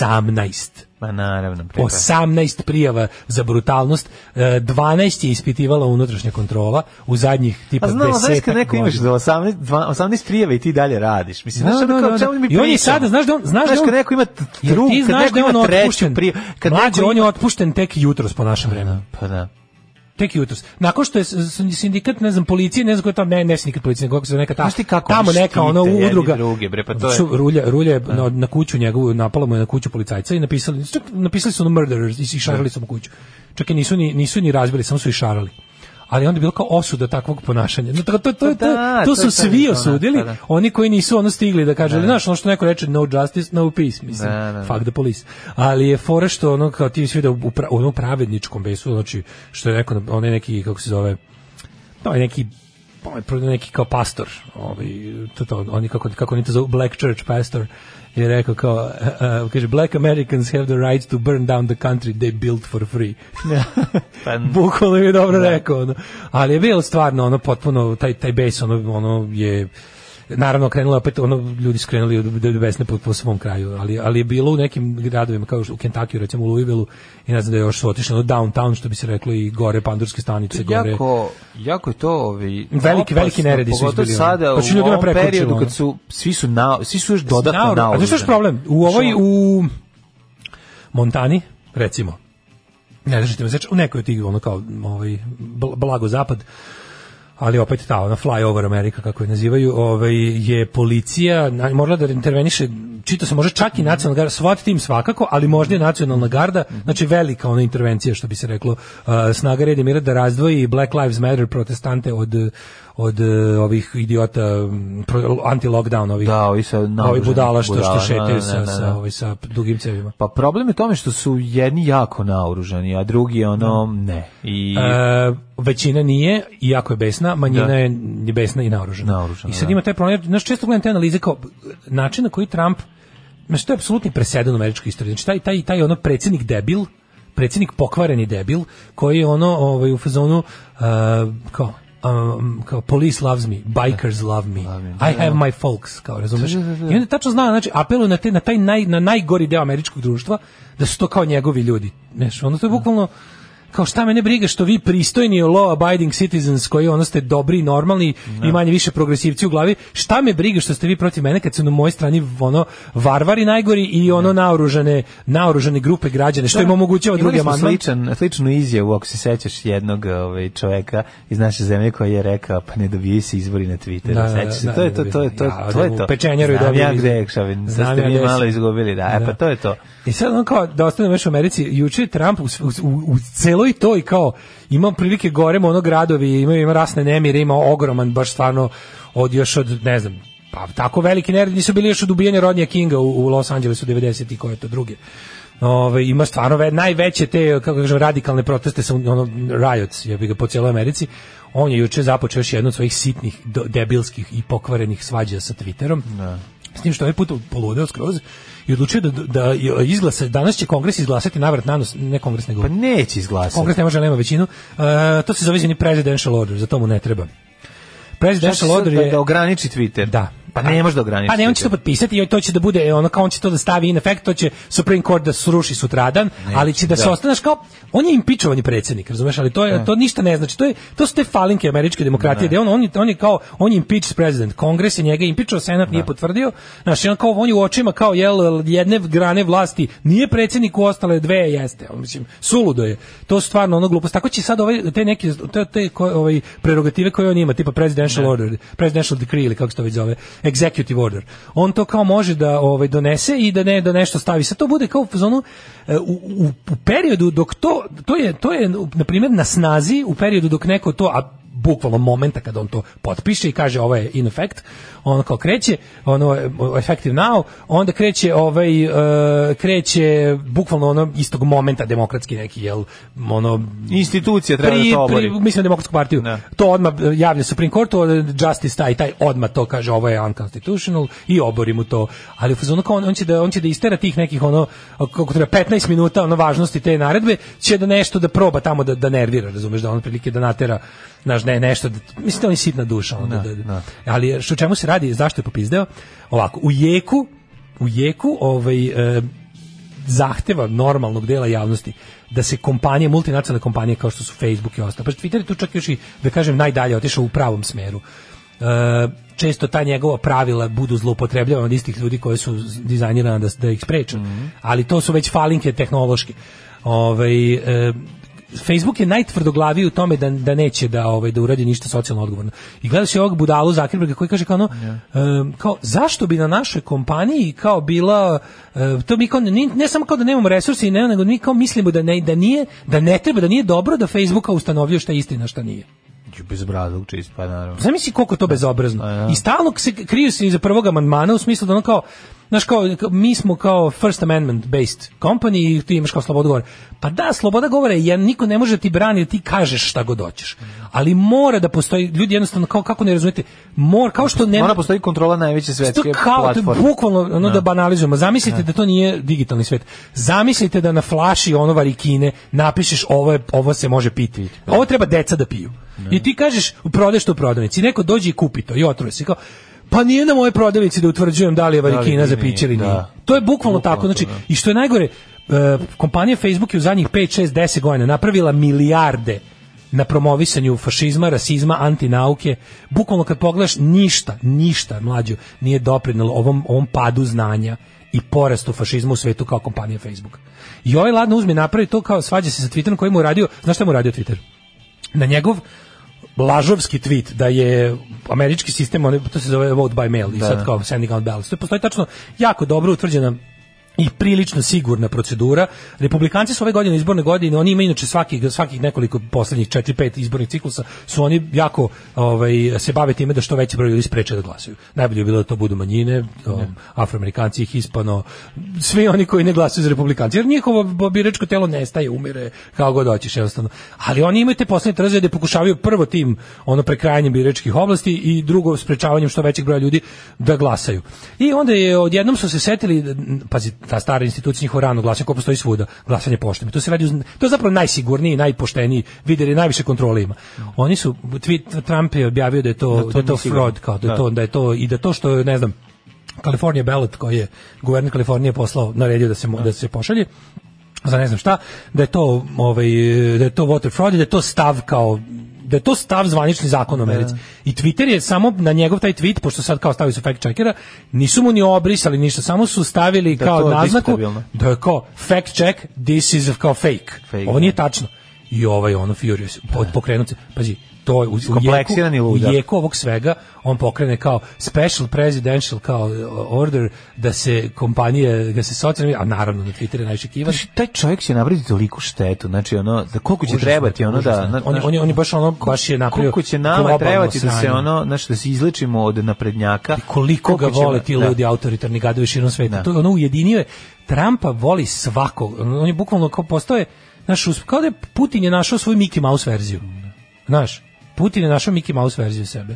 18 Ma naravno. pre- 18 prijava za brutalnost, e, 12 je ispitivala unutrašnja kontrola u zadnjih tipa A 10 znam, ali znaš kad neko imaš do 18, dva- 18 prijeva i ti dalje radiš. Mislim, znaš, Da, ono da, kao, da, čemu da. mi I on je pričamo? sada, znaš da on- znaš da on- kad neko ima t- Jer drugu, ti kad znaš neko da je on ima treću otpušten. prijavu. Kad Mlađe, neko on je ima- otpušten tek jutros po našem vremenu. Pa da. tek jutros. Nakon što je s- s- sindikat, ne znam, policije, ne znam ko je tamo, ne, ne sindikat policije, nego kako se zove, neka ta, Znaš ti kako tamo oni neka štite ono jedni udruga. druge, bre, pa to je- Ču- Rulja, Rulja je na, na kuću njegovu, napala mu je na kuću policajca i napisali, čak napisali su ono murderers i išarali su mu kuću. Čak i nisu ni, nisu ni razbili, samo su išarali. Ali onda je bilo kao osuda takvog ponašanja. No, to, to, to, to, Pa da, to to su je taj svi fenomen, osudili, da, da. oni koji nisu ono stigli da kažu, ali znaš, ono što neko reče, no justice, no peace, mislim, Da, da, da. fuck the police. Ali je fora što ono, kao ti svi da u, pra- ono u pravedničkom besu, znači, što je rekao, onaj neki, kako se zove, to je neki ovaj, pro- neki kao pastor, ovaj, to, to, oni kako, kako oni to zovu, Black Church pastor, je rekao kao, uh, uh, kaže, Black Americans have the right to burn down the country they built for free. Pa, Bukvalno je dobro rekao. Ono. Ali je bilo stvarno ono potpuno taj taj bes ono ono je naravno krenulo je opet ono ljudi skrenuli od od besne po, po svom kraju, ali ali je bilo u nekim gradovima kao što u Kentakiju recimo u Louisvilleu i ne znam da je još su otišli ono downtown što bi se reklo i gore pandurske stanice, gore. jako, jako je to ovi, Veliki- veliki neredi su pogotovo izbili, ono. sada Pa su u ljudima ovom prekočilo, periodu ono. kad su svi su na, svi su još dodatno Naoru- na. A znaš što je problem? U ovoj u Montani recimo. Ne držite me seč, u nekoj od tih ono kao ovaj bl- blago zapad ali opet ta ona flyover Amerika kako je nazivaju, ovaj je policija na- morala da interveniše čito se može čak i nacionalna garda, SWAT tim svakako, ali možda i nacionalna garda, znači velika ona intervencija što bi se reklo, uh, snaga reda i mira da razdvoji Black Lives Matter protestante od od eh, ovih idiota mm, pro- anti-lockdown ovih Da, ovi sa ovi naoružani budala što što budala, šetaju da, da, sa, da, da. sa, ovaj, sa dugim cevima. Pa problem je u tome što su jedni jako naoružani, a drugi ono ne. I E, većina nije, iako je besna, manjina Da. je je besna i naoružana. Naoružana, I sad da. ima taj problem, znaš, često gledam te analize kao način na koji Trump, znaš, to je apsolutni presedan u američkoj istoriji. Znači, taj, taj, taj ono predsjednik debil, predsjednik pokvareni debil, koji je ono ovaj, u fazonu e, kao, um, kao police loves me, bikers love me, I have my folks, kao razumeš. I onda tačno zna, znači apeluje na te na taj naj, na najgori deo američkog društva da su to kao njegovi ljudi. Znaš, ono to je bukvalno kao šta mene briga što vi pristojni law abiding citizens koji ono ste dobri i normalni i manje više progresivci u glavi, šta me briga što ste vi protiv mene kad su na mojoj strani ono varvari najgori i ono naoružane naoružane grupe građane što im omogućava Imali drugi smo amandman. sličan, sličnu izjavu, ako se sećaš jednog ovaj, čoveka iz naše zemlje koji je rekao, pa ne dobijaju se izbori na Twitteru. Da, da, Sećaš se? da, to je ne to, to je to, dobijaju. Ja, to je u to. pečenjaru je Znam dobio ja izbor. gde je Kšavin, sad Znam ste ja mi gde malo si. izgubili, da, e, Da. pa to je to. I sad ono kao, da ostanemo još u Americi, juče je Trump u, u, u celoj toj kao, ima prilike goremo ono gradovi, ima, ima rasne nemire, ima ogroman, baš stvarno, od još od, ne znam, pa tako veliki neredi nisu bili još od ubijanja Rodnija Kinga u, u Los Angelesu 90. i koje to druge. Ove, ima stvarno ve- najveće te kako kažem, radikalne proteste sa ono, riots ja bih ga po cijeloj Americi on je juče započeo još jednu od svojih sitnih do- debilskih i pokvarenih svađa sa Twitterom s tim što je ovaj put poludeo skroz i odlučio da, da izglasa, danas će kongres izglasati navrat na nos, ne kongres nego Pa neće izglasati. kongres ne može, ali nema većinu, E, to se zove izvini presidential order, za to mu ne treba. Šta će Presidential sad order da- je... Da ograniči Twitter. Da. Pa ne može da ograniči Pa ne, on će to Twitter. potpisati i to će da bude, ono kao on će to da stavi in effect, to će Supreme Court da sruši sutradan, ali će da, se da. ostaneš kao, on je impičovani predsjednik, razumeš, ali to, je, to ništa ne znači, to, je, to su te falinke američke demokratije, da je on, on, je- on je kao, on je impeached president, kongres je njega impičao, senat nije potvrdio, znaš, i on kao, on je u očima kao, jel, jedne grane vlasti nije predsjednik, u ostale dve jeste, on, mislim, suludo je, to su stvarno ono glupost, tako će sad ovaj, te neke, te, te ko- ovaj, prerogative koje on ima, tipa presidential order, presidential decree ili kako se to već zove, executive order. On to kao može da ovaj donese i da ne da nešto stavi. Sad to bude kao u fazonu e, u, u, u periodu dok to to je to je na primjer na snazi u periodu dok neko to a bukvalno momenta kada on to potpiše i kaže ovo je in effect, on kao kreće, ono e, effective now, onda kreće ovaj e, kreće bukvalno ono istog momenta demokratski neki jel ono Institucija treba da to obori. mislim na demokratsku partiju. Ne. To odmah eh, javlja Supreme Courtu, eh, Justice taj, taj odmah to kaže ovo je unconstitutional i obori mu to. Ali u fazonu kao on, on će da on će da istera tih nekih ono kako treba 15 minuta ono važnosti te naredbe, će da nešto da proba tamo da da nervira, razumeš da on prilike da natera naš ne nešto da, mislim da on je sitna duša onda. da, da, Ali eh, što o čemu se radi, zašto je popizdeo? Ovako, u jeku u jeku ovaj eh, zahteva normalnog dela javnosti da se kompanije, multinacionalne kompanije kao što su Facebook i ostalo, pa Twitter je tu čak još i, da kažem, najdalje otišao u pravom smeru. E, često ta njegova pravila budu zloupotrebljavana od istih ljudi koji su z- dizajnirana da, s- da ih spreče, ali to su već falinke tehnološke. Ovaj, e, Facebook je najtvrdoglaviji u tome da, da neće da ovaj da uradi ništa socijalno odgovorno. I gledaš je ovog budalu Zuckerberga koji kaže kao ono, em, kao zašto bi na našoj kompaniji kao bila e, to mi kao ne, ne samo kao da nemamo resurse i ne, nego mi kao mislimo da ne da nije da ne treba da nije dobro da Facebook ustanovljuje šta je istina šta nije. Bez brazog čist, pa naravno. Zamisli koliko je to bezobrazno. I stalno se kriju se iza prvog amandmana u smislu da ono kao Znaš kao, kao, mi smo kao First Amendment based company i ti imaš kao slobodu govora. Pa da, sloboda govora je, niko ne može ti braniti, ti kažeš šta god hoćeš. Ali mora da postoji, ljudi jednostavno, kao kako ne razumete, mora, kao što ne... Mora postoji kontrola najveće svetske To kao, to je platforme. bukvalno, ono Da. da banalizujemo, zamislite da to nije digitalni svet. Zamislite da na flaši ono varikine napišeš ovo, je, ovo se može piti. Ovo treba deca da piju. I ti kažeš, prodaješ to u prodavnici, I neko dođe i kupi to i otruje se. Kao, pa nije na moje prodavnici da utvrđujem da li je li varikina za nije, piće ili da. nije. To je bukvalno tako. Znači, i što je najgore, e, kompanija Facebook je u zadnjih 5, 6, 10 godina napravila milijarde na promovisanju fašizma, rasizma, antinauke. Bukvalno kad pogledaš ništa, ništa mlađo nije doprinalo ovom, ovom padu znanja i porastu fašizma u svetu kao kompanija Facebook. I ovaj ladno uzme i napravi to kao svađa se sa Twitterom koji mu je uradio, znaš šta mu je uradio Twitter? Na njegov lažovski tweet da je američki sistem, one- to se zove vote by mail i Da, sad da. kao sending out ballots. To postoji tačno jako dobro utvrđena i prilično sigurna procedura. Republikanci su ove godine izborne godine, oni imaju inače svakih svakih nekoliko poslednjih 4-5 izbornih ciklusa su oni jako ovaj se bave time da što veći broj ljudi spreče da glasuju. Najbolje bi bilo da to budu manjine, o, afroamerikanci, hispano, svi oni koji ne glasuju za republikanci. Jer njihovo biračko telo nestaje, umire, kao god hoćeš jednostavno. Ali oni imaju te poslednje trzaje da pokušavaju prvo tim ono prekrajanjem biračkih oblasti i drugo sprečavanjem što većeg broja ljudi da glasaju. I onda je odjednom su se setili, pazi, ta stara institucija njihova rano glasanje, ko postoji svuda, glasanje poštom. I To, se radi, uz- to je zapravo najsigurniji, najpošteniji vider i najviše kontrole ima. Oni su, tweet Trump je objavio da je to, da to je to nije sigurno. fraud, kao, da, je Da. to, da je to, i da to što, je, ne znam, California ballot koji je guverner Kalifornije poslao, naredio da se, mo- da se pošalje, za ne znam šta, da je to ovaj da je to water fraud, i da je to stav kao da je to stav zvanični zakon u Americi. I Twitter je samo na njegov taj tweet, pošto sad kao stavili su fact checkera, nisu mu ni obrisali ništa, samo su stavili Da je kao to naznaku diskutabilno. da je kao fact check, this is kao fake. Fake, Ovo nije da. tačno. I ovaj ono furious, od pokrenut se. Pazi, to je u, u jeku- Kompleksirani ludak. u jeku jeku ovog svega on pokrene kao special presidential kao e, order da se kompanije da se socijalni a naravno na Twitteru je najčekivan Znaš, taj čovjek će napraviti toliku štetu, znači ono, da koliko će Užasno, trebati ono da... užasno. na- on, je- on, je, on je baš ono baš je napravio koliko će nama globalno trebati da se sranje. ono, znaš, da se izlečimo od naprednjaka. koliko ga Koliko će- vole ti da. ljudi autoritarni gadovi širom sveta. Da. To je ono ujedinio je. Trumpa voli svakog. On on je bukvalno kao postoje naš kao da je Putin je našao svoju Mickey Mouse verziju. Znaš, Putin je našao Mickey Mouse verziju sebe.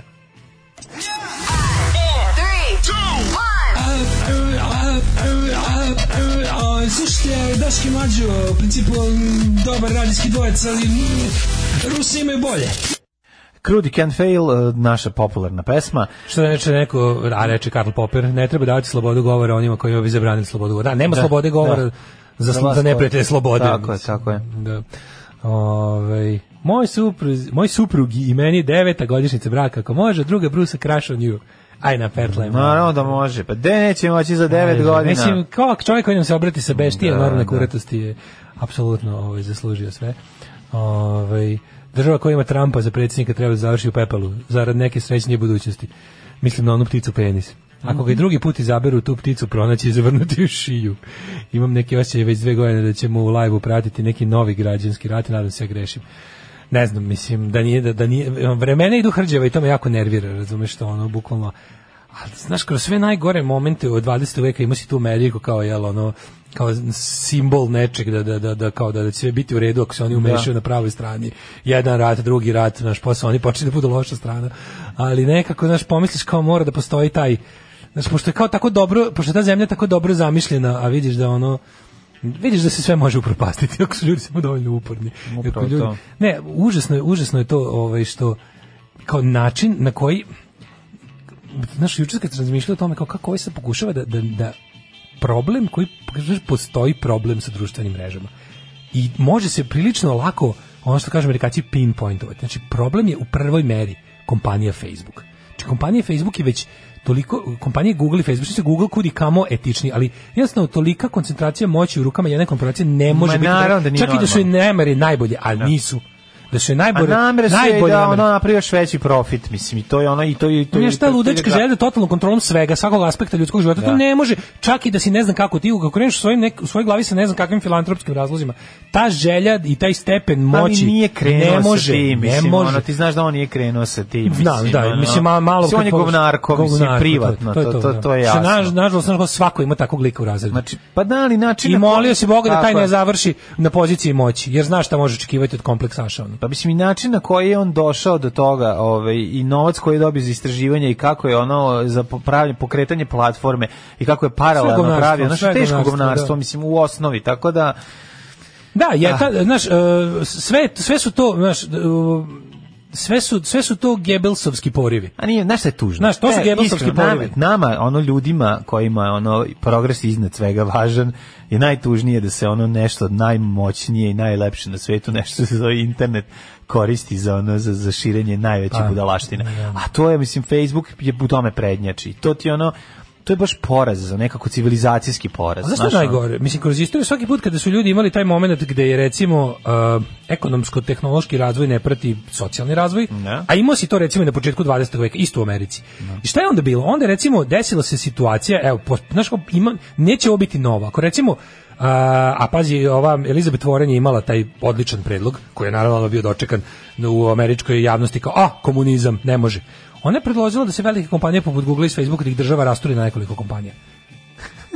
Slušajte, Daški Mađo, u principu m, dobar radijski dvojec, ali m, Rusi imaju bolje. Crude Can't Fail, eh, naša popularna pesma. Što da reče neko, a reče Karl Popper, ne treba davati slobodu govora onima kojima bi zabranili slobodu govora. Da, nema Da, slobode govora da. za, Za sl- vas za koji- neprijatelje slobode. Tako je, tako je. Da. Ovaj, moj, supruz, moj suprug i meni deveta godišnjica braka, ako može, druga Brusa Crash on you. Aj na Pertle. Naravno da može. Pa de neće moći za 9 godina. Mislim, kao čovjek koji nam se obrati sa beštije, Da, naravno da. kuratosti je apsolutno ovaj, zaslužio sve. Ovaj, država koja ima Trumpa za predsjednika treba da završi u pepalu, zarad neke srećnije budućnosti. Mislim na onu pticu penis. Ako Mhm. ga i drugi put izaberu tu pticu pronaći i zavrnuti u šiju. Imam neke osjećaje već dve godine da ćemo u live pratiti neki novi građanski rat i nadam se ja grešim. Ne znam, mislim, da nije, da, da nije, vremena idu hrđava i to me jako nervira, razumeš što ono, bukvalno, ali, znaš, kroz sve najgore momente od 20. veka ima si tu Ameriku kao, jel, ono, kao simbol nečeg da, da, da, da, kao da, da će sve biti u redu ako se oni umešaju na pravoj strani. Jedan rat, drugi rat, znaš, posle oni počinju da budu loša strana. Ali nekako, znaš, pomisliš kao mora da postoji taj, znaš, pošto je kao tako dobro, pošto je ta zemlja tako dobro zamišljena, a vidiš da ono, vidiš da se sve može upropastiti ako su ljudi samo dovoljno uporni. Ako Upravo ljudi- to. ne, užasno je, užasno je to ovaj što kao način na koji znaš, juče kad sam razmišljao o tome kao kako ovaj sad pokušava da, da, da problem koji kažeš, postoji problem sa društvenim mrežama. I može se prilično lako, ono što kažu Amerikaci, pinpointovati. Znači, problem je u prvoj meri kompanija Facebook. Znači, kompanija Facebook je već toliko kompanije Google i Facebook se Google kudi kamo etični, ali jednostavno tolika koncentracija moći u rukama jedne korporacije ne može Ma, biti. naravno da nije čak i da su i namere najbolje, ali nisu. Da su i najbolje, A Pa namere su najbolje da namere. ono napravi još veći profit, mislim, i to je ono, i to je... i to je- Nešto to je- ludačka želja da totalnom kontrolom svega, svakog aspekta ljudskog života, Da. to ne može, čak i da si ne znam kako ti, kako kreneš u svojoj, nek, u svojoj glavi sa ne znam kakvim filantropskim razlozima, ta želja i taj stepen Pa mi moći nije krenuo ne može, sa tim, ne mislim, može. ono, ti znaš da on nije krenuo sa tim, mislim, Znam, da, ono, mislim, ma- malo... mislim, on je kako- govnarko, mislim, govnarko, privatno, to, to, to, da. je Što jasno. naž- nažalost, znaš, svako ima takvog lika u razredu. Znači, pa da, ali način... I na koji- molio si Boga da taj Tako je. ne završi na poziciji moći, jer znaš šta može očekivati od kompleksaša. Ono. Pa mislim i način na koji je on došao do toga, ovaj i novac koji je dobio za istraživanje i kako je ono za popravljanje pokretanje platforme i kako je paralelno govnarstvo, pravio, znači sve teško govnarstvo, govnarstvo, da. mislim u osnovi, tako da Da, je ta, znaš, e, sve, sve su to, znaš, e, sve su, sve su to Gebelsovski porivi. A nije, znaš šta je tužno? Znaš, to su E, Gebelsovski iskreno, porivi. Nama, nama, ono ljudima kojima je ono progres iznad svega važan, je najtužnije da se ono nešto najmoćnije i najlepše na svetu, nešto što se zove internet, koristi za ono za, za širenje najveće Pa, budalaštine. ja. A to je, mislim, Facebook je u tome prednjači. To ti je ono, to je baš poraz, za nekako civilizacijski poraz. A Znaš znaš, što ono. je najgore? Mislim, kroz istoriju svaki put kada su ljudi imali taj moment gde je recimo uh, ekonomsko-tehnološki razvoj ne prati socijalni razvoj, a imao si to recimo i na početku 20. veka, isto u Americi. I šta je onda bilo? Onda je, recimo desila se situacija, evo, po, znaš, kao, ima, neće ovo biti novo. Ako recimo a, a pazi, ova Elizabeth Warren je imala taj odličan predlog, koji je naravno ono bio dočekan u američkoj javnosti kao, a, komunizam, ne može. Ona je predložila da se velike kompanije poput Google i Facebooka da ih država rasturi na nekoliko kompanija.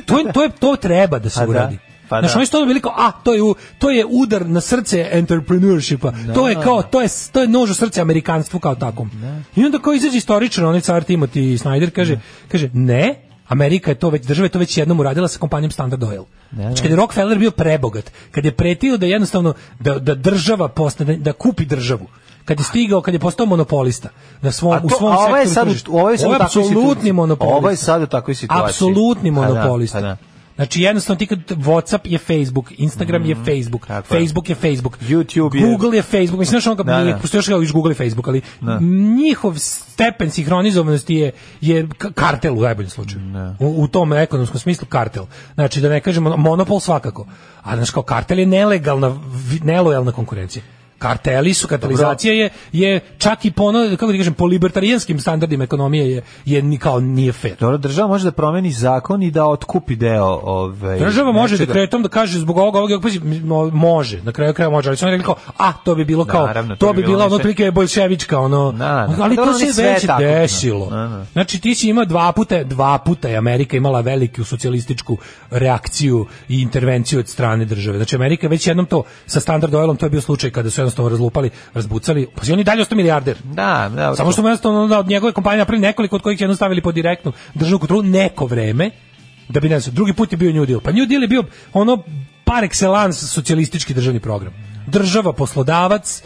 To je, to je to treba da se Pa da, uradi. pa Znaš, da. oni su to bili kao, a, to je, u- to je udar na srce entrepreneurshipa. To je kao, to je, to je nož u srce amerikanstvu kao takom. I onda kao izađe istoričan, onaj car Timothy Snyder, kaže, kaže, ne, Amerika je to već, država je to već jednom uradila sa kompanijom Standard Oil. Znači, kad je Rockefeller bio prebogat, kad je pretio da jednostavno, da, da država postane, da, da kupi državu, kad je stigao, kad je postao monopolista na svom, A to, u svom a ovo je sektoru sad, tržišta. u- ovo je sad u takvoj apsolutni situaciji. monopolista. Ovo je sad u takvoj situaciji. Apsolutni Pa da, monopolista. pa da. Znači jednostavno ti kad Whatsapp je Facebook, Instagram je Facebook, Mm, je. Facebook je Facebook, YouTube je- Google je Facebook, mislim znaš ono kao, Da, da. ne, postoji još kao iz Google i Facebook, ali Da. njihov stepen sinhronizovanosti je, je k- kartel u najboljem slučaju. U, u tom ekonomskom smislu kartel. Znači da ne kažemo monopol svakako. A znaš kao kartel je nelegalna, vi- nelojalna konkurencija. Karteli su, katalizacija je, je čak i po, ono, kako ti kažem, po libertarijanskim standardima ekonomije je, je ni- kao nije fair. Dobro, država može da promeni zakon i da otkupi deo ovaj, Država može nečega. dekretom da kaže zbog ovoga, ovoga, ovoga, pazi, mo- može, na kraju kraja može, ali su oni rekli kao, a, to bi bilo kao, Naravno, to, bi bila ono nešto- otprilike bolševička, ono, Da, da. ali Pa dobro, to se oni sve već tako, da. desilo. Da, da. Znači, ti si imao dva puta, dva puta je Amerika imala veliku socijalističku reakciju i intervenciju od strane države. Znači, Amerika je već jednom to, sa Standard Oilom, to je bio slučaj kada su jednostavno razlupali, razbucali, pa si oni dalje ostao milijarder. Da, da. Samo što mu jednostavno onda od njegove kompanije napravili nekoliko od kojih je jedno stavili pod direktnu državnu kontrolu neko vreme, da bi ne znam, drugi put je bio New Deal. Pa New Deal je bio ono par excellence socijalistički državni program. Država, poslodavac,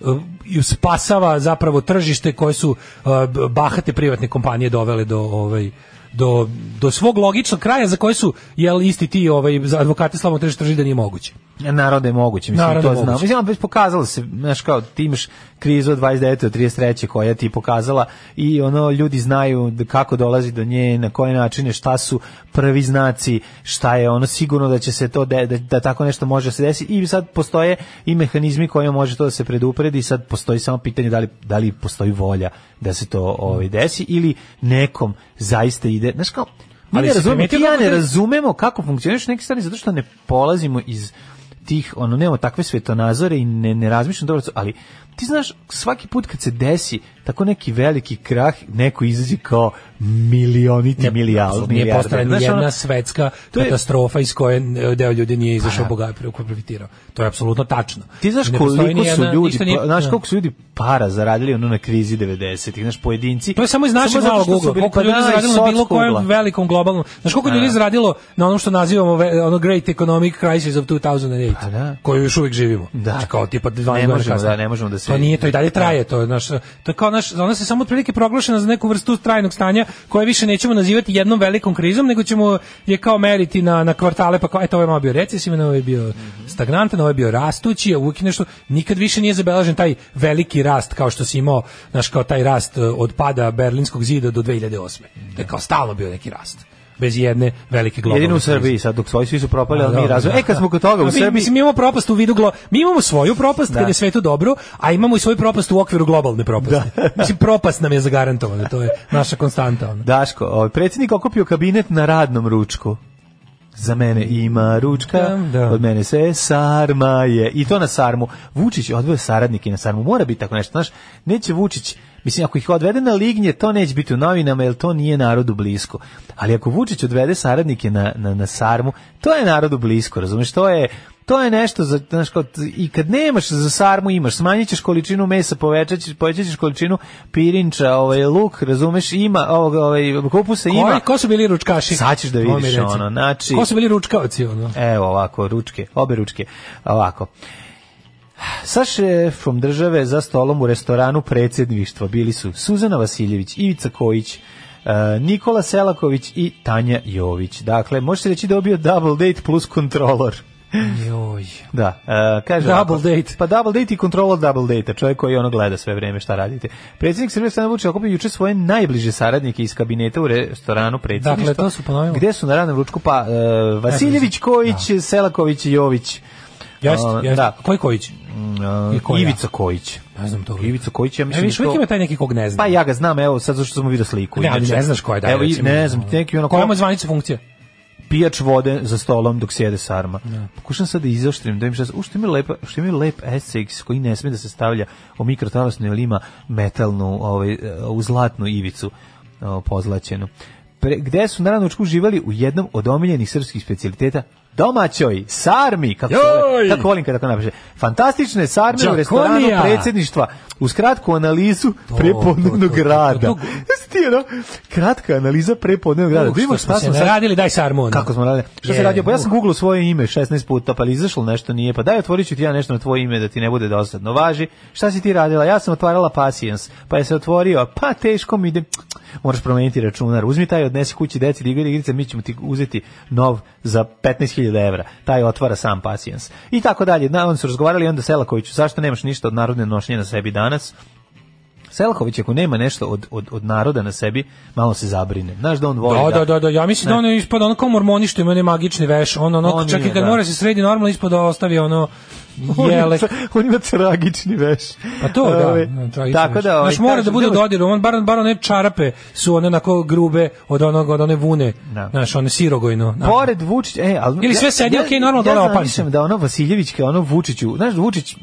eh, i spasava zapravo tržište koje su eh, b- bahate privatne kompanije dovele do ovaj do, do svog logičnog kraja za koje su jel isti ti ovaj za advokati slavno tržište trži da nije moguće. Naravno da je moguće, mislim Naravno to da je znamo. moguće. Mislim, ono, već pokazalo se, znaš kao, ti imaš krizu od 29. do 33. koja je ti pokazala i ono, ljudi znaju da- kako dolazi do nje, na koje načine, šta su prvi znaci, šta je ono, sigurno da će se to, de- da, da tako nešto može se desiti i sad postoje i mehanizmi kojima može to da se predupredi i sad postoji samo pitanje da li, da li postoji volja da se to ovaj, desi ili nekom zaista ide, znaš kao, mi Ali ne si razumemo, ti i primetio ja kako ne te- razumemo kako funkcioniš neke stvari zato što ne polazimo iz tih, ono, nemamo takve svetonazore i ne, ne razmišljamo dobro, ali ti znaš, svaki put kad se desi tako neki veliki krah, neko izađe kao milioniti milijal, apsolutno, Nije milijarder. postala ni Znaš, ono, jedna svetska to je- katastrofa iz koje e, deo ljudi nije izašao Pa da. bogat preko profitirao. To je apsolutno tačno. Ti znaš Ne postoji koliko ni su jedna- ljudi, ništa nije- pa, znaš da. koliko su ljudi para zaradili ono na krizi 90-ih, znaš pojedinci. To je samo iz Samo našeg zato malog što su ugla. bili- Koliko pa ljudi da, iz zaradilo na bilo sotskog ugla. kojem velikom globalnom. Znaš koliko ljudi zaradilo na onom što nazivamo ve- ono Great Economic Crisis of 2008, Pa da. koju još uvijek živimo. Da. Znači kao tipa 12 Ne godina možemo, kasnije. da, ne možemo da se- To nije, to i dalje traje, to je naš to je kao ona, š- ona se samo otprilike proglašena za neku vrstu trajnog stanja koje više nećemo nazivati jednom velikom krizom, nego ćemo je kao meriti na, na kvartale, pa kao, eto, ovo je malo bio recesivan, ovo je bio Mhm. stagnantan, ovo je bio rastući, a uvijek je nešto, nikad više nije zabeležen taj veliki rast kao što si imao, znaš, kao taj rast e, od pada Berlinskog zida do 2008. To je kao stalno bio neki rast bez jedne velike globalne Jedino u krize. Srbiji sad dok svoji svi su propali, ali mi dobro, razvoj. da, E kad da. smo kod toga A u mi- Srbiji, Mislim, mi imamo propast u vidu glo... Mi imamo svoju propast Da. kad je svetu dobro, a imamo i svoju propast u okviru globalne propasti. mislim, propast nam je zagarantovana, to je naša konstanta. ono. Ona. Daško, ovaj predsjednik okupio kabinet na radnom ručku. Za mene ima ručka, Da, da. od mene se sarma je. I to na sarmu. Vučić odveo saradnike na sarmu. Mora biti tako nešto, znaš. Neće Vučić, mislim, ako ih odvede na lignje, to neće biti u novinama, jer to nije narodu blisko. Ali ako Vučić odvede saradnike na, na, na sarmu, to je narodu blisko, razumiješ? To je, to je nešto za znaš, kao, t- i kad nemaš za sarmu imaš smanjit ćeš količinu mesa povećaćeš povećaćeš količinu pirinča ovaj luk razumeš ima ovog ovaj kupusa Ko, ima ko su bili ručkaši? Sad ćeš da To mi vidiš, reci. ono, znači- Ko su bili ručkavci, ono? Evo ovako, ručke, obe ručke. Ovako. Sa šefom države za stolom u restoranu predsjedništva bili su Suzana Vasiljević, Ivica Kojić, e, Nikola Selaković i Tanja Jović. Dakle, možete reći da je ovo bio double date plus kontrolor. Joj. Da, e, kaže Double ovako. date. Pa double date i kontrola double date čovjek koji ono gleda sve vrijeme šta radite. Predsjednik Srbije Stanović Vučić okupio juče svoje najbliže saradnike iz kabineta u restoranu predsjedništva. Dakle, to su ponovimo. Gde su na radnom ručku? Pa e, Vasiljević, Kojić, Selaković i Jović. Jeste, A, jeste. ono, da. Koji Kojić? E, I ko ja? Ivica Kojić. Ne znam to. Ivica Kojić, ja E, mislim viš, da uvijek to- ima taj neki kog ne Pa znam. ja ga znam, evo, sad zašto sam mu vidio sliku. ne, ali Inače- ne znaš ko je da. Evo, i- ne znam, neki ono... Koja mu je zvanica funkcija? pijač vode za stolom dok sjede sarma. Pokušam sad da izoštrim, da im šta, u što ima lepa, što ima lep SX koji ne sme da se stavlja u mikrotalasnu jer ima metalnu, ovaj, e, u zlatnu ivicu e, pozlaćenu. Pre, gde su na ranučku uživali u jednom od omiljenih srpskih specialiteta domaćoj sarmi kako se zove, Joj! tako volim kada tako napiše fantastične sarme u Đakonija! restoranu predsjedništva uz kratku analizu to, prepodnevnog to, to, to. rada Jesi ti, ono, kratka analiza prepodnevnog rada da vidimo šta se smo sad radili, daj sarmu. ono. kako smo radili? Šta se Je, radio? Pa ja uh. sam googlao svoje ime 16 puta, pa li izašlo nešto nije. Pa daj otvorit ću ti ja nešto na tvoje ime da ti ne bude dosadno. Važi, šta si ti radila? Ja sam otvarala pasijans, pa je se otvorio, pa teško mi ide. Moraš promeniti računar. Uzmi taj, odnesi kući deci da igra igrice, mi ćemo ti uzeti nov za 15.000 evra. Taj otvara sam pasijans. I tako dalje. Na, on su razgovarali i onda Selakoviću, zašto nemaš ništa od narodne nošnje na sebi danas? Selaković ako nema nešto od, od, od naroda na sebi, malo se zabrine. Znaš da on voli Da, da, da, da, ja mislim Ne. da ono ispada ono kao mormoni što ima onaj magični veš, ono, ono, On čak nije, i kad da. mora se sredi normalno ispada ostavi ono On ima jelek. tra- On ima tragični veš. Pa to, da. Ove, ono, tragično Tako veš. da, ovaj, Znaš, mora kažem, da bude nemoj- dodir, on bar, bar one čarape su one onako grube od, onog, od one vune, Da. znaš, one sirogojno. znaš. Pored Vučića, e, ali... Ili sve sedi, okej, normalno, ja, dole ja opali mislim se. da ono Vasiljević, kao ono Vučiću, znaš, Vučić,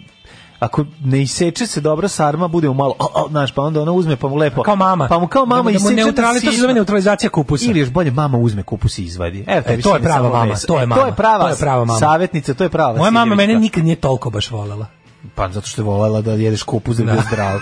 ako ne iseče se dobro sarma, bude mu malo, o, o, znaš, pa onda ono uzme, pa mu lepo. Kao mama. Pa mu kao mama da, mu- da mu iseče neutrali, na to se zove sitno. neutralizacija kupusa. Ili još bolje, mama uzme kupus i izvadi. Evo, tebi to je sine prava samo mama, mesa. to E, je To mama, je prava, to je prava mama. Savjetnica, to je prava Moja mama mene Vasiljevićka. nikad nije toliko baš volela. Pa zato što je volela da jedeš kupus da bi bio zdrav.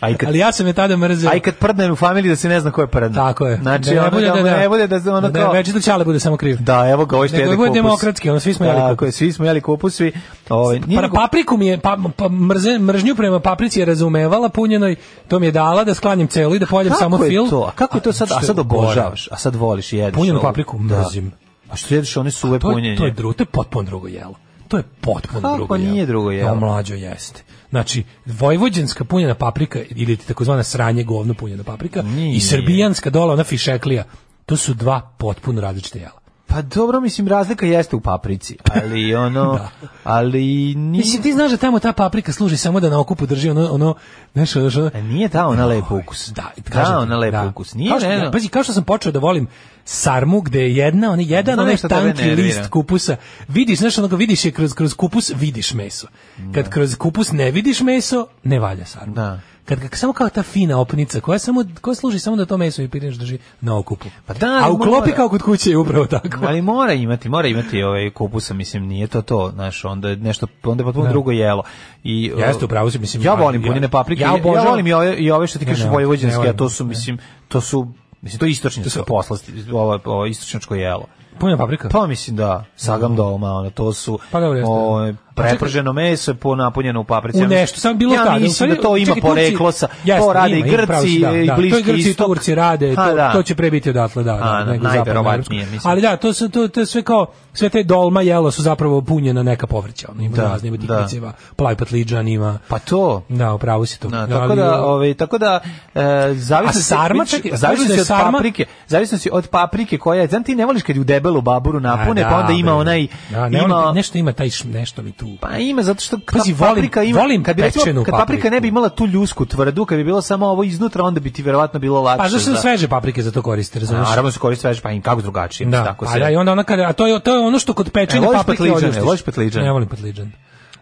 A i kad Ali ja sam je tada mrzeo. A i kad prdne u familiji da se ne zna ko je prdne. Tako je. Znači, da ono, ne bude da, mu da, ne bude da ono da, kao... ne, već da ćale bude samo kriv. Da, evo ga, ovo što Nego jede bude kupus. demokratski, ono, svi smo jeli Tako kupus. je, svi smo jeli kupus, svi. Ovaj, nije Pa nego- papriku mi je, pa, pa mrze, mržnju prema paprici je razumevala punjenoj, to mi je dala da sklanjem celu i da pojedem samo kako je fil. to? A kako je to sad? A što je sad obožavam? obožavaš, a sad voliš i jedeš. Punjenu ovo. papriku Da. mrzim. A što jedeš one suve To punjenje? je, to je, dru, to je potpuno drugo jelo. To je potpuno Kako drugo jelo. nije drugo jelo? To mlađo jeste. Znači, vojvođanska punjena paprika ili ti takozvana sranje govno punjena paprika Nije. i srbijanska dola, ona fišeklija, to su dva potpuno različite jela. Pa dobro, mislim, razlika jeste u paprici, ali ono... Ali nije... Mislim, ti znaš da tamo ta paprika služi samo da na okupu drži ono, ono, znaš, ono, ono, A E, nije dao na lep ukus. Da, kažem dao ti, na lep da. ukus. Nije, kao što, ne, ja, ne. pazi, kao što sam počeo da volim sarmu gde je jedna, on je jedan, Znam onaj što tebe tanki nervira. list kupusa. Vidiš, znaš, onoga vidiš je kroz, kroz kupus, vidiš meso. Kad kroz kupus ne vidiš meso, ne valja sarma. Da. Kad, kad samo kao ta fina opnica koja samo koja služi samo da to meso i pirinč drži na okupu. Pa da, ali A u klopi mora. kao kod kuće je upravo tako. Ali mora imati, mora imati ovaj kupusa, mislim, nije to to, znaš, onda je nešto, onda je potpuno Da. drugo jelo. I, o, Jeste, u pravu si, mislim, Ja ali volim ja- punjene paprike, ja ja, ja, obožavam- volim i ove, i ove što ti Ne, kažeš ne, ne vojvođanske, a volim. to su, Ne. mislim, to su, mislim, to je istočničko su- poslasti, ovo, ovo istočnjačko jelo. Punjena paprika. Pa mislim da, sagam doma, ono, to su... Pa dobro, jeste. ovaj, preprženo meso je po- napunjeno u paprici. U nešto, samo bilo ja tako. mislim da to ima poreklo sa, to rade i Grci i Bliski To i Grci i istok. Turci rade, Ha, to, da. to će prebiti odatle, da. A, da, nego najverovatnije, zapadno- mislim. Ali da, to, su, to, to je sve kao, sve te dolma jela su zapravo punjena neka povrća. Ono, ima Da, da, razne, ima da. tikviceva, plavi patliđan, ima... Pa to. Da, upravo si to. Da, tako da, ovaj tako da e, zavisno A sarma, čekaj, kažu da zavisno je od sarma- paprike, zavisno si od paprike koja je, znam ti ne voliš kad ju debelu baburu napune, A, pa onda da, ima bre. onaj Da, ne, ima volim- nešto ima taj š- nešto mi tu. Pa ima zato što kad Pazi, volim- paprika ima volim kad bi recimo, pečenu kad paprika papriku. ne bi imala tu ljusku tvrdu, kad bi bilo samo ovo iznutra, onda bi ti verovatno bilo lakše. Pa zašto za- se sveže paprike za to koriste, razumeš? Naravno se koristi svež, pa im kako drugačije, mislim, Da, tako pa se. da, i onda ona kada, a to je, to je ono što kod E, pečenja voliš paprike petliđane, odljustiš. voliš petliđane? Ne volim petliđan.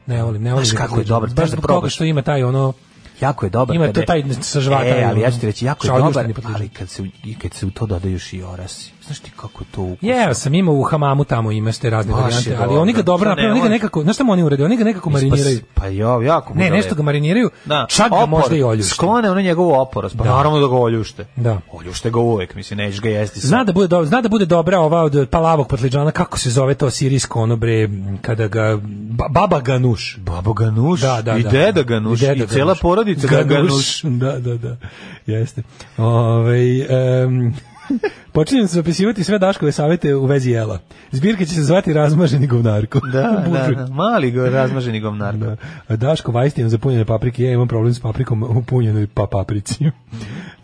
Ne volim, ne volim. Znaš kako je petliđan. dobar, Baš znaš da zbog toga probaš. što ima taj ono... Jako je dobar. Ima kada to je- taj sa žvakama, E, ali ja ću ti ono, reći, jako je šaljušteni dobar, potličan. ali kad se, u- i kad se u to dodaju još i orasi. Znaš ti kako je to ukusno? Jeo sam imao u hamamu tamo ima ste razne Baš je varijante, ali dobro. oni ga dobro Šta ne naprave, oni ga voliš? nekako, znaš šta mu oni urede, oni ga nekako mariniraju. Pa jo, jako mu Ne, dobro. nešto ga mariniraju, Da, čak ga opor, možda i oljušte. Sklone ono njegovu oporost, pa Da. naravno da ga oljušte. Da. Oljušte ga uvek, mislim, nećeš ga jesti sad. Zna da bude dobro, zna da bude dobra ova od palavog patliđana, kako se zove to sirijsko ono bre kada ga ba- baba ganuš. Babo ganuš, Da, da, i da. deda ganuš, i, deda ganuš. cela porodica ga ganuš. Da, da, da. Jeste. Ovaj em, Počinjem se zapisivati sve Daškove savete u vezi jela. Zbirka će se zvati razmaženi govnarko. Da, da, Budu- da, mali go, razmaženi govnar. Da. Daško Vajstijan za punjene paprike, ja imam problem s paprikom u punjenoj pa paprici.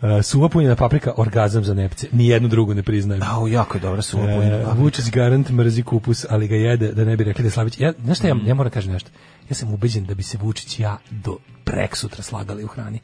Uh, suva punjena paprika, orgazam za nepce. Nijednu drugu ne priznajem. Au, jako je dobra su ovo E, Vučić garant mrzi kupus, ali ga jede, da ne bi rekli da je Slavić. Ja, znaš šta, ja, Mm. ja moram kažem nešto. Ja sam ubeđen da bi se Vučić i ja do preksutra slagali u hrani.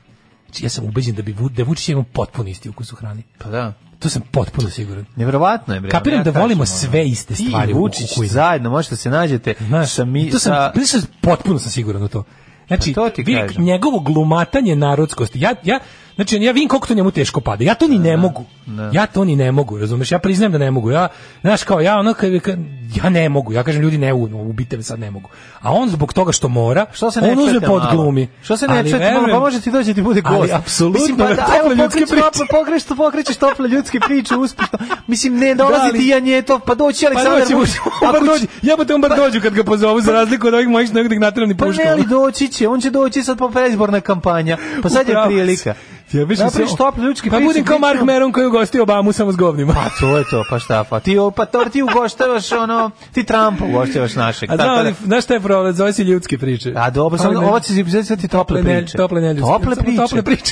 Znači, ja sam ubeđen da bi Vu- da Vučić ima potpuno isti ukus u hrani. Pa da. To sam potpuno siguran. Neverovatno je bre. Kapiram ja da kažem, volimo ono, sve iste ti i stvari u- u Vučić kuhinji. zajedno možete se nađete Znaš, sa mi to sam, sa znaš šta, potpuno sam siguran u to. Znači, Pa to ti vi- kažem. njegovo glumatanje narodskosti. Ja, ja, znači, ja vidim koliko to njemu teško pada. Ja to ni ne mogu. Ja to ni ne mogu, razumeš? Ja priznajem da ne mogu. Ja, znaš, kao ja, ono, kad, kad- ja ne mogu. Ja kažem, ljudi, ne, u- ubite me sad, ne mogu. A on zbog toga što mora, Što se ne on uzme čujete pod malo? glumi. Što se ne Ali čujete malo? Pa verujem- može ti dođe ti bude gost. Ali apsolutno, Mislim, pa na da, tople evo, ljudske pokrećeš priče. tople- pokrećeš, pokrećeš tople ljudske priče uspešno. Mislim, ne dolazi Da, ali- ti ja nje to, pa doći Pa Aleksandar doći mu- Vučić. on bar Ako će- dođe. Jebote, on bar Pa- dođu kad ga pozovu, za razliku od ovih mojih što negdje natirani ni Pa puškom. ne, ali doći će, on će doći sad po predizborna kampanja. Pa sad je Upravo si. prilika. Ja biš Napraviš tople ljudske Pa priče, budem kao bit Mark ćemo- Meron koji je ugostio Obamu samo s govnima. Pa to je to, pa šta, pa ti, pa to, ti ugoštavaš ono, ti Trumpa ugoštavaš našeg. A tako znam, da- ali, znaš šta je problem, zove se ljudske priče. A dobro, samo Ali ne- ovo će se izbizati ti tople ne- priče. Tople ne ljudske. Tople samo priče. Tople priče.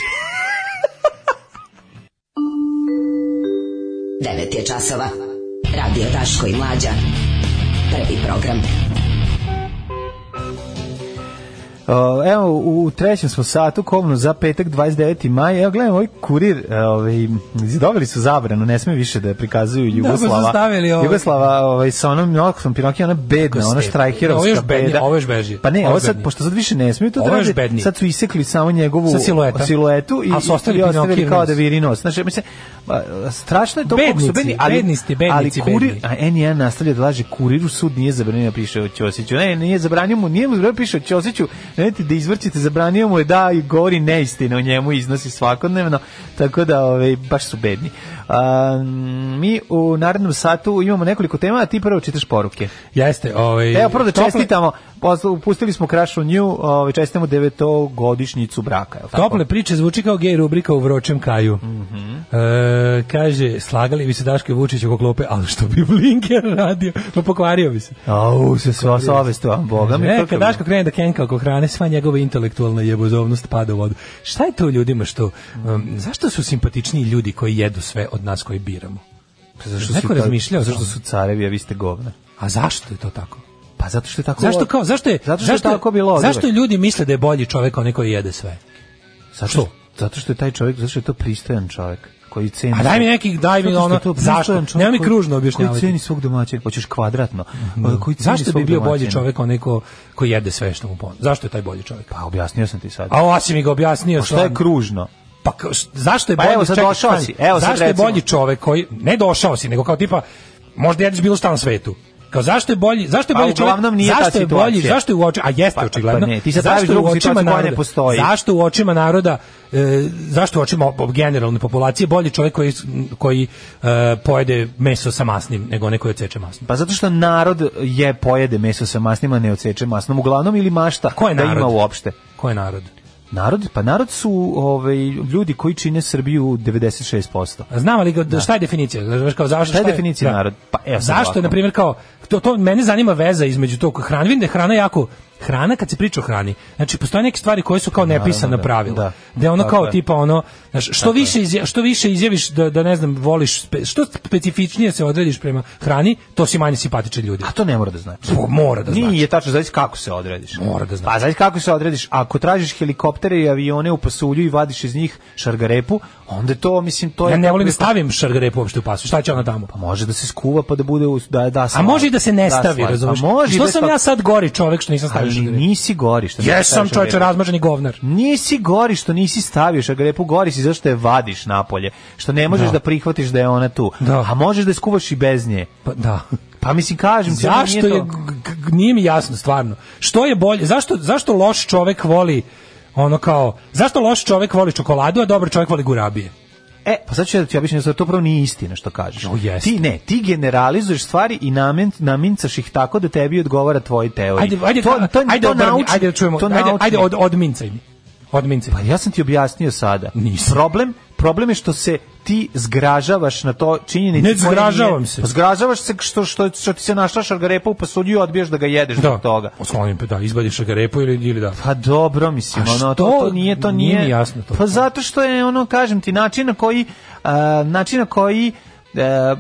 9 je časova. Radio Daško i Mlađa. Prvi program. O, Evo, u trećem smo satu, komno za petak 29. maj. Evo, gledam, ovaj kurir, e, ovaj, dobili su zabranu, ne sme više da prikazuju Jugoslava. pa su stavili ovaj- Jugoslava ovaj, sa onom noktom Pinokija, ona bedna, Kako ona ste- štrajkerovska Ovo je još bednije, beda. ovo je još bežije. Pa ne, Ovo je ovo sad, bednije. pošto sad više ne smiju to Ovo da je još rade, bednije. sad su isekli samo njegovu Sa silueta. siluetu i, Ali su ostavili i ostavili Pinokijev kao nos. da viri nos. Znači, mislim, ba, strašno je to koliko su Bednici, bedni, ali, bedni ste, bednici, ali kurir, bedni. a N1 nastavlja da laže kuriru, sud nije zabranio da piše o Ćosiću. Ne, nije zabranio mu, nije mu zabranio da piše o Ćosiću. Nemojte da izvrćete, zabranio mu je da i govori neistine o njemu, iznosi svakodnevno. Tako da, ovaj, baš su bedni. A, mi u narednom satu imamo nekoliko tema, a ti prvo čitaš poruke. Jeste, ovaj... Evo, prvo da tople- čestitamo, poslu- pustili smo Krašu Nju, ovaj, čestitamo devetogodišnjicu braka. je li tako? Mhm. Tople priče zvuči kao gej rubrika u vročem kaju. E, kaže, slagali bi se Daško i Vučić oko klope, ali što bi Blinker radio? Pa pokvario bi se. Au, se sva savest, a boga mi. Ne, kako E, kad bi- Daško krene da kenka oko hrane, sva njegova intelektualna jebozovnost pada u vodu. Šta je to ljudima što... um, zašto su simpatičniji ljudi koji jedu sve od nas koji biramo? Pa Zašto Neko su ta- razmišljao o zašto tome? su carevi, a vi ste govna. A zašto je to tako? Pa zato što je tako Zašto kao zašto je Zato što je zašto tako bilo oduvek. Zašto ljudi misle da je bolji čovjek onaj koji jede sve? Zašto? Zato što je taj čovjek, zato što je to pristojan čovjek koji ceni. A Pa daj mi neki, daj Pa Zato mi što je ono, to pristojan zašto? čovjek Nemoj mi koji- kružno Koji objašnjavati. Mhm. ceni svog domaćeg, hoćeš kvadratno. Koji ceni Zašto bi svog bio bolji domaćina? čovjek onaj ko, ko jede sve što mu ponu? Zašto je taj bolji čovjek? Pa objasnio sam ti sad. A ovo si mi ga objasnio. A šta je stvarno. kružno? Pa kao, š- zašto je Pa bolji evo, sad čekaj, došao stani, si, evo sad zašto je recimo. bolji čovjek koji ne došao si nego kao tipa možda jedeš bilo šta na svetu. Kao zašto je bolji, zašto je Pa bolji čovjek? uglavnom nije ta zašto je situacija. bolji, zašto je u oči, a jeste Pa- pa očigledno. ne, ti sad zašto praviš je u drugu očima situaciju koja ne naroda- postoji. Zašto u očima naroda, e, zašto u očima op- generalne populacije bolji čovjek koji koji e, pojede meso sa masnim nego onaj koji odseče masno? Pa zato što narod je pojede meso sa masnima, ne odseče masnom uglavnom ili mašta Ko je da narod? ima uopšte. Ko je narod? Narod, pa narod su ovaj ljudi koji čine Srbiju 96%. A Znamo li ga, da. šta je definicija? Znaš kao zašto Šta je definicija narod? Pa evo sad zašto ovako. je na primjer kao to to mene zanima veza između tog hrane, vidim da je hrana jako hrana kad se priča o hrani. Znači postoje neke stvari koje su kao nepisana da, pravila. da. Da. je ono Tako kao je. tipa ono, znaš, što više izja- što više izjaviš da da ne znam voliš spe- što specifičnije se odrediš prema hrani, to si manje simpatičan ljudi. A to ne mora da znači. Pa, mora da znači. Nije tačno, zavisi kako se odrediš. Mora da znači. Pa zavisi kako se odrediš. Ako tražiš helikoptere i avione u pasulju i vadiš iz njih šargarepu, onda to, mislim, Pa to je... Ja ne volim da stavim šargarepu uopšte u pasu. Šta će ona tamo? Pa može da se skuva pa da bude... u- Da, da A slavi. može i da se ne Da, stavi, slavi. razumeš? Pa može i što da sam stavi- ja sad gori čovek što nisam stavio Ali šargarepu? nisi gori što nisi stavio Jesam čovječe šargarepu. razmaženi govnar. Nisi gori što nisi stavio šargarepu, gori si zašto je vadiš napolje, što ne možeš da, Da. prihvatiš da je ona tu. Da. A možeš da je skuvaš i bez nje. Pa da. Pa mislim, kažem ti, ono nije Zašto je to- g- g- nije mi jasno stvarno. Što je bolje? Zašto zašto loš čovek voli ono kao zašto loš čovek voli čokoladu, a dobar čovek voli gurabije? E, pa sad ću ja da ti objasnim nešto, to prvo nije istina što kažeš. No, jeste. Ti ne, ti generalizuješ stvari i namen, namincaš ih tako da tebi odgovara tvoji teoriji. Ajde, ajde, to, to, ajde, to obrni, naučni- ajde da čujemo. to ajde, naučni- ajde od odmincaj mi. Odmincaj. Pa ja sam ti objasnio sada. Nisi. Problem, problem je što se ti zgražavaš na to činjenicu. Ne koja zgražavam nije- se. Pa zgražavaš se što, što, što ti se našla šargarepa u pasulju i odbijaš da ga jedeš zbog toga. Oslonim, da, izbadiš ga repu ili, ili da. Pa dobro, mislim, A ono, to, što? to nije, to nije. Nije mi jasno to. Pa zato što je, ono, kažem ti, način na koji, a, način na koji e, e,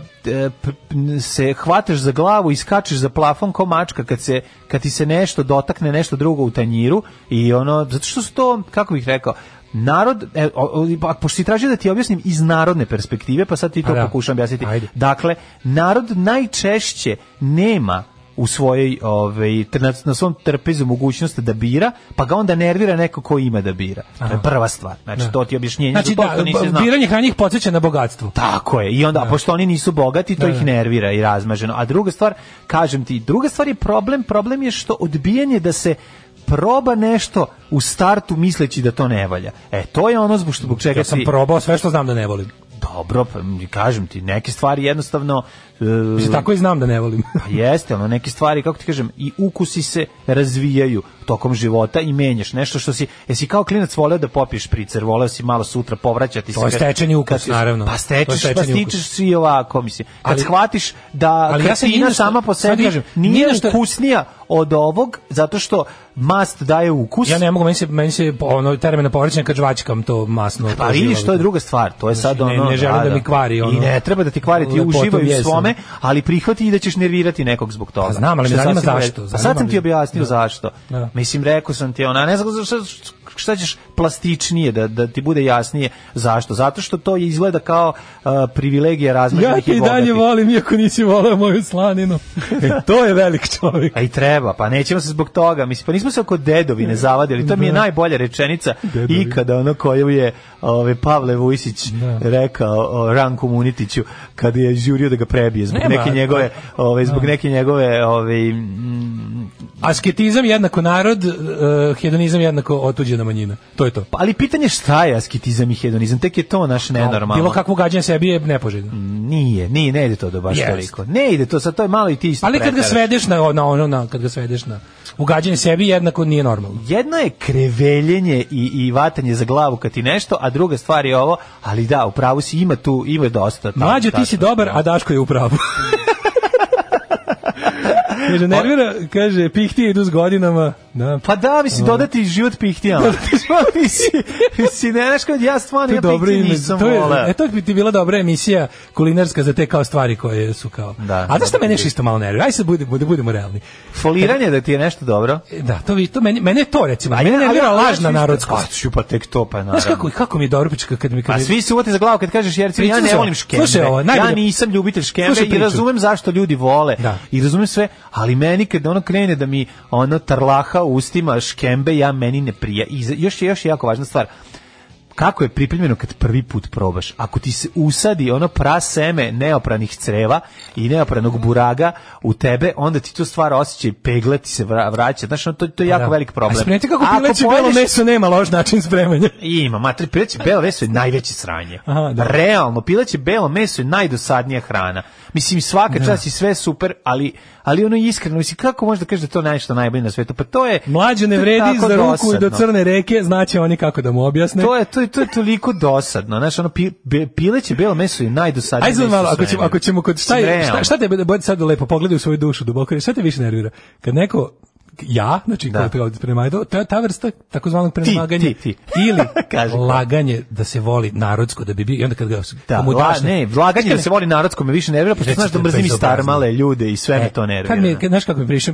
p- p- se hvataš za glavu i skačeš za plafon ko mačka kad, se, kad ti se nešto dotakne, nešto drugo u tanjiru i ono, zato što su to, kako bih rekao, narod, e, o- o- pa, pošto si tražio da ti objasnim iz narodne perspektive, pa sad ti to Pa da. pokušam objasniti. Ajde. Dakle, narod najčešće nema u svojoj ovaj tr- na, na svom trpezu mogućnosti da bira, pa ga onda nervira neko ko ima da bira. To je prva stvar. Znači Da. to ti je objašnjenje Znači, za to što da, nisi b- znao. biranje hranje ih podsjeća na bogatstvo. Tako je. I onda pošto oni nisu bogati, to Da, ih da. nervira i razmaženo. A druga stvar, kažem ti, druga stvar je problem, problem je što odbijanje da se proba nešto u startu misleći da to ne valja. E, to je ono zbog, zbog čega Ja sam ti- probao sve što znam da ne volim. Dobro, pa, kažem ti, neke stvari jednostavno... e, Mislim, tako i znam da ne volim. Pa jeste, ono, neke stvari, kako ti kažem, i ukusi se razvijaju tokom života i menjaš nešto što si, jesi kao klinac voleo da popiješ pricer, voleo si malo sutra povraćati To je se- stečeni ukus, kad si- naravno. Pa To je stečeš, pa stečeni ukus. stičeš svi ovako, mislim. Kad Ali- shvatiš da ali ja sam kretina jedino što- sama po sad sebi kažem, nije, nije što- ukusnija od ovog, zato što mast daje ukus, Ja ne mogu, meni se, meni se ono, termina na povrćanje kad žvačkam to masno. Pa to vidiš, živalo. to je druga stvar. To je sad Znači, ne- ono... ne želim da mi kvari, ono, I ne treba da ti kvari, ti lepotom uživaj u jesam. svome, ali prihvati i da ćeš nervirati nekog zbog toga. Pa znam, ali Što me zanima sasvim u redu. zašto, Pa sad zanima sam me- ti objasnio Da. zašto. Da. Mislim, rekao sam ti, ona, ne znam šta, šta ćeš plastičnije, da, da ti bude jasnije zašto. Zato što to izgleda kao uh, privilegija Ja razmeđenih te i dalje bogatih. volim, iako nisi voleo moju slaninu. E, to je velik čovjek. A i treba, pa nećemo se zbog toga. Mislim, pa nismo se oko dedovine zavadili. To mi je najbolja rečenica Dedovine. ikada ono koju je ove, Pavle Vujsić rekao o Ranku Munitiću kad je žurio da ga prebije zbog Nema, neke pa- njegove, ove, zbog neke njegove ovaj, ove, mm, Asketizam jednako narod, e, hedonizam jednako otuđena manjina. To je to. pa, ali pitanje je šta je asketizam i hedonizam, tek je to naš nenormalno. Bilo kakvo gađanje sebi je nepoželjno. Nije, nije, ne ide to do baš Jest. toliko. Ne ide to, sad to je malo i ti isto Ali kad ga preteraš. svedeš na, na ono, na, kad ga svedeš na ugađanje sebi jednako nije normalno. Jedno je kreveljenje i, i vatanje za glavu kad ti nešto, a druga stvar je ovo, ali da, u pravu si, ima tu, ima dosta. tamo, Mlađo, ti si tačno. dobar, a Daško je u pravu. kaže, nervira, kaže, pihti idu s godinama. Da. Pa Pa da, mislim, dodati život pihtijama. mislim, mislim, ne znaš kad ja stvarno, To ja je dobro pihtije ime. nisam To je, voleo. e, to bi ti bila dobra emisija kulinarska za te kao stvari koje su kao. Da, A znaš šta dobro mene bi. još isto malo nervira? Aj sad budemo, da budemo realni. Foliranje da ti je nešto dobro. E, Da, to vi to meni mene je to recimo. mene ja- nervira ali- ali lažna ja ću isto- narodskost. A, ću pa tek to, pa naravno. Znaš kako kako mi je dobro pička kad mi kad A mi- Pa svi se uvati za glavu kad kažeš Jerci, ja Pričam ne se- volim škembe. slušaj ovo, najbolje- ja nisam ljubitelj škembe Slušaj i priču. razumem zašto ljudi vole. Da. I razumem sve, ali meni kad ono krene da mi ono tarlaha u ustima škembe, ja meni ne prija. I za- još je još je jako važna stvar. kako je pripremljeno kad prvi put probaš. Ako ti se usadi ono praseme neopranih creva i neopranog buraga u tebe, onda ti to stvara osjećaj pegle ti se vra- vraća. Znaš, ono, to, to je jako Pa Da. velik problem. A spremite kako Ako pileće pojedeš- belo meso nema loš način spremanja. Ima, matri, pileće belo meso je najveće sranje. Aha, da. Realno, pileće belo meso je najdosadnija hrana. Mislim, svaka Da. čast i sve super, ali, ali ono iskreno, mislim, kako možda kažeš da je to nešto najbolje na svetu? Pa to je... Mlađe ne to je vredi tako za ruku i do dosadno. crne reke, znaće oni kako da mu objasne. To je, to, je, to je toliko dosadno. Znaš, ono, pi, be- pileće belo meso je najdosadnije Ajde sad meso u malo, ako ćemo, svemiru. ako ćemo kod šta, Mislim, je, šta, realno. šta te bod sad lepo pogledaj u svoju dušu duboko, šta te više nervira? Kad neko ja, znači da. kao premajdo, ta, ta vrsta takozvanog premaganja ti, ti. ili Kaži. laganje da se voli narodsko da bi bio i onda kad ga Da, kad mu la, daš ne- ne, laganje da Iskreno, se voli narodsko me više nervira, pošto Recite, znaš da to je mrzim i bezobrazno. starmale ljude i sve me to nervira. E, Kad mi, je- kad, znaš kako mi prišao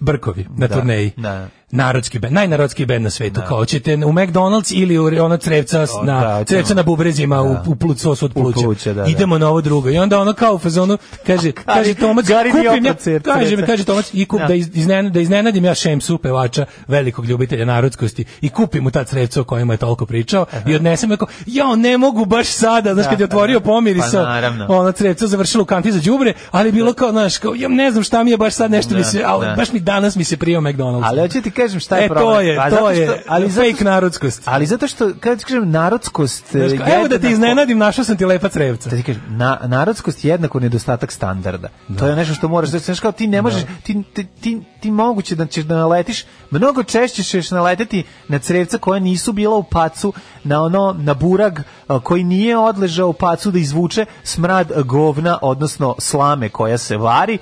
Brkovi na Da, turneji. da. Narodski bend, najnarodski bend na svetu. Kao ćete u McDonald's ili u ono crevca s- O, na da, ćemo. crevca na bubrezima u, u plut sos od pluća. pluća, da, da. Idemo na ovo drugo. I onda ono kao u fazonu kaže kaže Tomac Gari kupim Dioptra ja crevca, kaže crevca. mi kaže Tomac i kup Da. da iz- iznenadim da iznenadim ja Šemsu pevača velikog ljubitelja narodskosti i kupim mu ta crevca o kojima je toliko pričao i odnesem ga kao ja ne mogu baš sada znaš Da, kad je otvorio da. pomirisao Pa, naravno. ona crevca završila u kanti za đubre, ali je bilo kao, znaš, kao, ja ne znam šta mi je baš sad nešto Da, mi se, ali da. baš mi danas mi se prijao McDonald's. Ali hoću ti kažem šta je e, problem. to je, A to zato što- je, ali ali zato fake narodskost. Ali zato što, kad ti kažem, narodskost... Znaš, e, kao, evo da jednako- ti iznenadim, našao sam ti lepa crevca. Da ti kažem, na, narodskost je jednako nedostatak standarda. To je nešto što moraš, znači znaš kao ti ne možeš, ti, ti, ti, ti moguće da ćeš da naletiš, mnogo češće ćeš naleteti na crevca koja nisu bila u pacu, na ono, na burag a, koji nije odležao u pacu da izvuče smrad a, govna, odnosno slame koja se vari,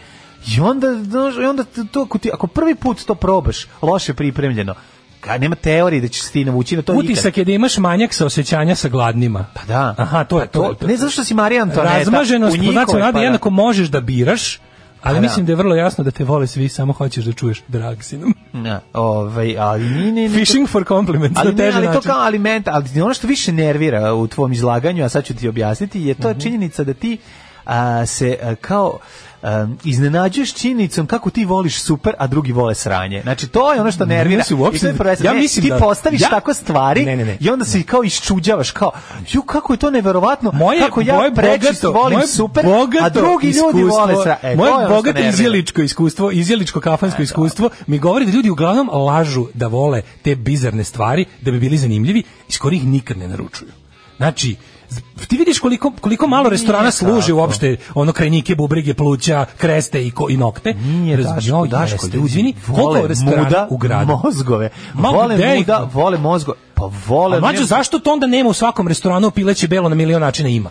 I onda, znaš, i onda to, ako, ti, ako prvi put to probaš, loše pripremljeno, ka, nema teorije da ćeš se ti navući na to nikad. Utisak je da imaš manjak sa osjećanja sa gladnima. Pa da. Aha, to je Pa to. Ne zato što si Marija Antoneta. Razmaženost u po njihovoj, pa nacionalni da. jednako možeš da biraš, ali Pa da. mislim da je vrlo jasno da te vole svi, samo hoćeš da čuješ drag si nam. Ne, ovaj, ali ni ne, ne, Fishing for compliments, ali ne, na teži ali to način. kao alimenta, ali ono što više nervira u tvom izlaganju, a sad ću ti objasniti, je Mhm. to činjenica da ti a, se a, kao um, iznenađuješ činjenicom kako ti voliš super, a drugi vole sranje. Znači, to je ono što nervira. Nisu uopšte- I to je prvenstveno. ja Ne, mislim ti da- postaviš ja- tako stvari Ne, ne, ne. i onda se kao iščuđavaš, kao, ju, kako je to neverovatno, moje kako ja moje prečist bogato, volim moje super, bogato a drugi iskustvo, ljudi vole sranje. E, to moje je ono što bogato nervira. E, izjeličko iskustvo, izjeličko kafansko iskustvo mi govori da ljudi uglavnom lažu da vole te bizarne stvari da bi bili zanimljivi, iz kojih nikad ne naručuju. Znači, z- ti vidiš koliko, koliko malo restorana služi tako. uopšte ono krajnike, bubrege, pluća, kreste i, ko, i nokte. Nije Raz- Daško, Joj, Daško, jeste, ljudi izvini, koliko vole restorana muda u gradu? mozgove. Ma, vole gde ih- muda, vole mozgove. Pa vole... A mlađo, zašto to onda nema u svakom restoranu pileće belo na milion načina ima?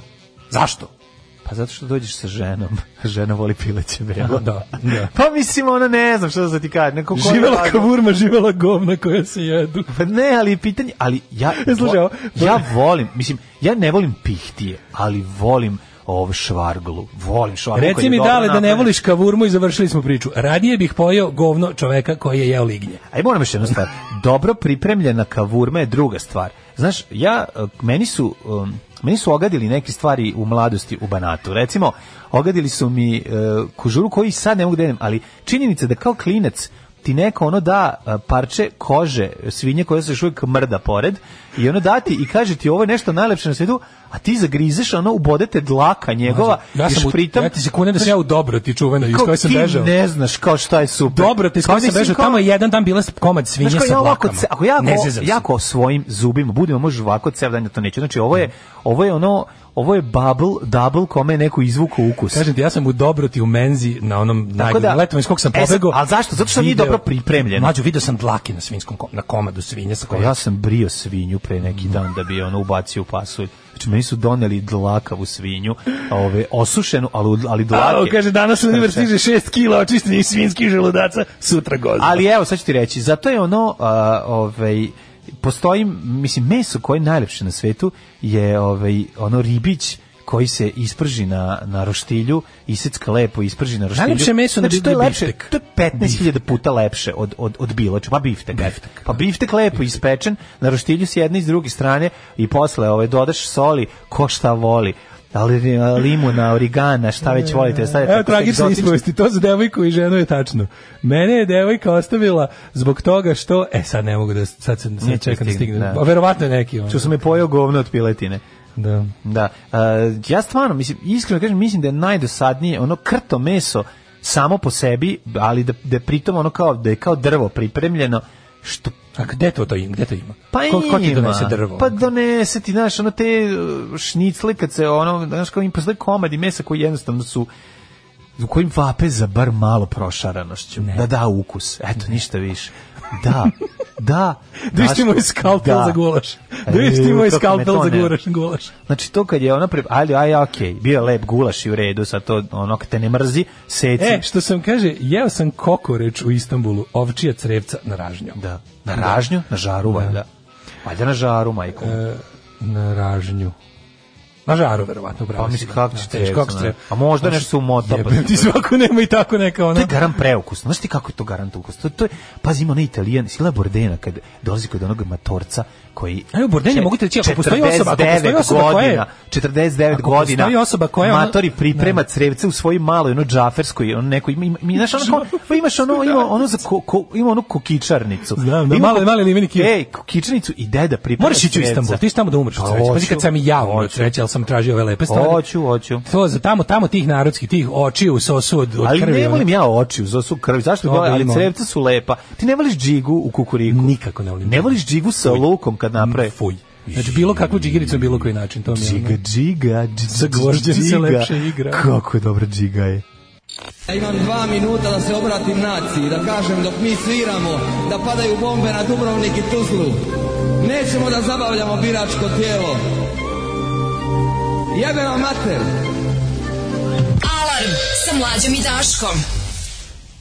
Zašto? Pa zato što dođeš sa ženom. Žena voli pileće belo. Da, da. Pa mislim, ona ne znam što da ti kažem. Neko ko je Živela lago- kavurma, živela govna koja se jedu. Pa ne, ali pitanje, ali ja, E, slušaj, ovo- ja volim, mislim, ja ne volim pihtije, ali volim ovo švarglu. Volim švarglu. koji Reci je mi dobro dale da ne napravljen. voliš kavurmu i završili smo priču. Radije bih pojeo govno čoveka koji je jeo lignje. A i moram još jednu stvar. Dobro pripremljena kavurma je druga stvar. Znaš, ja, eh, meni su, um, meni su ogadili neke stvari u mladosti u Banatu. Recimo, ogadili su mi eh, kužuru koji sad ne mogu da jedem, ali činjenica da kao klinec ti neko ono da eh, parče kože svinje koja se još uvijek mrda pored i ono dati i kaže ti ovo je nešto najlepše na svijetu, a ti zagrizeš ono, ubodete dlaka njegova Ja i sam u, špritom. ja ti se kunem da sam ja u dobro ti čuvena iz Kao koje sam ti bežao. ne znaš kao šta je super. Dobro, te iz Kao koje sam nisi bežao, kao- tamo je jedan dan bila komad svinje Znaš, kao sa ja ovako, dlakama. ce- ako ja, ne ako, zezam se. jako svojim zubima budem možeš ovako cev dan, ja to neću. Znači, ovo je, Mm. ovo je ono, ovo je bubble, double kome je neko izvuku ukus. Kažem ti, ja sam u Dobroti u Menzi na onom Tako da- najgledom letom iz kog sam E, sad, pobegao. ali zašto? Zato što nije video- dobro pripremljeno. Mlađo, video sam dlake na svinskom kom- na komadu svinja sa Pa kojom ja sam brio svinju pre Mm. neki dan da bi ono ubacio u pasulj. Znači, meni su doneli dlakavu svinju, a ove, osušenu, ali, ali dlake. A, kaže, danas u univer stiže 6 kila očištenih svinskih želudaca, sutra gozda. Ali evo, sad ću ti reći, zato je ono, a, ovaj, postoji, mislim, meso koje je najlepše na svetu je ovaj, ono ribić koji se isprži na, na roštilju, isecka lepo isprži na roštilju. Najlepše meso na znači, to je riblji lepše, biftek. To je 15.000 puta lepše od, od, od bilo čega, pa biftek. Biftek, Pa biftek lepo ispečen, na roštilju s jedne i s druge strane i posle ovaj, dodaš soli, ko šta voli ali limuna, origana, šta već volite, stavite. Evo tragične ispovesti, to za devojku i ženu je tačno. Mene je devojka ostavila zbog toga što, e sad ne mogu da, sad, sad, sad čekam da stigne. Da. Verovatno je neki. ono. Što sam je pojao govno od piletine. Da. Da. Uh, ja stvarno, mislim, iskreno kažem, mislim da je najdosadnije ono krto meso samo po sebi, ali da, da je pritom ono kao, da je kao drvo pripremljeno, što a gde to to ima? Gde to ima? Pa ko, ko ti donese drvo? Pa donese ti, znaš, ono te šnicle kad se ono, znaš, kao im postoje komadi mesa koji jednostavno su u kojim vape za bar malo prošaranošću. Ne. Da da ukus. Eto, ne. ništa više. Da, da. Da isti moj skalpel da. za gulaš. Da isti moj skalpel za gulaš, gulaš. Znači to kad je ona pre... Ali, aj, okej, okay, bio je lep gulaš i u redu, sad to ono kad te ne mrzi, seci. E, što sam kaže, jeo sam kokoreč u Istanbulu, ovčija crevca na ražnju. Da, na ražnju, da. na žaru, da. valjda. Valjda na žaru, majko. E, na ražnju. Na žaru verovatno pravo. Pa mislim kako će teško kako će. A možda nešto su umota pa. Ti svako nema i tako neka ona. To je garan preukus. Znaš ti kako je to garan ukus? To, to je pazi ima na Italijan, sila Bordena kad dolazi kod onog matorca koji Aj u Bordeni mogu ti reći ako postoji osoba, ako postoji osoba godina, koja je 49 ako godina. Postoji osoba koja je ono- matori priprema ne. crevce u svojoj maloj ono džaferskoj, on neko ima ima, ima znaš ono pa imaš ono ima ono za ko, ko, ima onu kokičarnicu. Znam, da, male male limeni kije. Ej, kokičarnicu i deda priprema. Moraš ići u Istanbul, ti tamo da umreš. Pa Pazi kad sam i ja umro, sam tražio ove lepe stvari. Oću, oću. To za tamo, tamo tih narodskih, tih očiju u sosu od, od ali krvi. ono. Ali ne volim ja očiju u sosu krvi. Zašto? No, ali crevca su lepa. Ti ne voliš džigu u kukuriku? Nikako ne volim. Ne voliš džigu sa Fuj. lukom kad naprave? Fuj. Znači bilo kakvu džigericu bilo koji način. To mi je džiga, ono. džiga, džiga, Sa gvožđem se lepše igra. Kako je dobra džiga je. Ja imam dva minuta da se obratim naciji, da kažem dok mi sviramo, da padaju bombe na Dubrovnik i Tuzlu. Nećemo da zabavljamo biračko tijelo, Jebe vam mater! Alarm sa mlađom i Daškom.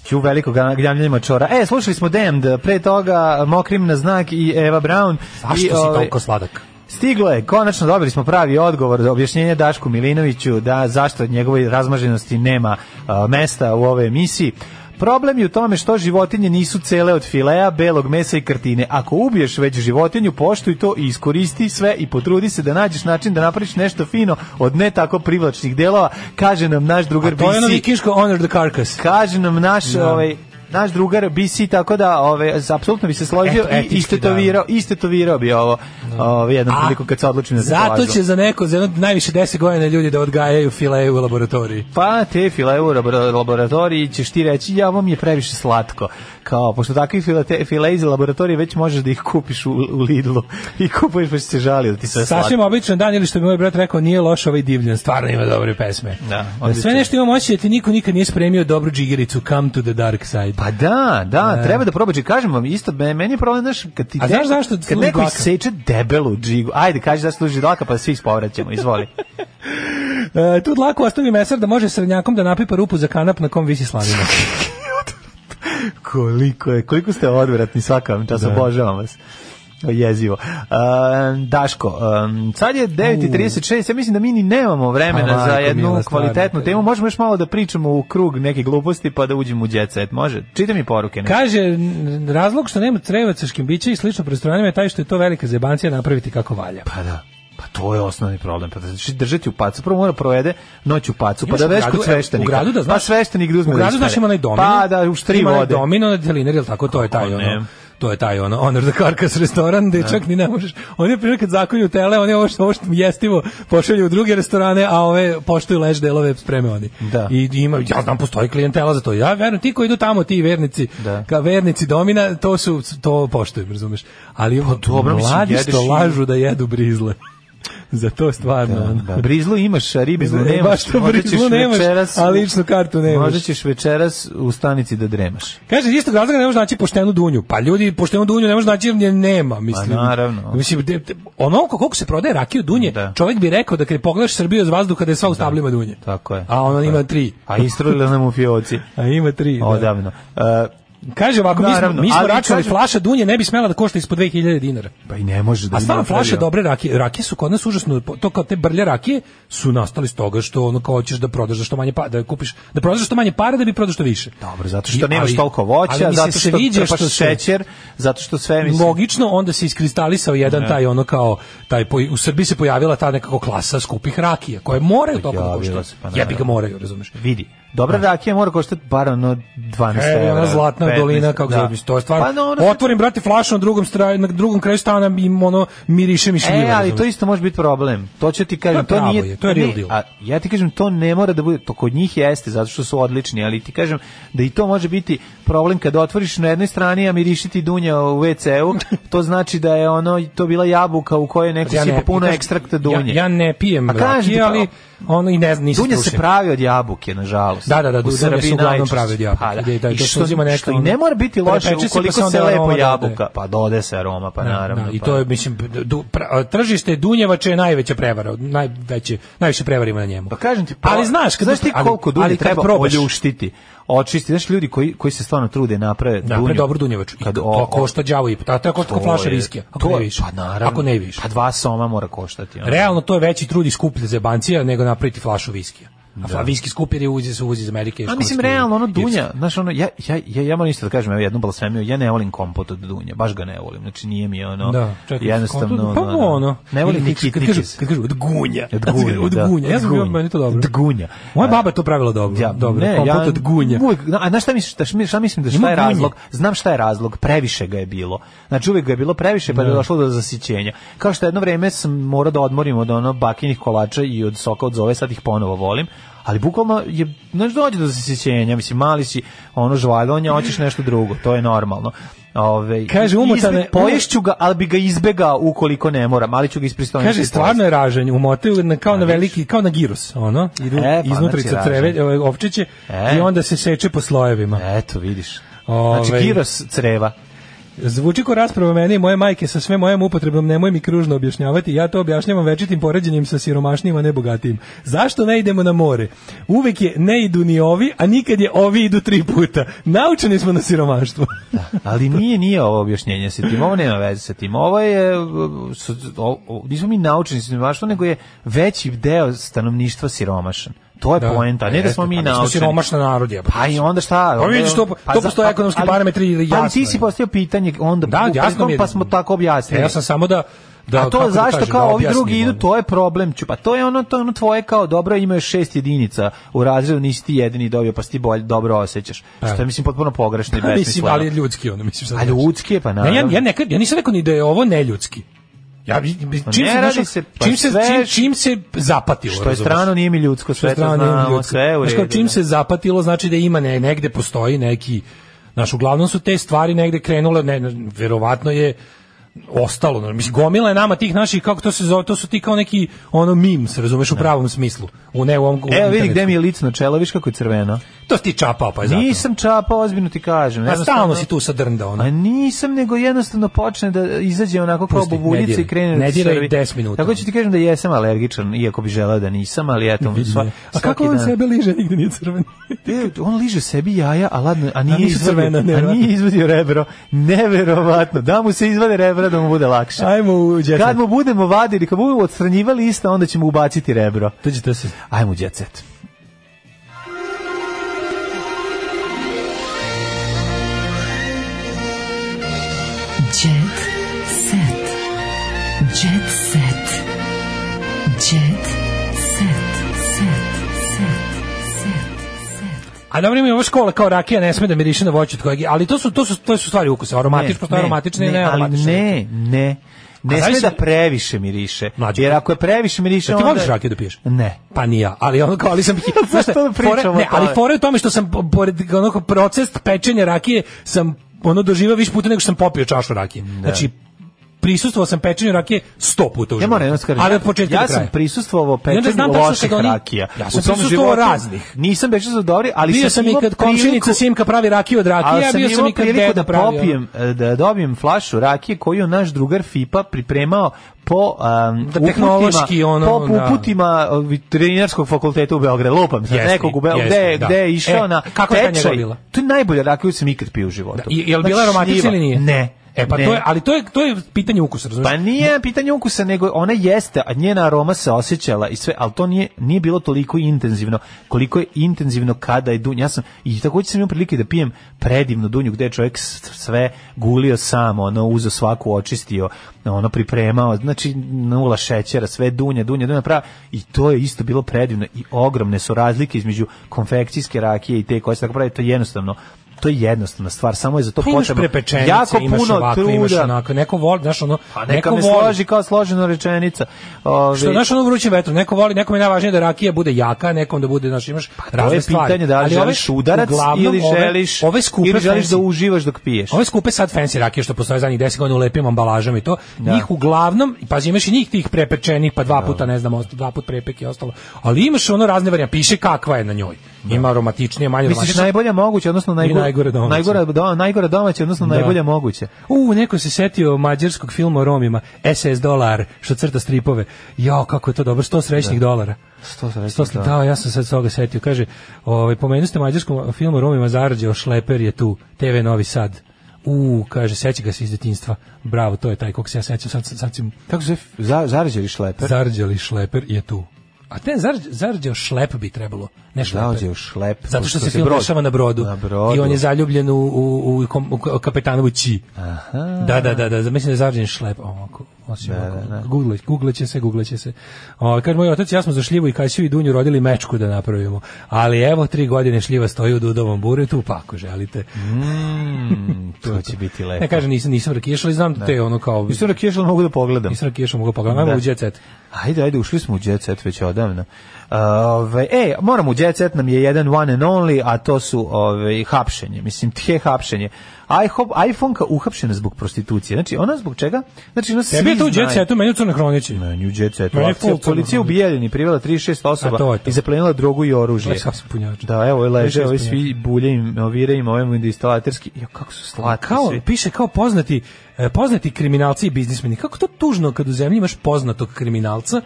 Ću velikog gnjavljenja mačora. E, slušali smo Damned, pre toga Mokrim na znak i Eva Brown. Zašto I, ovaj, si ove, toliko sladak? Stiglo je, konačno dobili smo pravi odgovor za objašnjenje Dašku Milinoviću da zašto od njegove razmaženosti nema a, mesta u ovoj emisiji. Problem je u tome što životinje nisu cele od fileja, belog mesa i kartine. Ako ubiješ već životinju, poštuj to i iskoristi sve i potrudi se da nađeš način da napraviš nešto fino od ne tako privlačnih delova, kaže nam naš drugar BC. to je ono vikinško honor the carcass. Kaže nam naš, no. ovaj, naš drugar BC, tako da ove, apsolutno bi se složio Eto, i istetovirao, da. istetovirao bi ovo no. ove, jednom priliku kad se odlučim na Zato tetovažu. će za neko, za jedno, najviše deset godina ljudi da odgajaju fileje u laboratoriji. Pa te fileje u laboratoriji ćeš ti reći, ja vam je previše slatko. Kao, pošto takvi file, fileje iz laboratorije već možeš da ih kupiš u, u Lidlu i kupuješ pa će se žali da ti sve slatko. Sasvim običan dan ili što bi moj brat rekao, nije loš ovaj divljan, stvarno ima dobre pesme. Da, odlično. sve nešto imam osjećaj da ti niko nikad nije spremio dobru džigericu, come to the dark side. Pa da, da, ne. treba da probaš i kažem vam isto, meni je problem, znaš, kad ti A znaš zašto kad neko seče debelu džigu, ajde, kaži da služi dlaka, pa svi ispovraćamo, izvoli. e, tu dlaku ostavi mesar da može srednjakom da napipa rupu za kanap na kom visi slanina. koliko je, koliko ste odvratni svaka vam čas, obožavam vas jezivo. Uh, Daško, um, sad je 9.36, ja mislim da mi ni nemamo vremena A, za jednu Pa, mila, kvalitetnu stvarno. temu. Možemo još malo da pričamo u krug neke gluposti pa da uđemo u jet set. Može? Čite mi poruke. Ne? Kaže, razlog što nema trevaca, škimbića i slično prostoranima je taj što je to velika zebancija napraviti kako valja. Pa da. Pa to je osnovni problem. Pa znači držati u pacu, prvo mora provede noć u pacu, pa da veš kod sveštenika. U gradu da znaš, pa sveštenik da uzme. U gradu znaš ima onaj domino. Pa da, u štri vode. Pa Ima domino, na delinar, jel tako, to je taj ono to je taj ono Honor the Carcass restoran gde čak ni ne možeš. Oni prije kad zakolju tele, oni ovo što, ovo što jestivo pošalju u druge restorane, a ove poštuju leš delove spreme oni. Da. I ima ja znam postoji klijentela za to. Ja verujem ti koji idu tamo ti vernici, da. ka vernici domina, to su to poštuju, razumeš. Ali ovo pa, dobro, mladi što i... lažu da jedu brizle. za to stvarno. ono Da, da. Brizlu imaš, a ribizlu ne, nemaš. e, Baš to brizlu nemaš, večeras, a ličnu kartu nemaš. Možda ćeš večeras u stanici da dremaš. Kaže, isto razloga ne možeš naći poštenu dunju. Pa ljudi, poštenu dunju ne možeš naći jer nema, mislim. Pa naravno. Mislim, de, de, ono koliko se prodaje rakije u dunje, da. čovjek bi rekao da kad pogledaš Srbiju iz vazduha da je sva u stablima dunje. Tako je. A ona ima tri. A istrojila nam u fioci. a ima tri. Odavno. Da. Uh, Kaže ovako, Naravno, mi smo, mi ali smo računali, kaže- flaša dunje ne bi smela da košta ispod 2000 dinara. Pa i ne može da A bi stvarno napravio. flaše dobre rakije, rakije su kod nas užasno, to kao te brlje rakije su nastali iz toga što ono kao hoćeš da prodaš za što manje pa, da kupiš, da prodaš za što manje para da bi prodao što više. Dobro, zato što I- nemaš ali- toliko ali voća, mi se zato što sviđa trpaš što se- šećer, zato što sve mislim... Logično, onda se iskristalisao jedan Ne. taj ono kao taj po, u Srbiji se pojavila ta nekako klasa skupih rakija koje moraju toliko da Javila koštaju. se, pa Jebi ga naravno. moraju, razumeš. Vidi, dobra rakija mora koštati bar ono 12 E, evra. ona zlatna 15, dolina kako da. to je stvarno. Pa, no, ono Otvorim brate flašu na drugom strani, na drugom kraju stana i ono miriše mi šljiva. E, ali razumeš. to isto može biti problem. To ću ti kažem, To je to, pravo nije... je, to je real ne, deal. A, ja ti kažem, to ne mora da bude, to kod njih jeste, zato što su odlični, ali ti kažem da i to može biti problem kada otvoriš na jednoj strani, a miriši ti dunja u WC-u, to znači da je ono, to bila jabuka u kojoj je neko Ja ne- sipa puno kažem, ekstrakta dunje. Ja, ja ne pijem A kažem ti, rakije, pa- ali ono i ne znam, nisam Dunja se stručnjak. pravi od jabuke, nažalost. Da, da, da, U dunja se Srbiji uglavnom najčešće. pravi od jabuke. Pa, da. Da, da, I to se što, uzima neka što i ono- ne mora biti loše prepeče se, pa ukoliko se se, onda aroma lepo dodaje. jabuka. Pa dode se aroma, pa naravno. Da, I pa. to je mislim du, pra, a, tržište dunjevače je najveća prevara, najveće najviše prevara ima na njemu. Pa kažem ti, pa, ali znaš, kad znaš ti ali- koliko dunje ali kad treba probaš- oljuštiti, očistiti, znaš ljudi koji, koji se stvarno trude naprave Da, pre dobro dunjevač. I Kad to o- košta đavo i pa to je košta kao To flaša je- viskija. Ako to- ne više. pa naravno. Ako ne više. Pa dva soma mora koštati. ono. Realno to je veći trud i skuplje za bancija nego napraviti flašu viskija. A Da. da. viski skuplje jer je uzi se uzi iz Amerike. A mislim Škotske i realno ono dunja, Irske. znaš ono ja ja ja ja moram isto da kažem evo jednu blasfemiju, ja ne volim kompot od dunja, baš ga ne volim. Znači nije mi ono Da, čekaj, jednostavno kompot- pa ono, ono. Ne volim Ili ni kad- kad kažu- kad kažu od gunja. Znači, Od gunja, Od da. gunja. Ja sam Od bio, gunja. meni to dobro. Od gunja. Moja baba je to pravila dobro. Ja, dobro. ne, kompot ja, od gunja. Uvek, zna- a znaš šta misliš, šta, mi- šta mislim da šta Ima je gunje. razlog? Znam šta je razlog, previše ga je bilo. Znači uvek ga je bilo previše pa je Da. došlo do zasićenja. Kao što jedno vreme sam morao da odmorim od ono bakinih kolača i od soka od zove, sad ih ponovo volim. Ali bukvalno je, znaš, dođe do zasićenja, mislim, mali si, ono, žvaljonja, hoćeš nešto drugo, to je normalno. Ove, Kaže, umotane- izbe- poješću ga, ali bi ga izbegao ukoliko ne moram, ali ću ga ispristojiti. Kaže stvarno je ražanj, umotaju na- kao na veliki, kao na giros, ono, idu E, pa, iznutrica znači, creve, ražanj. ovaj, ovčiće E. i onda se seče po slojevima. Eto, vidiš. Ovaj. Znači, giros creva. Zvuči ko rasprava mene i moje majke sa sve mojom upotrebom, nemoj mi kružno objašnjavati, ja to objašnjavam večitim poređenjem sa siromašnijim, a ne bogatijim. Zašto ne idemo na more? Uvek je ne idu ni ovi, a nikad je ovi idu tri puta. Naučeni smo na siromaštvo. Ali nije nije ovo objašnjenje sa tim, ovo nema veze sa tim. Ovo je uh, s- o- o- nismo mi naučeni siromaštvo, nego je veći deo stanovništva siromašan. To je Da. poenta, a ne da Eto, smo mi pa mi smo naučeni. siromašni narod, jebote. Pa i onda šta? Pa vidiš, to- to za- postoje ekonomski ali- parametri ili Pa jasno ali ti si je. postavio pitanje onda Da, u jasno mi je. pa smo tako objasnili. Ja sam samo da... da a to kako da zašto kažem, kao da ovi objasnim, drugi idu, ono. to je problem. Ću, pa to je ono, to je ono tvoje kao dobro, imaš šest jedinica u razredu, nisi ti jedini dobio, pa si ti bolje, dobro osjećaš. Što je, mislim, potpuno pogrešno i Pa, mislim, besmisleno. ali je ljudski ono, mislim. šta A znači. ljudski je, pa Ne, ja, naravno. ja, nekad, ja nisam rekao ni da je ovo neljudski. Ja, bi- bi- Pa čim, ne se, radi našao- se, pa čim, se, sve čim, š- čim se zapatilo. Što je razumeš? strano nije mi ljudsko, Što sve je to znamo, sve je u Znaš, kao, redu. čim da. se zapatilo, znači da ima ne, negde postoji neki... Znaš, uglavnom su te stvari negde krenule, ne, ne, verovatno je ostalo. znaš, Mislim, gomila je nama tih naših, kako to se zove, to su ti kao neki ono memes, razumeš, u pravom smislu. U ne u ovom... u Evo vidi internetu. gde mi je licno čelo, viš kako je crveno. To si ti čapao, pa je zato. Nisam čapa, ozbiljno ti kažem. A jednostavno- stalno si tu sa drnda, ono. A nisam, nego jednostavno počne da izađe onako kao Pusti, ne bubuljica diraj. i krene da Ne ti diraj šarvi. 10 minuta. Tako ću ti kažem da jesam alergičan, iako bi želeo da nisam, ali eto, Vidi sva, me. A svaki kako on dan- sebe liže, nigde nije crven. E, on liže sebi jaja, a ladno, a nije, nisu crvena, izvadio, a nevjerojatno. nije izvadio rebro. Neverovatno. Da mu se izvade rebro da mu bude lakše. Ajmo u jet set. Kad mu budemo vadili, kad budemo odstranjivali isto, onda ćemo ubaciti rebro. Dođite se. Ajmo u jet set. Jet set. Jet set. Jet set. Set. Set. A dobro ima i ova škola kao rakija ne sme da miriše na voće od kojeg, je- ali to su to su to su stvari ukusa, aromatične, postoje aromatične i ne, ali nearomatične. ne, ne. A Ne znaš sme šta- da previše miriše. Mlađo, Jer ako je previše miriše, Da ti onda... voliš rakiju da piješ? Ne. Pa ni ja, ali ono kao, ali sam... Znaš šta, Zašto pričamo pa- fora- o ne, ali tome? fora je u tome što sam, po- pored onako proces pečenja rakije, sam ono doživao više puta nego što sam popio čašu rakije. Znači, prisustvovao sam pečenju rakije 100 puta u Ja moram jedno skažem. Ali od početka ja do kraja. sam prisustvovao I onda znam pečenju tačno loših kad oni- rakija. Ja U sam svom prisustvovao životu raznih. Nisam pečenju dobri, ali bio sam i imao kad komšinica priliku- Simka pravi rakiju od Ali rakije, a bio sam imao i kad priliku deda da pravi. ono. popijem, e, da dobijem flašu rakije koju je naš drugar Fipa pripremao po um, Da, tehnološki, ono, po da. uputima e, veterinarskog fakulteta u Beogradu. Lupam se, Jeste, nekog u Beogradu, jeste, gde, da. gde je išao E, na kako je ta njegova tečaj. bila? To je najbolja rakija koju sam ikad pio u životu. I, jel bila Znači, aromatična šljiva. ili nije? Ne. E pa ne. to je, ali to je to je pitanje ukusa, razumiješ? Pa nije pitanje ukusa, nego ona jeste, a njena aroma se osjećala i sve, ali to nije, nije bilo toliko intenzivno, koliko je intenzivno kada je dunja. Ja sam, i takođe sam imao prilike da pijem predivnu dunju, gde je čovjek s- sve gulio sam, ono, uzo svaku, očistio, ono, pripremao, znači, nula šećera, sve dunja, dunja, dunja prava, i to je isto bilo predivno i ogromne su razlike između konfekcijske rakije i te koje se tako pravi, to je jednostavno to je jednostavna stvar, samo je za to Pa imaš potrebno prepečenice, jako imaš puno ovakve, truda. imaš onako, neko voli, znaš ono, Pa neka neko me voli, složi kao složena rečenica. Ove, Što znaš ono vruće vetro, neko voli, nekom je najvažnije da rakija bude jaka, a nekom da bude, znaš, imaš razne Pa je stvari. pitanje da li Ali ove- želiš udarac uglavnom ili ove- želiš- ove skupe ili želiš fancy- da uživaš dok piješ. Ove skupe sad fancy rakije što postoje zadnjih 10 godina u lepim ambalažama i to, Da. njih uglavnom, pazi, imaš i njih tih prepečenih, pa dva puta, ne znam, osta- dva puta prepek i ostalo, ali imaš ono razne varijante, piše kakva je na njoj. Ima aromatičnije, manje Misliš aromatičnije. najbolja moguća, odnosno najgore, najgore domaće. Najgore, do, najgore domaće, odnosno Da. najbolja moguća. U, neko se setio mađarskog filma o Romima, SS dolar, što crta stripove. Jo, kako je to dobro, 100 srećnih dolara. 100 srećnih Sto sre- dolara. Da, ja sam sad toga setio. Kaže, ovaj, pomenu ste mađarskom filmu o Romima Zarađeo, Šleper je tu, TV Novi Sad. U, kaže, seća ga se iz detinjstva. Bravo, to je taj kog se ja sećam. Sad, sad, sad si- Kako se za, zarađeli šleper? Zarđeli šleper je tu. A te zarđ- zarđeo šlep bi trebalo, ne šleper. Zarđeo šlep, Zato što pošto se Pa se film brod- dešava na brodu. na brodu. I on je zaljubljen u, u, u, kom- u k- kapetanovu ći. Da, da, da, da, mislim da je zarđen šlep. Ovako, osim ovako. Google, google će se, google će se. O, kaže moj otac, ja smo za šljivu i kasiju i dunju rodili mečku da napravimo. Ali evo, tri godine šljiva stoji u dudovom buretu, pa ako želite. Mm, to će biti lepo. Ne kaže, nisam, nisam rakijaš, ali znam da te ono kao... Mislim da kješal mogu da pogledam. Nisam rakijaš, mogu pogledati. Ajmo Da. u jet set. Ajde, ajde, ušli smo u Jet Set već odavno. Ove, e, moramo u Jet Set nam je jedan one and only, a to su ove, hapšenje, mislim, tje hapšenje. iPhone, iPhone-ka uhapšena zbog prostitucije. Znači, ona zbog čega? Znači, ona Tebe je to u jet Setu. setu, meni u crnoj hronici. Meni u Jet Setu. Meni je Akcija, full crno. Policija u Bijeljini privela 36 A to osoba je to. i zaplenila drogu i oružje. To je sasvim punjač. Da, evo, leže, Više ovi ispunjava. svi bulje im, ovire im, ovim instalaterski. Jo, kako su slatki Pa kao svi. piše kao poznati e, poznati kriminalci i biznismeni. Kako to tužno kad u zemlji imaš poznatog kriminalca?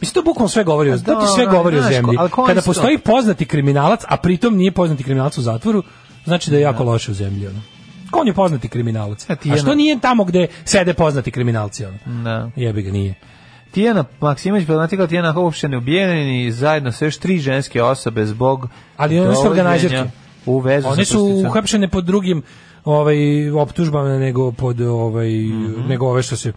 Mislim, to bukvalno sve govori, o- Pa to da, ti sve ono, govori o znaš ko, zemlji. ali ko oni Kada su to? postoji poznati kriminalac, a pritom nije poznati kriminalac u zatvoru, znači da je jako loše u zemlji. Ono. Ko on je poznati kriminalac? A E, ti A što jedno- nije tamo gde sede poznati kriminalci? Ono? Da. Jebi ga, nije. Tijana Maksimović, problematika Tijana uopšte ubijena i zajedno sa još tri ženske osobe zbog Ali one su dovođenja organizerke. U vezu One sa su prostitucijom. uhapšene pod drugim ovaj optužbama nego pod ovaj nego ove što se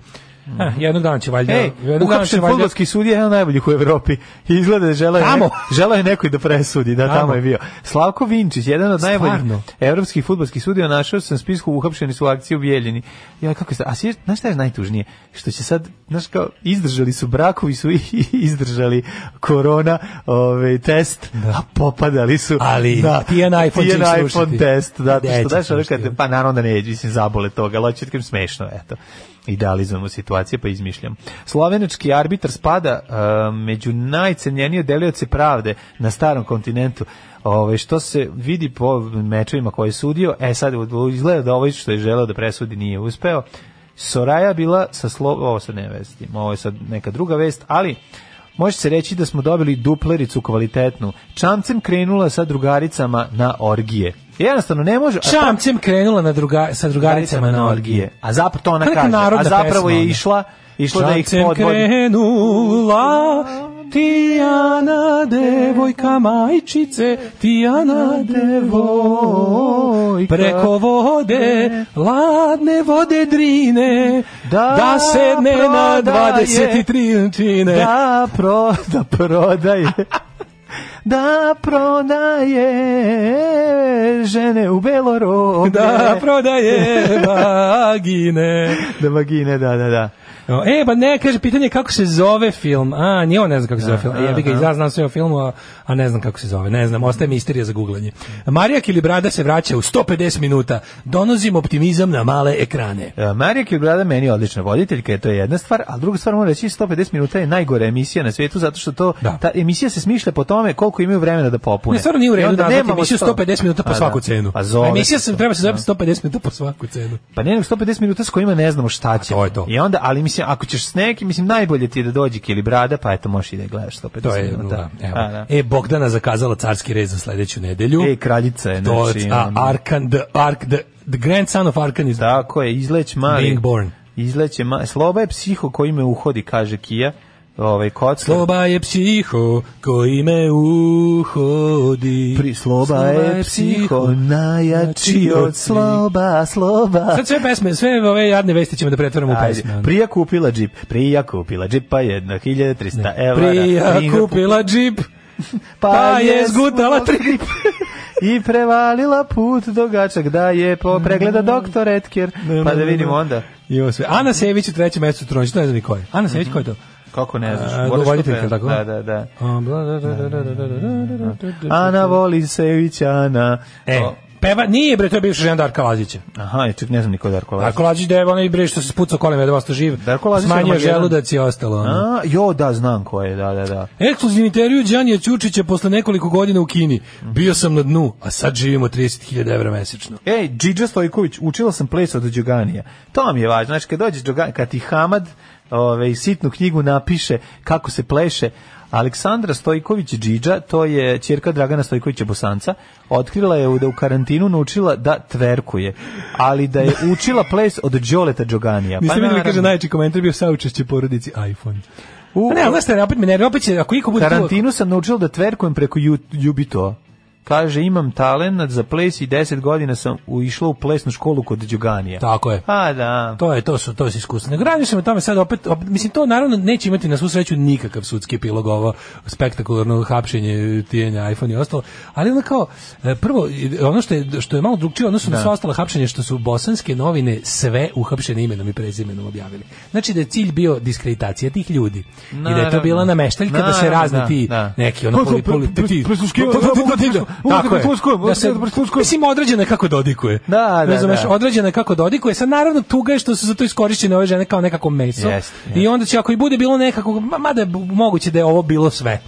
Eh, jednog dana će valjda Mhm. Ej, jednog dana će uhapšen valjda fudbalski sudija je jedan od najboljih u Evropi. I Izgleda da želeo je Tamo? neko- želeo je nekoj da presudi, da tamo, Tamo. je bio. Slavko Vinčić, jedan od najboljih Stvarno? evropskih fudbalskih sudija, našao sam spisku uhapšeni su u akciji u Bijeljini. Ja kako se, a si, znaš šta je najtužnije? Što će sad, znaš kao, izdržali su brakovi su i izdržali korona, ovaj test, a popadali su. Ali, Tijan iPhone će ih Tijan slušati. iPhone test, da, Neće što daš, ono slušati, kad te- pa naravno da neće, mislim, zabole toga, ali hoću da kažem smešno, eto. Idealizujemo situacije, pa izmišljam. Slovenački arbitar spada uh, među najcenjenije delioce pravde na starom kontinentu. Ove, što se vidi po mečevima koje je sudio, e sad izgleda da ovaj što je želeo da presudi nije uspeo. Soraja bila sa Slo... Ovo sad ne vestim, ovo je sad neka druga vest, ali može se reći da smo dobili duplericu kvalitetnu. Čamcem krenula sa drugaricama na orgije. Jednostavno ne može... a pa- ta- Čamcem krenula na druga, sa drugaricama na orgije. a zapravo to ona Kako je kaže. A narodna zapravo pesma je onda? išla, išla da ih Čamcem podvodi. krenula Tijana devojka majčice Tijana devojka Preko vode Ladne vode drine Da Da, sedne na prodaje. 23 čine Da, pro, da prodaje. da prodaje žene u belorobe. Da prodaje vagine. da vagine, da, da, da. No, E, pa ne, kaže, pitanje je kako se zove film. A, nije on ne znam kako se zove film. E, Ja bih ga izraz, znam sve o filmu, a, a ne znam kako se zove. Ne znam, ostaje misterija za googlanje. Marija Kilibrada se vraća u 150 minuta. Donosim optimizam na male ekrane. E, Marija Kilbrada meni je odlična voditeljka, to je jedna stvar, a druga stvar moram reći 150 minuta je najgore emisija na svetu zato što to ta emisija se smišlja po tome koliko imaju vremena da popune. Ne, stvarno nije u I redu onda da nemamo nemamo emisiju sto- 150 minuta po Pa svaku da. cenu. Pa zove A emisija se se. treba se zoveti 150 minuta po svaku cenu. Pa ne, nego 150 minuta s kojima ne znamo šta će. To je to. I onda, ali mislim, ako ćeš s nekim, mislim, najbolje ti je da dođe Kilibrada, pa eto, možeš i da gledaš 150 To je, minuta. da, evo. A, da. E, Bogdana zakazala carski rez za sledeću nedelju. E, kraljica je, To, znači, a, ono- Arkan, the, Ark, the, the grandson of Arkan is Tako je, izleć mali. Being born. Izleće mali. Sloba je psiho koji me uhodi, kaže Kija. Ovaj koc. Sloba je psiho koji me uhodi. Pri sloba je psiho najjači od sloba, sloba. Sad sve pesme, sve ove jadne vesti ćemo da pretvorimo u Ajde, pesme. ono. prija kupila džip, prija kupila džip, pa jedna 1300 evra. Prija kupila džip, pa je zgutala tri grip. I prevalila put do gačak da je po Mm. pregleda doktor Etker. Pa da vidimo onda. I ovo sve. Ana Sević u trećem mesecu tronić, to ne znam ni ko je. Ana Sević, ko je to? Kako ne znaš? A, Moraš Voditeljka, to tako? Mhm. Da, da, da. A, bla, da, da, da, da, da, da, da, da, da. Ana voli Sević, Ana. E, O, peva, nije bre, to je bivša žena Darka Lazića. Aha, i ček, ne znam niko Darko Lazić. Darko Lazić da je onaj bre što se spucao kolima da ostao živ. Darko Lazić je Smanjio Armageddon. želudac i ostalo. ono. A, jo, da, znam ko je, da, da, da. Ekskluzivni intervju Đanija Ćučića posle nekoliko godina u Kini. Bio sam na dnu, a sad živimo 30.000 evra mesečno. Ej, Džidža Stojković, učila sam ples od Đoganija. To mi je važno, znači kad dođe Đogan, kad ti Hamad ove, sitnu knjigu napiše kako se pleše, Aleksandra Stojković Džidža, to je ćerka Dragana Stojkovića Bosanca, otkrila je da u karantinu naučila da tverkuje, ali da je učila ples od Đoleta Đoganija. Pa Niste vidjeli, naravno. kaže, najjači komentar bio saučešće porodici iPhone. U- A Pa ne, ali znaš šta, opet me nervira, opet će, ako iko bude tu, karantinu sam naučila da tverkujem preko Ju- Jubito. Kaže, imam talent za ples i 10 godina sam u- išla u plesnu školu kod Đoganija. Tako je. A da. To je to su to su iskustva. Nego radi se o tome sad opet, opet mislim to naravno neće imati na svu sreću nikakav sudski epilog ovo spektakularno hapšenje tijenja iPhone i ostalo. Ali ono kao e, prvo e, ono što je što je malo drugčije odnosno na Da. sva ostala hapšenja što su bosanske novine sve uhapšene imenom i prezimenom objavili. Znači da je cilj bio diskreditacija tih ljudi. I da je to Naravno. bila nameštaljka da se Naravno, razni da, ti da. neki ono poli, poli, Pre- pre- ti- prisluškivanje, Tako je. ovo te prisluškujem, ovo Da se- te prisluškujem. Mislim određeno je kako dodikuje. Da, da, Razumeš, da. određena je kako dodikuje. Sad naravno tuga je što su za to iskorišćene ove žene kao nekako meso. Jeste, I onda će ako i bude bilo nekakvog, ma- mada je bu- moguće da je ovo bilo sve.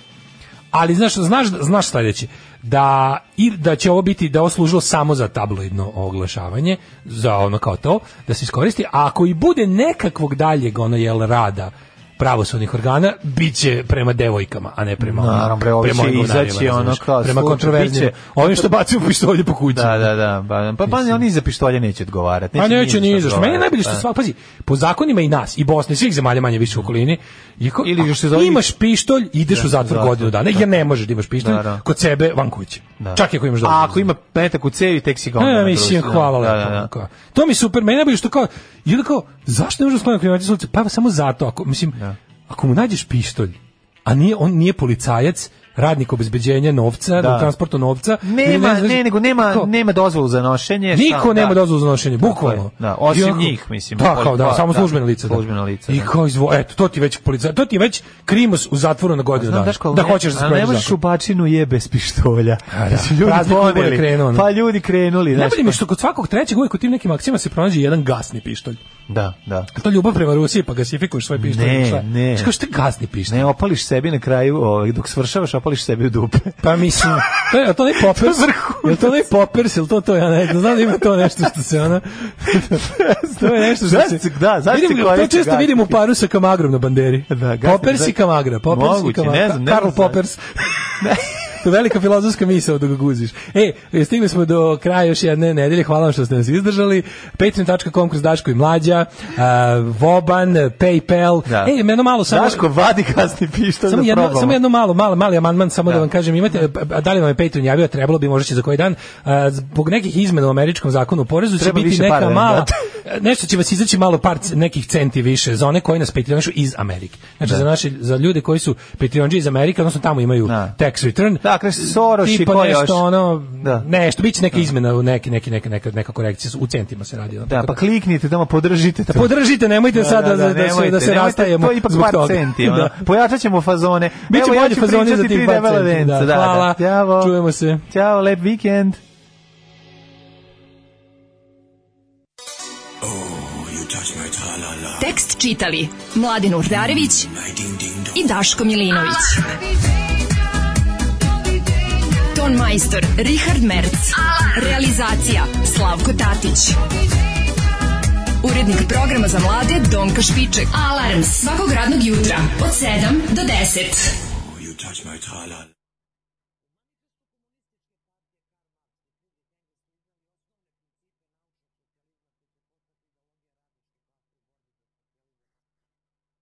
Ali znaš, znaš, znaš sledeće, da, i, da će ovo biti, da je ovo služilo samo za tabloidno oglašavanje, za ono kao to, da se iskoristi, a ako i bude nekakvog daljeg ono jel rada pravosudnih organa, bit će prema devojkama, a ne prema onim- Naravno, bre, ovi prema će ovim izaći govnarima, ono razumeš, kao prema slučaj, kontroverznim, bit će- ovim što bacaju pištolje po kući. Da, da, da. Pa, pa, pa oni za pištolje neće odgovarati. A neće ni šta izaš. Meni je odgovarati, najbolje što da. Mm. svak, pazi, po zakonima i nas, i Bosne, i svih zemalja manje više u okolini, je ko- Ili još se ako zove- imaš pištolj, ideš Da, u zatvor zatvor, godinu dana, da. jer ne možeš da imaš pištolj Da, da. kod sebe van kuće. Da. Čak i ako imaš dobro. A ako ima petak u cevi, tek si ga onda E, na mislim, društvu, hvala da, lepo. da, da. Kao, To mi super, meni je najbolje što kao, i onda kao, zašto ne možeš skloniti kriminalci s ulice? Pa samo zato, ako, mislim, ako mu nađeš pištolj, a nije, on nije policajac, radnik obezbeđenja novca, Da. u transportu novca. ili Nema, znam- ne, nego nema, Kao, nema dozvolu za nošenje. šta, Niko nema E, da. dozvolu za nošenje, bukvalno. Tako je, da, osim I onako- njih, mislim, Da, kao da, da, samo da, službena lica. da. službena lica, I da. kao izvo, eto, to ti je već policaj, to ti je već krimos u zatvoru na godinu Znam, dana. Daško, ali Da ne- hoćeš da ali Ne sprovediš možeš zakon. u bačinu je bez pištolja. da. Znači, ljudi Praznik poneli. bude krenuo, ne? Pa ljudi krenuli. Ne znaš, boli mi što kod svakog trećeg uvijek u tim nekim akcijama se pronađe jedan gasni pištolj. Da, da. To je ljubav prema Rusiji, pa gasifikuješ svoj pištolj. Ne, šta? ne. Znaš kao što je gasni pištolj? Ne opališ sebi na kraju, ovaj, dok svršavaš, opališ sebi u dupe. Pa mislim, to je, a to ne popers, je to ne popers, ili to to, ja ne znam, znam da ima to nešto što se ona, to je nešto što se, Zašto- da, zašto se vidim, to koristi često gasni vidim u paru sa Kamagrom na banderi, Da, gasni- popers i Kamagra, popers i Moguće, ne Kamagra, znam, ne Karl znam. Popers, to je velika filozofska misao da ga guziš. E, stigli smo do kraja još jedne nedelje, hvala vam što ste nas izdržali, patreon.com kroz Daško i Mlađa, a, Voban, Paypal, Da. e, jedno malo samo... Daško, vadi kasni pištolj Samo da jedno, probamo. samo jedno malo, malo, mali amandman, samo da, vam kažem, imate, a da li vam je Patreon javio, trebalo bi, možda će za koji dan, a, zbog nekih izmena u američkom zakonu o porezu će Treba biti više neka para da im mala, date. nešto će vas izaći malo par c- nekih centi više za one koji nas Patreonišu iz Amerike. Znači Da. za naše za ljude koji su Patreonđi iz Amerike, odnosno tamo imaju tax return. Dakle, Soros i tipa ko nešto još? ono, nešto, bit će neka izmena, neke, neke, neke, neka, neka korekcija, u centima se radi. ono, Da, tako pa kliknite tamo, podržite pa to. Da podržite, nemojte sad da- da- da se- nemojte, da se nemojte, rastajemo To je ipak zbog par toga. centi. Ono. Da. Pojačat ćemo fazone. Biće Evo, ja bolje ću fazoni za pričati tih tri par debela centi. venca, Da, da, hvala. da. Ćao. Čujemo se. Ćao, lep vikend. Tekst čitali Mladin Urdarević i Daško Milinović. Ton majstor Richard Merc. Realizacija Slavko Tatić. Urednik programa za mlade Donka Špiček. Alarms svakog radnog jutra od 7 do 10.